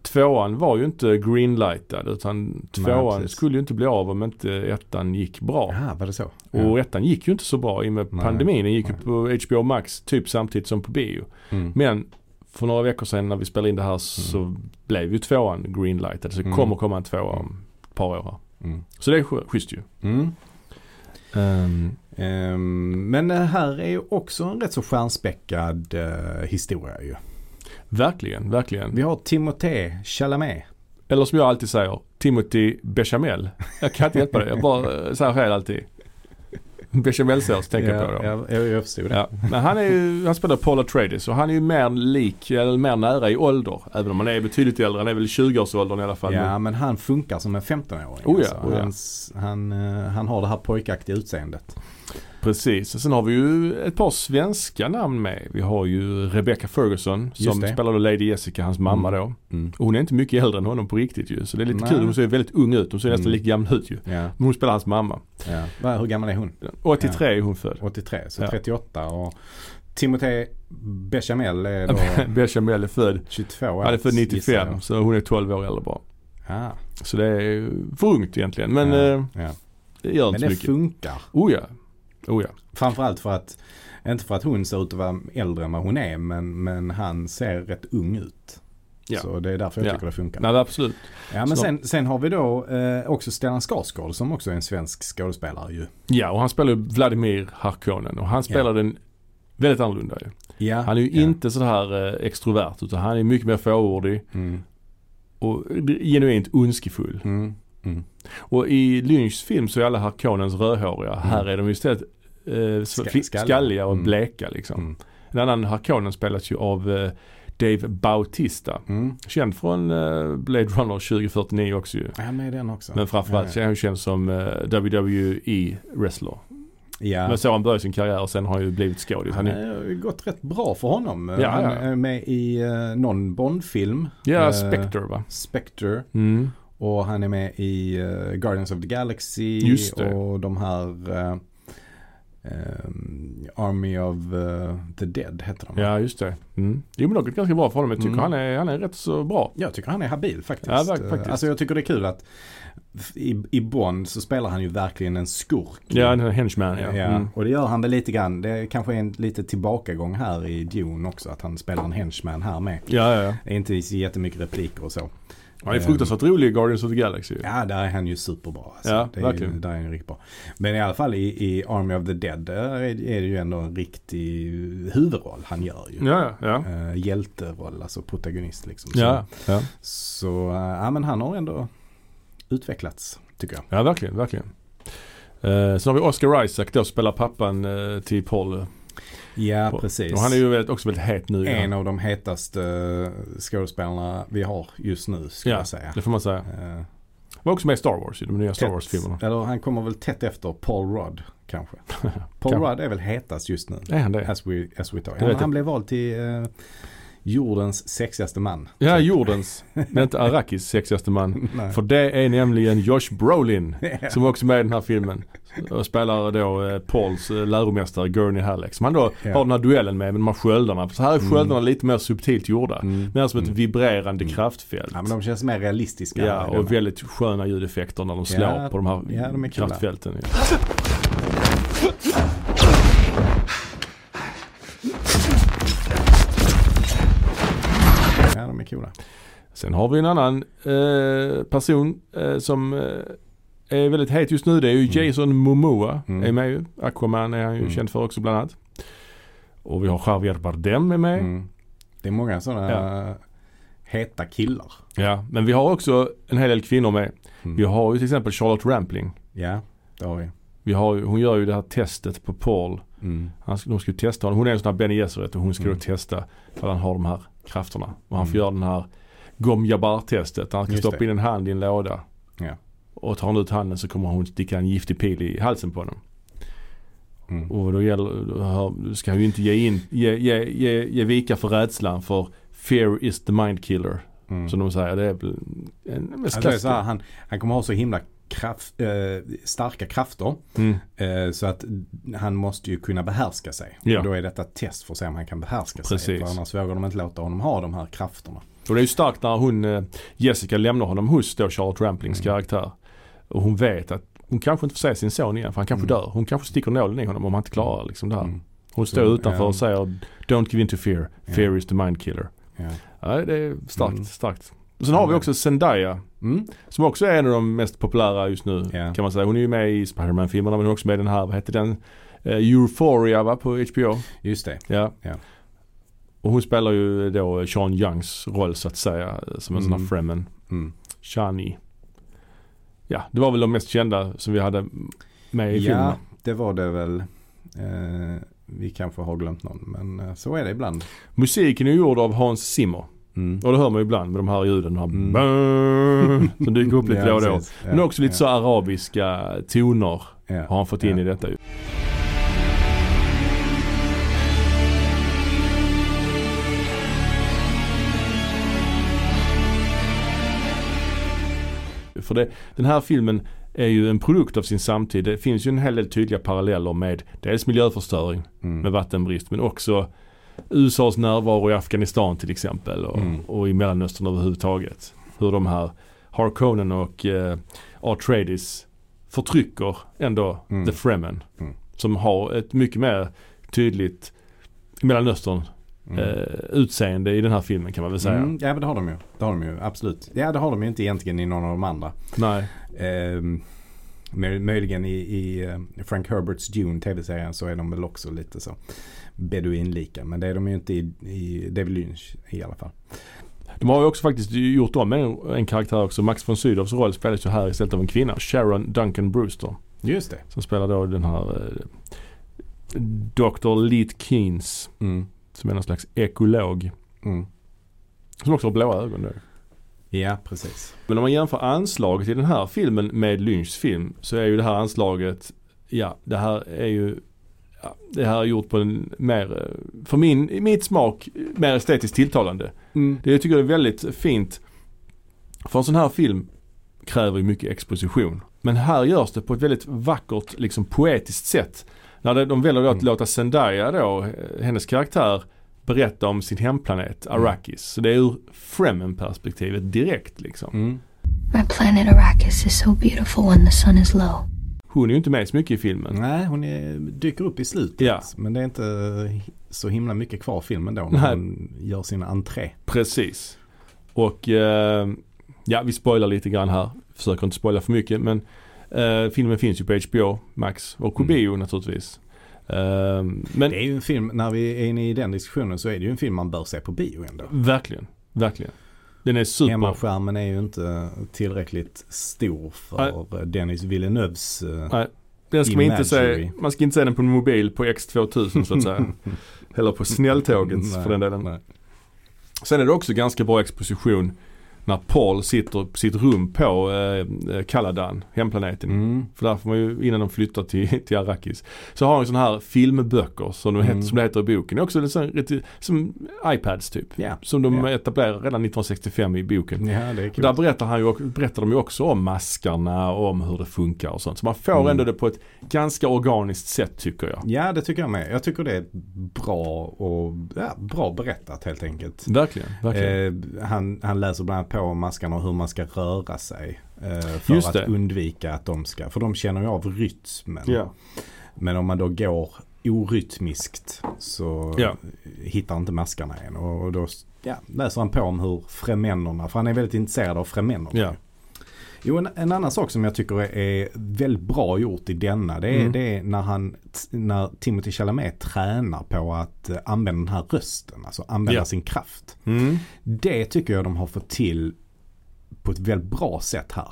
tvåan var ju inte greenlightad utan tvåan
precis.
skulle ju inte bli av om inte ettan gick bra.
Ja, var det så?
Och ettan gick ju inte så bra i och med
Nej,
pandemin. Den gick ju
nej.
på HBO Max typ samtidigt som på bio.
Mm.
Men för några veckor sedan när vi spelade in det här så blev ju tvåan greenlightad. Så det
Mm.
kommer komma en tvåa om ett par år här.
Mm.
Så det är sch- schysst ju.
Mm. Ehm, men det här är ju också en rätt så stjärnspäckad eh, historia ju.
Verkligen, verkligen.
Vi har Timothée Chalamet.
Eller som jag alltid säger, Timothy Bechamel. Jag kan inte hjälpa det. Jag bara eh, säger fel alltid. Bechamelsås tänker jag på då.
Ja, jag, jag förstod det.
Ja. Men han, är ju, han spelar Paul Atreides och han är ju mer lik, eller mer nära i ålder. Även om han är betydligt äldre. Han är väl i 20-årsåldern i alla fall.
Ja, men han funkar som en 15-åring.
Oh ja, oh ja.
Hans, han, eh, han har det här pojkaktiga utseendet.
Precis. Och sen har vi ju ett par svenska namn med. Vi har ju Rebecca Ferguson
Just
som
det. Mm.
spelar då Lady Jessica, hans mamma då. Och hon är inte mycket äldre än honom på riktigt ju. Så det är lite
Nej.
kul. Hon ser väldigt ung ut. Hon ser nästan
Mm.
lika gammal ut ju.
Ja,
Men hon spelar hans mamma.
ja. Va, Hur gammal är hon?
83 är hon född.
83, så
Ja.
38. Och Timothée Bechamel är då
Bechamel är född.
22.
Han är född
gissar jag.
95 så hon är 12 år äldre bara.
Ah,
Så det är ju för ungt egentligen. Men eh,
ja, ja.
det gör inte
Men
så
det
mycket.
funkar.
Oh ja. Oh ja.
Framförallt för att, inte för att hon ser ut att vara äldre än vad hon är, men, men han ser rätt ung ut.
Ja.
Så det är därför jag
Ja.
tycker det funkar.
Nej, absolut.
Ja men
Så-
sen, sen har vi då eh, också Stellan Skarsgård som också är en svensk skådespelare ju.
Ja, och han spelar ju Vladimir Harkonnen och han spelar den väldigt annorlunda ju.
Ja.
Han är ju
ja.
inte så här eh, extrovert utan han är mycket mer fåordig
Mm.
och genuint ondskefull.
Mm. Mm.
Och i Lynchs film så är alla Harkonnens rödhåriga. Här är de ju istället eh,
Mm. Ska-
fli-
skalliga.
skalliga och
Mm.
bleka liksom.
Mm.
En annan Harkonnen spelas ju av eh, Dave Bautista.
Mm.
Känd från eh, Blade Runner 2049 också ju.
Ja men är den också.
Men framförallt så är han ju känd som eh, WWE-wrestler.
ja.
Men så har han började sin karriär och sen har han ju blivit skådis. Han
Han
är,
har ju gått rätt bra för honom.
Ja,
han
ja.
är med i eh, någon Bond-film.
ja,
Eh,
Spectre va?
Spectre.
Mm.
Och han är med i eh, Guardians of the Galaxy.
Just det.
Och de här eh, eh, Army of eh, the Dead heter de.
Ja, just det. Mm. Jo men det har gått ganska bra för honom. Jag tycker
Mm.
han, är, han är rätt så bra.
Jag tycker han är habil faktiskt.
Ja, verk- faktiskt.
Alltså jag tycker det är kul att i, i Bond så spelar han ju verkligen en skurk.
Ja, han är en henchman ja.
Ja,
Mm.
och det gör han väl lite grann. Det kanske är en lite tillbakagång här i Dune också. Att han spelar en henchman här med.
Ja, ja, ja.
Det är inte så jättemycket repliker och så.
Han är fruktansvärt rolig i Guardians of the Galaxy. ju.
Ja, där är han ju superbra. Alltså.
Ja,
det är ju,
verkligen.
där är han ju riktigt bra. Men i alla fall i, i Army of the Dead där är, är det ju ändå en riktig huvudroll han gör ju.
Ja, ja.
Eh, hjälteroll, alltså protagonist liksom. Så-
Ja, ja.
Så eh, ja, men han har ändå utvecklats tycker jag.
ja verkligen, verkligen. Uh, sen har vi Oscar Isaac då, spelar pappan eh, till Paul.
Ja
Och-
precis.
Och han är ju väldigt, också väldigt het nu.
en
ja.
av de hetaste eh, skådespelarna vi har just nu skulle
Ja,
jag säga.
det får man säga.
Eh,
Var också med i Star Wars, i de nya Star
tätt-
Wars-filmerna.
Eller han kommer väl tätt efter Paul Rudd kanske. Paul
Kanske.
Rudd är väl hetast just nu.
Är han det?
As we, as we talk.
Jag
Han,
vet
han blev vald till eh, jordens sexigaste man.
Ja, jordens. Men inte Arakis sexigaste man.
Nej.
För det är nämligen Josh Brolin.
Ja.
Som var också med i den här filmen. Och spelar då eh, Pauls eh, läromästare Gurney Halleck. Som han då
Ja.
har den här duellen med, med de här sköldarna. För så här är sköldarna lite mer subtilt gjorda.
Mm.
Mer som ett vibrerande kraftfält.
Ja, men de känns mer realistiska.
Ja,
i denna.
och väldigt sköna ljudeffekter när de slår
Ja,
på de här
ja, de är coola.
kraftfälten.
ja, de är coola.
Sen har vi en annan eh, person eh, som eh, är väldigt het just nu. Det är ju Jason Momoa.
Mm.
Är med ju. Aquaman är han ju
Mm.
känd för också bland annat. Och vi har Javier Bardem är med.
Mm. Det är många sådana heta killar.
Ja, men vi har också en hel del kvinnor med.
Mm.
Vi har ju till exempel Charlotte Rampling.
Ja, det har vi.
Vi har, ju- hon gör ju det här testet på Paul.
Mm.
Han, ska- de ska ju testa honom. Hon är en sån här Benny Gesserit och hon ska
Mm.
då testa ifall han har de här krafterna. Och han får
Mm.
göra den här Gom Jabbar-testet. Han ska
Just
stoppa
det.
in en hand i en låda.
Ja.
Och tar han ut handen så kommer hon sticka en giftig pil i halsen på honom.
Mm.
Och då, gäller, då har- då ska han ju inte ge, in, ge, ge, ge, ge vika för rädslan för fear is the mind killer.
Mm.
Som de säger. Det är väl en, en
Alltså, det är så här, han, han kommer ha så himla kraft, eh, starka krafter
Mm.
eh, så att han måste ju kunna behärska sig.
Ja.
Och då är detta ett test för att se om han kan behärska sig.
Precis.
För annars vågar de inte låta honom ha de här krafterna.
Och det är ju starkt när hon, eh, Jessica lämnar honom hos då Charlotte Ramplings
Mm.
karaktär. Och hon vet att hon kanske inte får se sin son igen för han kanske dör. Hon kanske sticker nålen i honom om han inte klarar liksom det här.
Mm.
Hon står
Så,
utanför och
ja.
säger Don't give in to fear. Fear is the mind killer.
Ja.
Ja, det är starkt,
Mm.
starkt. Och sen har vi
Ja.
också Zendaya
Mm.
som också är en av de mest populära just nu
Ja.
kan man säga. Hon är ju med i Spiderman-filmerna men hon är också med i den här, vad hette den? Eh, Euphoria va, på HBO.
Just det.
Ja.
Ja.
Och hon spelar ju då Sean Youngs roll så att säga. Som en sån här
Mm.
Fremen.
Mm.
Shani. Ja, det var väl de mest kända som vi hade med i filmen.
Ja, det var det väl. Eh, vi kanske har glömt någon, men eh, så är det ibland.
Musiken är ju gjord av Hans Zimmer.
Mm.
Och det hör man ju ibland med de här ljuden. De här
Mm.
bang, som dyker upp lite då och då.
precis.
Men
Ja,
också lite
ja,
så arabiska toner
ja.
har han fått in
Ja.
i detta ju. För det, den här filmen är ju en produkt av sin samtid. Det finns ju en hel del tydliga paralleller med dels miljöförstöring
Mm.
med vattenbrist men också USAs närvaro i Afghanistan till exempel och,
Mm.
och i Mellanöstern överhuvudtaget. Hur de här Harkonnen och eh, Atreides förtrycker ändå
Mm.
the Fremen.
Mm.
Som har ett mycket mer tydligt Mellanöstern
Mm.
eh, utseende i den här filmen kan man väl säga.
Mm, ja men det har de ju. Det har de ju absolut. Ja det har de ju inte egentligen i någon av de andra.
Nej.
Ehm, mö- möjligen i, i eh, Frank Herberts Dune tv-serien så är de väl också lite så beduinlika. Men det är de ju inte i, i David Lynch i alla fall.
De har ju också faktiskt gjort om en, en karaktär också. Max von Sydows roll spelas ju här istället av en kvinna. Sharon Duncan Brewster.
Just det.
Som spelar då den här eh, Dr. Leet Keynes
Mm.
som är någon slags ekolog.
Mm.
Som också har blåa ögon då.
Ja precis.
Men om man jämför anslaget i den här filmen med Lynchs film så är ju det här anslaget, ja det här är ju ja, det här är gjort på en mer, eh, för min, i mitt smak, eh, mer estetiskt tilltalande.
Mm.
Det jag tycker är väldigt fint. För en sån här film kräver ju mycket exposition. Men här görs det på ett väldigt vackert, liksom poetiskt sätt. När det- de väljer då att
Mm.
låta Zendaya då, eh, hennes karaktär, berätta om sin hemplanet Arrakis. Så det är ur Fremen-perspektivet direkt liksom.
Mm.
My planet Arrakis is so beautiful when the sun is low.
Hon är ju inte med så mycket i filmen.
Nej hon är, dyker upp i slutet.
Ja.
Men det är inte så himla mycket kvar av filmen då när
Nej.
hon gör sin entré.
Precis. Och eh, ja, vi spoilar lite grann här. Försöker inte spoila för mycket men eh, filmen finns ju på HBO Max och på
Mm.
bio naturligtvis. Eh, men
Det är ju en film, när vi är inne i den diskussionen så är det ju en film man bör se på bio ändå.
verkligen, verkligen. Den är super.
Hemmaskärmen är ju inte tillräckligt stor för Dennis Villeneuves. eh,
Nej, Den ska man, inte
Imagery.
se, man ska inte se den på en mobil på X2000 så att säga. Eller på snälltåget för den delen.
Nej.
Sen är det också ganska bra exposition när Paul sitter på sitt rum på eh, Kaladan, hemplaneten.
Mm.
För där får man ju, innan de flyttar till, till Arrakis. Så har han sådana här filmböcker som, de heter,
Mm.
som det heter i boken. Också en sån, riktig- som iPads typ.
Ja.
Som de
Ja.
etablerar redan 1965 i boken.
ja, det är
Där
kul.
berättar, han ju, och- berättar de ju också om maskarna och om hur det funkar och sånt. Så man får
Mm.
ändå det på ett ganska organiskt sätt tycker jag.
Ja, det tycker jag med. Jag tycker det är bra och ja, bra berättat helt enkelt.
Verkligen, verkligen.
Eh, han, han läser bland annat på om maskarna och hur man ska röra sig. Eh, för
Just
att
det.
undvika att de ska, för de känner ju av rytmen.
ja.
Men om man då går orytmiskt så
Ja.
hittar inte maskarna en. Och och då ja, läser han på om hur fremännerna, för han är väldigt intresserad av fremännerna.
Ja.
Jo, en, en annan sak som jag tycker är- är väldigt bra gjort i denna, det är,
Mm.
det är när, han, t- när Timothy Chalamet tränar på att eh, använda den här rösten, alltså använda
Ja.
sin kraft.
Mm.
Det tycker jag de har fått till på ett väldigt bra sätt här.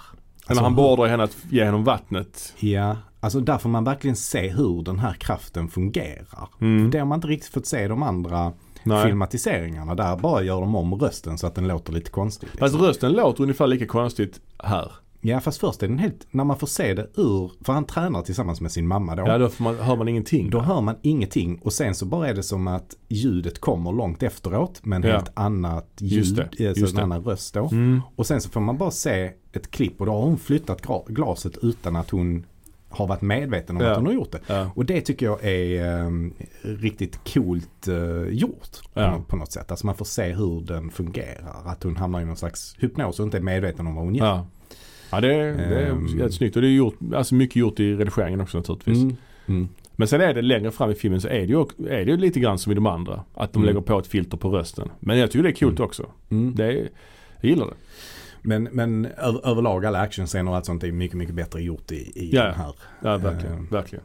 Alltså
När han beordrar henne att ge honom vattnet.
Ja, alltså där får man verkligen se hur den här kraften fungerar.
Mm.
Det har man inte riktigt fått se i de andra
Nej.
filmatiseringarna. Där bara gör de om rösten så att den låter lite konstig.
Fast rösten låter ungefär lika konstigt här.
Ja, fast först är den helt, när man får se det ur, för han tränar tillsammans med sin mamma då.
Ja, då får man, hör man ingenting.
Då hör man ingenting och sen så bara är det som att ljudet kommer långt efteråt med en
Ja.
helt annat ljud,
Just det,
alltså
just
en
det.
annan röst då.
Mm.
Och sen så får man bara se ett klipp och då har hon flyttat gra- glaset utan att hon har varit medveten om
Ja.
att hon har gjort det.
Ja.
Och det tycker jag är ehm, riktigt coolt eh, gjort på,
Ja.
nå- på något sätt. Alltså man får se hur den fungerar. Att hon hamnar i någon slags hypnos och inte är medveten om vad hon gör.
Ja. Ja det är, det är
Ehm.
jättesnyggt snyggt och det är gjort, alltså mycket gjort i redigeringen också naturligtvis.
Mm. Mm.
Men sen är det längre fram i filmen så är det ju, ock- är det ju lite grann som i de andra. Att de
Mm.
lägger på ett filter på rösten. Men jag tycker det är coolt också.
Mm.
Det är, jag gillar det.
Men, men över, överlag alla actionscener och allt sånt är mycket, mycket bättre gjort i, i
Ja.
den här.
Ja verkligen,
Ehm.
verkligen.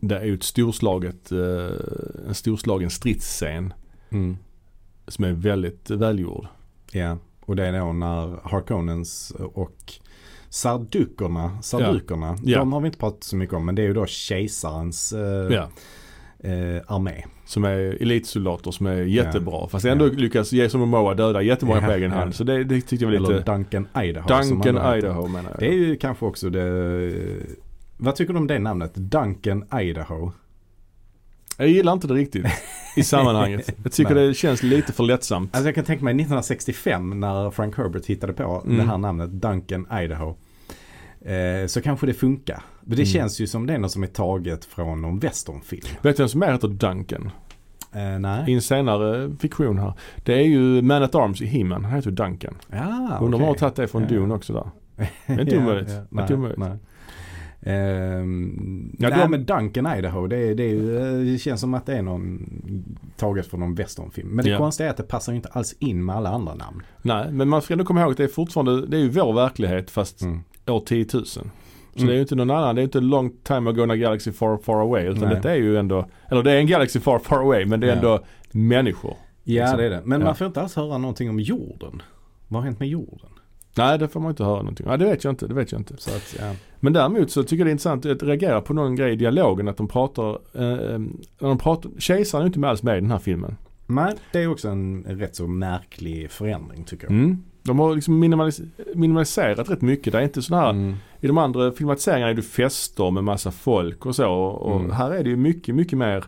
Det är ju ett storslaget, eh, en storslagen stridsscen. Som är väldigt välgjord.
Mm. Ja, och det är då när Harkonnens och Sardukerna, Sardukerna,
Ja.
de har vi inte pratat så mycket om men det är ju då kejsarens eh,
Ja.
eh, armé.
Som är elitsoldater som är jättebra. Fast ändå lyckas Jason Momoa döda jättemånga
Ja,
på egen
ja.
hand. Så det, det tyckte jag var
Eller
lite...
Duncan Idaho. som
Duncan
han då heter.
Idaho menar jag.
Det är ju kanske också det, eh, vad tycker du om det namnet? Duncan Idaho.
Jag gillar inte det riktigt i sammanhanget. Jag tycker
Nej.
det känns lite för lättsamt.
Alltså jag kan tänka mig 1965 när Frank Herbert hittade på
Mm.
det här namnet Duncan Idaho. Eh, så kanske det funkar. Men
Mm.
det känns ju som det är något som är taget från någon westernfilm.
Vet du vem som är heter Duncan?
Eh,
I
nej.
en senare fiktion här. Det är ju Man at Arms i He-Man. Han heter ju Duncan.
Ja,
Undrar om han har
Ah, okej.
tagit det från
Ja.
Dune också där. Det är inte
Ja,
omöjligt.
ja.
Det är inte omöjligt.
nej. Ehm,
Ja,
nej,
de-
men Duncan Idaho, det, är- det, är ju, eh, det känns som att det är någon taget från någon westernfilm. Men det
Ja.
konstiga är att det passar ju inte alls in med alla andra namn.
Nej, men man ska ändå komma ihåg att det är fortfarande, det är ju vår verklighet fast
Mm.
år 10 000. Så
Mm.
det är ju inte någon annan, det är ju inte long time ago in a galaxy far far away. Utan
Nej.
detta är ju ändå, eller det är en galaxy far far away men det är
Ja.
ändå människor.
Ja,
Liksom.
det är det. Men
Ja.
man får inte alls höra någonting om jorden. Vad har hänt med jorden?
Nej, det får man inte höra någonting Nej, det vet jag inte, det vet jag inte.
Så att, ja.
Men däremot så tycker jag det är intressant att reagera på någon grej i dialogen att de pratar, eh, när de pratar, kejsaren är ju inte med alls med i den här filmen.
Nej, det är också en rätt så märklig förändring tycker jag.
Mm. De har liksom minimalis- minimaliserat rätt mycket. Det är inte sådana här
Mm.
I de andra filmatiseringarna är det fester med massa folk och så. Och
Mm.
här är det ju mycket, mycket mer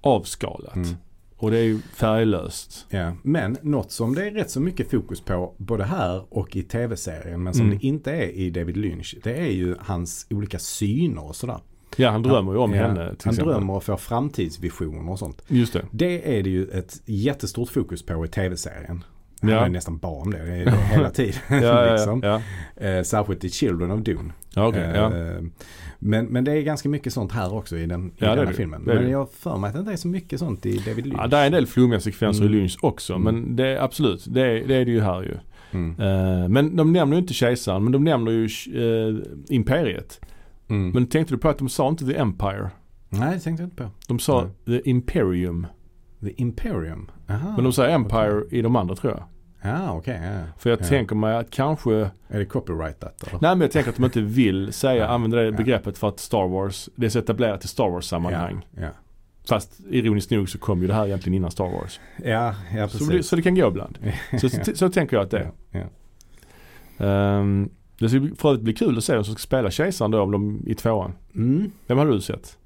avskalat.
Mm.
Och det är ju färglöst.
Ja. Men något som det är rätt så mycket fokus på både här och i tv-serien men som
Mm.
det inte är i David Lynch. Det är ju hans olika syner och sådär.
Ja, han drömmer ju om
Ja,
henne till
Han
exempel.
drömmer och får framtidsvisioner och sånt.
Just det.
Det är det ju ett jättestort fokus på i tv-serien. Han
Ja.
är nästan bara om det, det är det hela tiden.
Ja, ja,
liksom.
ja.
Eh, Särskilt i Children of Dune.
ja. okej, ja.
Eh, men, men det är ganska mycket sånt här också i den i
Ja, det är
denna
det.
filmen.
Det är
men
det.
jag har för mig att det inte är så mycket sånt i David Lynch.
ja. Där är en del flummiga sekvenser
Mm.
i Lynch också.
Mm.
Men det är absolut, det är, det är det ju här ju.
Mm.
Eh, men de nämner ju inte kejsaren, men de nämner ju eh, imperiet.
Mm.
Men tänkte du på att de sa inte the empire?
Nej, det tänkte jag inte på.
De sa
Nej.
the imperium.
The Imperium. Aha.
Men de sa empire i de andra tror jag.
Ja, okej. ja.
För jag
Ja.
tänker mig att kanske
Är det copyrightat eller?
Nej men jag tänker att de inte vill säga,
Ja,
använda det
ja.
begreppet för att Star Wars, det är så etablerat i Star Wars-sammanhang.
Ja, ja.
Fast ironiskt nog så kom ju det här egentligen innan Star Wars.
ja, ja
Så det,
precis.
så det kan gå ibland. Så, så, så tänker jag att det är.
Ja, ja.
Ehm, det ska för övrigt bli kul att se vem som ska spela kejsaren då om de, i tvåan.
Mm.
Vem har du sett?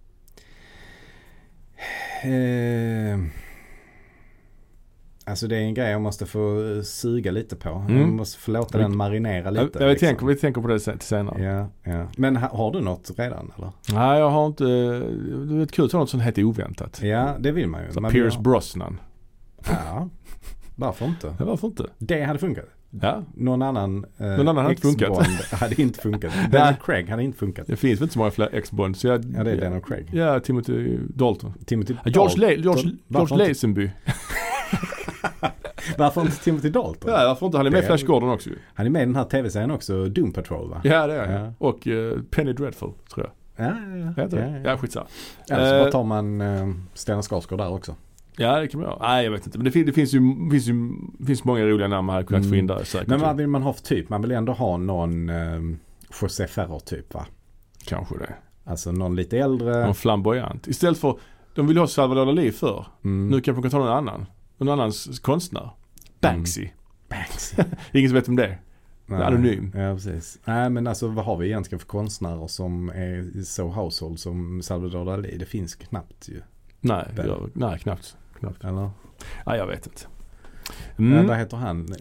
Eh, alltså det är en grej jag måste få eh, suga lite på. Jag
Mm.
måste få låta
Vi-
den marinera lite.
jag, jag
liksom.
tänker, vi tänker på det sen, till senare.
Ja, ja. Men ha, har du något redan eller?
Nej jag har inte, det är kul att ta något som heter oväntat.
Ja, det vill man ju.
Mm. Så
Man vill
Pierce
ha-
Brosnan.
Ja, varför inte?
Ja, varför inte?
Det hade funkat.
Ja,
Någon annan, eh,
Någon annan hade inte funkat.
ex-Bond hade inte funkat.
Nej.
Daniel Craig hade inte funkat.
det finns väl inte så många fler X-Bond. så jag-
Ja, det är Daniel Craig.
Ja, Timothy Dalton.
Timothy
George,
Dalton.
Le- George,
Varför
George
inte?
Lazenby.
Varför inte Timothy Dalton?
Ja, varför inte? Han är med i
Det-
Flash Gordon också ju.
Han är med i den här tv-serien också, Doom Patrol va?
Ja, det är
Ja.
han. Och eh, Penny Dreadful, tror jag.
ja, ja. ja,
Heter
ja,
det?
ja.
Ja, skitsamma.
Eller så bara
Eh.
tar man eh, Stellan Skarsgård där också.
Ja, det kan man göra. Nej, jag vet inte. Men det, fin- det finns ju, finns ju finns många roliga namn man hade kunnat
Mm.
få in där säkert.
Men vad vill man ha för typ? Man vill ändå ha någon eh, José Ferrer typ va?
Kanske det.
Alltså någon lite äldre.
Någon flamboyant. Istället för, de ville ha Salvador Dali för.
Mm.
Nu kanske man kan ta någon annan. Någon annans konstnär. Banksy.
Banks.
Ingen som vet om det är.
Nej.
Anonym.
Ja, precis. Nej, men alltså vad har vi egentligen för konstnärer som är så household som Salvador Dalí? Det finns knappt ju.
Nej,
Ben.
jag, nej knappt. knappt.
Eller?
Nej, jag vet inte.
Mm.
Mm.
vad heter han? Eh,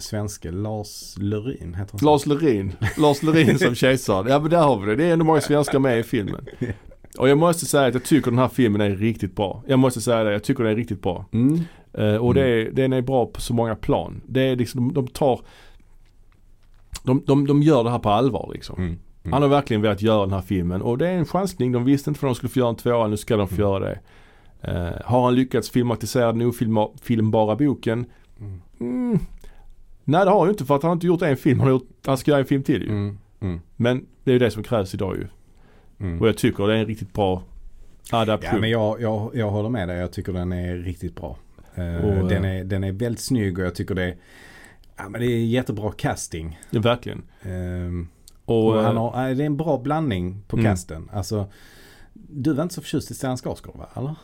Svenske Lars Lerin heter han. så?
Lars Lerin. Lars Lerin som kejsaren. Ja men där har vi det. Det är ändå många svenskar med i filmen. Och jag måste säga att jag tycker den här filmen är riktigt bra. Jag måste säga det, jag tycker den är riktigt bra.
Mm.
Eh, och det är, den är bra på så många plan. Det är liksom, de, de tar de, de, de gör det här på allvar liksom.
Mm. Mm.
Han har verkligen velat göra den här filmen och det är en chansning. De visste inte för de skulle få göra en tvåa, nu ska de få
Mm.
göra det. Eh, har han lyckats filmatisera den ofilmbara boken?
Mm.
Mm. Nej det har han ju inte för att han har inte gjort en film. Han, har gjort, han ska göra en film till ju.
Mm. Mm.
Men det är ju det som krävs idag ju.
Mm.
Och jag tycker det är en riktigt bra
Ja,
adaption.
men jag, jag, jag håller med dig. Jag tycker den är riktigt bra. Eh,
Och,
den,
eh,
är, den är väldigt snygg och jag tycker det är, ja, men det är jättebra casting.
Ja, verkligen.
Ehm,
Och,
och
eh,
han har, nej, det är en bra blandning på
Mm.
casten. Alltså, du var inte så förtjust i Stellan Skarsgård va? Eller?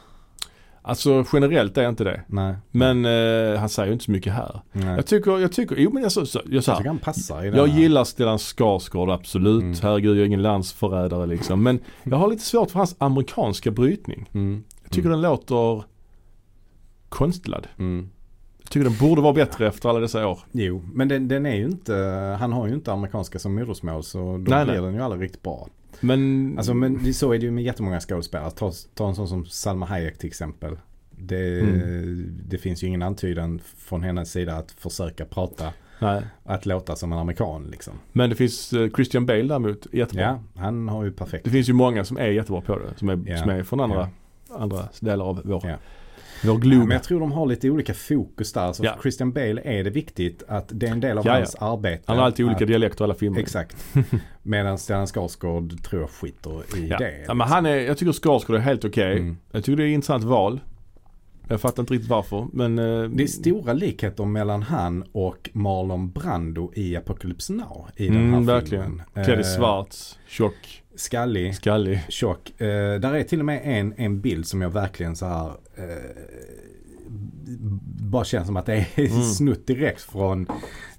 Alltså generellt är jag inte det.
Nej.
Men eh, han säger ju inte så mycket här.
nej.
Jag tycker, jag tycker, jo men jag, så, så, jag, så
Jag
här,
tycker han passar i den
jag
här.
gillar Stellan Skarsgård absolut.
Mm.
Herregud jag är ingen landsförrädare liksom. Men jag har lite svårt för hans amerikanska brytning.
Mm.
Jag tycker den låter konstlad.
Mm.
Jag tycker den borde vara bättre efter alla dessa år.
Jo, men den, den är ju inte, han har ju inte amerikanska som modersmål så då
Nej,
blir
nej.
den ju aldrig riktigt bra.
Men,
Alltså men det, så är det ju med jättemånga skådespelare. Ta, ta en sån som Salma Hayek till exempel. Det,
Mm.
det finns ju ingen antydan från hennes sida att försöka prata,
nej.
att låta som en amerikan liksom.
men det finns eh, Christian Bale däremot, jättebra.
Ja, han har ju perfekt.
Det finns ju många som är jättebra på det. Som är,
Ja.
som är från andra, andra delar av vår,
Ja. Ja,
vår glob.
men jag tror de har lite olika fokus där. Så
Ja.
för Christian Bale är det viktigt att det är en del av
Ja, ja.
hans arbete.
Han har alltid olika
att,
dialekter i alla filmer.
Exakt. Medan Stellan Skarsgård tror jag skiter i
Ja.
det. liksom.
ja, men han är, jag tycker Skarsgård är helt okej.
Mm.
Jag tycker det är ett intressant val. Jag fattar inte riktigt varför. Men eh,
Det är stora likheter mellan han och Marlon Brando i Apocalypse Now. I den här
mm,
filmen.
verkligen. Klädd i
Eh,
svart, tjock,
Skallig,
skallig.
tjock. Eh, där är till och med en, en bild som jag verkligen så här eh, bara känns som att det är
Mm.
snutt direkt från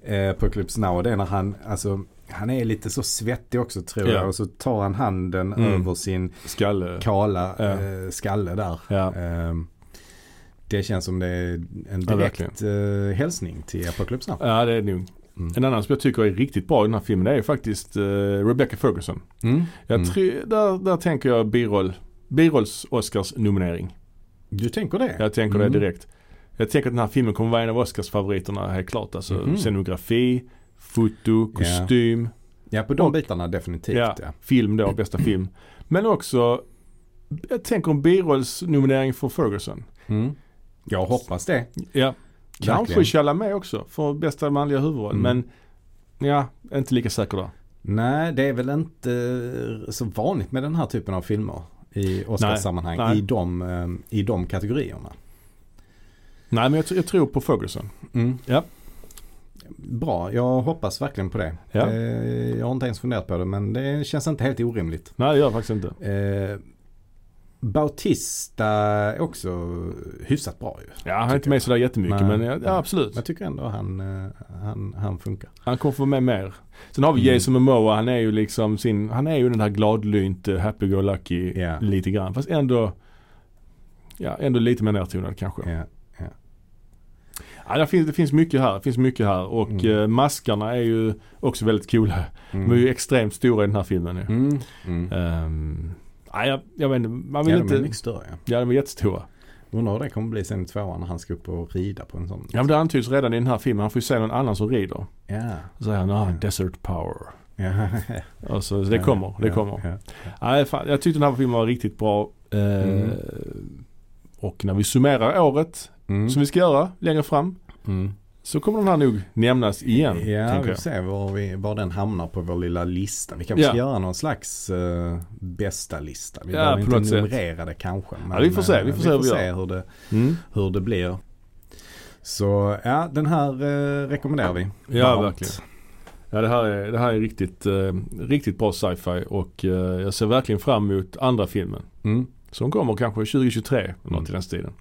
eh, Apocalypse Now. Det är när han, alltså han är lite så svettig också tror
Ja.
jag. Och så tar han handen
Mm.
över sin
Skalle.
kala
Ja.
eh, skalle där.
Ja.
Ehm, Det känns som det är en
Ja,
direkt eh, hälsning till Apocalypse Now.
Ja, det är det nog.
Mm.
En annan som jag tycker är riktigt bra i den här filmen det är ju faktiskt eh, Rebecca Ferguson. Jag
Mm.
tror- där, där tänker jag biroll. Birolls Oscars-nominering.
Du tänker det?
Jag tänker
Mm.
det direkt. Jag tänker att den här filmen kommer vara en av Oscars-favoriterna helt klart. Alltså
Mhm.
scenografi, foto,
Ja.
kostym.
Ja, på de
Och-
bitarna definitivt.
Typ, Ja,
Ja.
film då, bästa film. Men också, jag tänker om birollsnominering för Ferguson.
Mm. Jag hoppas det.
Ja, kanske
Verkligen.
Chalamet också för bästa manliga huvudroll.
Mm.
Men ja, inte lika säker där.
Nej, det är väl inte så vanligt med den här typen av filmer i
Nej,
Oscarssammanhang
nej.
i, de, eh, i de kategorierna.
Nej, men jag, tr- jag tror på Ferguson.
Mm.
Ja.
Bra, jag hoppas verkligen på det.
Ja.
Eh, Jag har inte ens funderat på det men det känns inte helt orimligt.
Nej, det gör jag faktiskt inte.
Eh, Bautista är också hyfsat bra ju.
Ja, han är inte med sådär jättemycket,
Nej.
men ja, ja, absolut.
Jag tycker ändå han, eh, han, han funkar.
Han kommer få vara med mer. Sen har vi
Mm.
Jason Momoa, han är ju liksom sin, han är ju den här gladlynt, eh, happy-go-lucky
Ja.
lite grann. Fast ändå, ja, ändå lite mer nedtonad kanske.
Ja.
Ja, det, finns, det finns mycket här. Det finns mycket här. Och
Mm.
eh, maskarna är ju också väldigt coola.
Mm.
De är ju extremt stora i den här filmen. ju.
Mm. Mm.
Ehm, ja, jag, jag vet inte. Man vill
Ja, de
inte...
är mycket större.
ja, de är jättestora.
Undrar hur det kommer bli sen i tvåan när han ska upp och rida på en sån.
Ja, men det antyds redan i den här filmen. Han får ju se någon annan som rider.
Ja.
Så säger han ah,
Ja.
“Desert power”.
Ja.
Och så, så det kommer. Det
ja,
kommer.
Ja.
Nej, fan, jag tyckte den här filmen var riktigt bra. Eh,
Mm.
Och när vi summerar året,
Mm.
som vi ska göra längre fram,
Mm.
så kommer den här nog nämnas igen.
Ja,
tänker
vi
jag.
får se var, vi, var den hamnar på vår lilla lista. Vi kanske
Ja.
ska göra någon slags eh, bästa lista. Vi
Ja,
behöver
på
inte
något sätt.
numrera det kanske. Men,
vi får se, vi
eh,
får se hur vi gör.
hur, det,
Mm.
hur det blir. Så ja, den här eh, rekommenderar vi.
Ja,
Varmt.
verkligen. Ja, det här är, det här är riktigt, eh, riktigt bra sci-fi och eh, jag ser verkligen fram emot andra filmen.
Mm.
Som kommer kanske 2023, eller något
Mm.
i den stilen.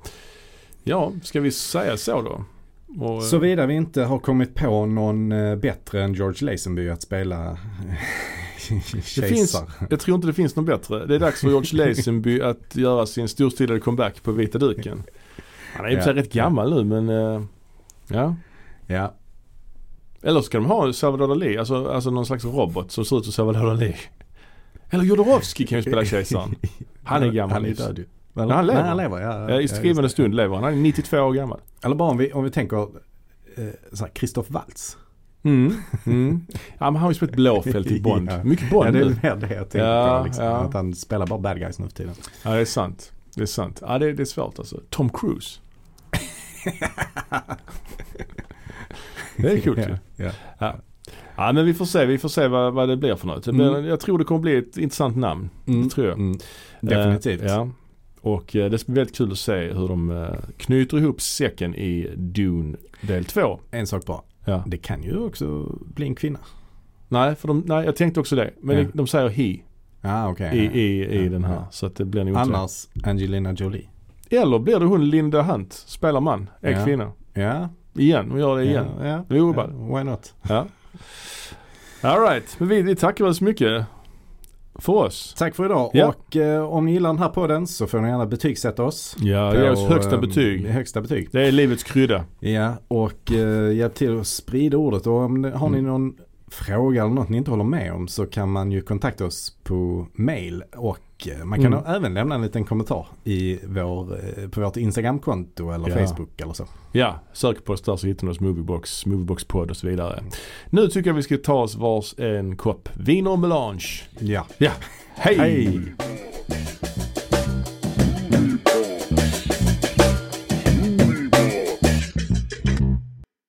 Ja, ska vi säga så då? Och, eh,
Såvida vi inte har kommit på någon eh, bättre än George Lazenby att spela eh,
det finns,
kejsar.
eh, jag tror inte det finns någon bättre. Det är dags för George Lazenby att göra sin storstilade comeback på vita duken. Han är ju
Ja.
ja. rätt gammal nu men eh, ja.
Ja,
Eller så ska de ha Salvador Dali, alltså, alltså någon slags robot som ser ut som Salvador Dali. Eller Jodorowsky kan ju spela kejsaren. Han är gammal.
Han är
liksom.
död ju.
Nej, han lever.
Nej, han lever. Ja,
Ja, I
just
skrivande
det.
stund lever han. Han är 92 år gammal.
Eller bara om vi, om vi tänker eh, så här, Christoph Waltz.
Mm. Mm. Ja, men han har ju spelat Blåfält i Bond.
Ja.
Mycket Bond
ja, det är
nu.
väl mer det jag tänker
Ja,
på. Liksom,
ja.
Att han spelar bara bad guys nu för tiden.
Ja, det är sant. Det är sant. Ja, det, det är svårt alltså. Tom Cruise. det är kul ju.
ja, ja.
Ja, men vi får se. Vi får se vad, vad det blir för något. Det blir,
Mm.
Jag tror det kommer bli ett intressant namn. Det tror jag.
Mm. Definitivt.
Eh, ja. Och eh, det ska bli väldigt kul att se hur de eh, knyter ihop säcken i Dune del 2.
En sak bara.
Ja.
Det kan ju också bli en kvinna.
Nej, för de, nej, jag tänkte också det. Men
Ja.
det- de säger he
Ja, Ah, okej.
i, i, i
Ja,
den här.
ja.
Så att det blir nog inte
Annars Angelina Jolie.
det. Eller blir det hon Linda Hunt, spelar man, är
Ja.
kvinna.
Ja,
Igen, hon gör det igen.
ja. ja.
Det är
ja.
orubbad.
Why not?
Ja. Alright, men vi, vi tackar väl så mycket för oss.
Tack för idag
Ja.
och eh, om ni gillar den här podden så får ni gärna betygsätta oss.
Ja, ge oss
På,
högsta
ehm,
betyg.
Högsta betyg.
Det är livets krydda.
Ja, och eh, hjälp till att sprida ordet. Och om, har ni
Mm.
någon fråga eller något ni inte håller med om så kan man ju kontakta oss på mail. Och eh, man kan
Mm.
även lämna en liten kommentar i vår, eh, på vårt Instagramkonto eller
Ja.
Facebook eller så.
Ja, sök på oss där så hittar ni oss Moviebox, Moviebox-podd och så vidare. Nu tycker jag vi ska ta oss vars en kopp vin och melange.
Ja.
Ja, hej!
Hej.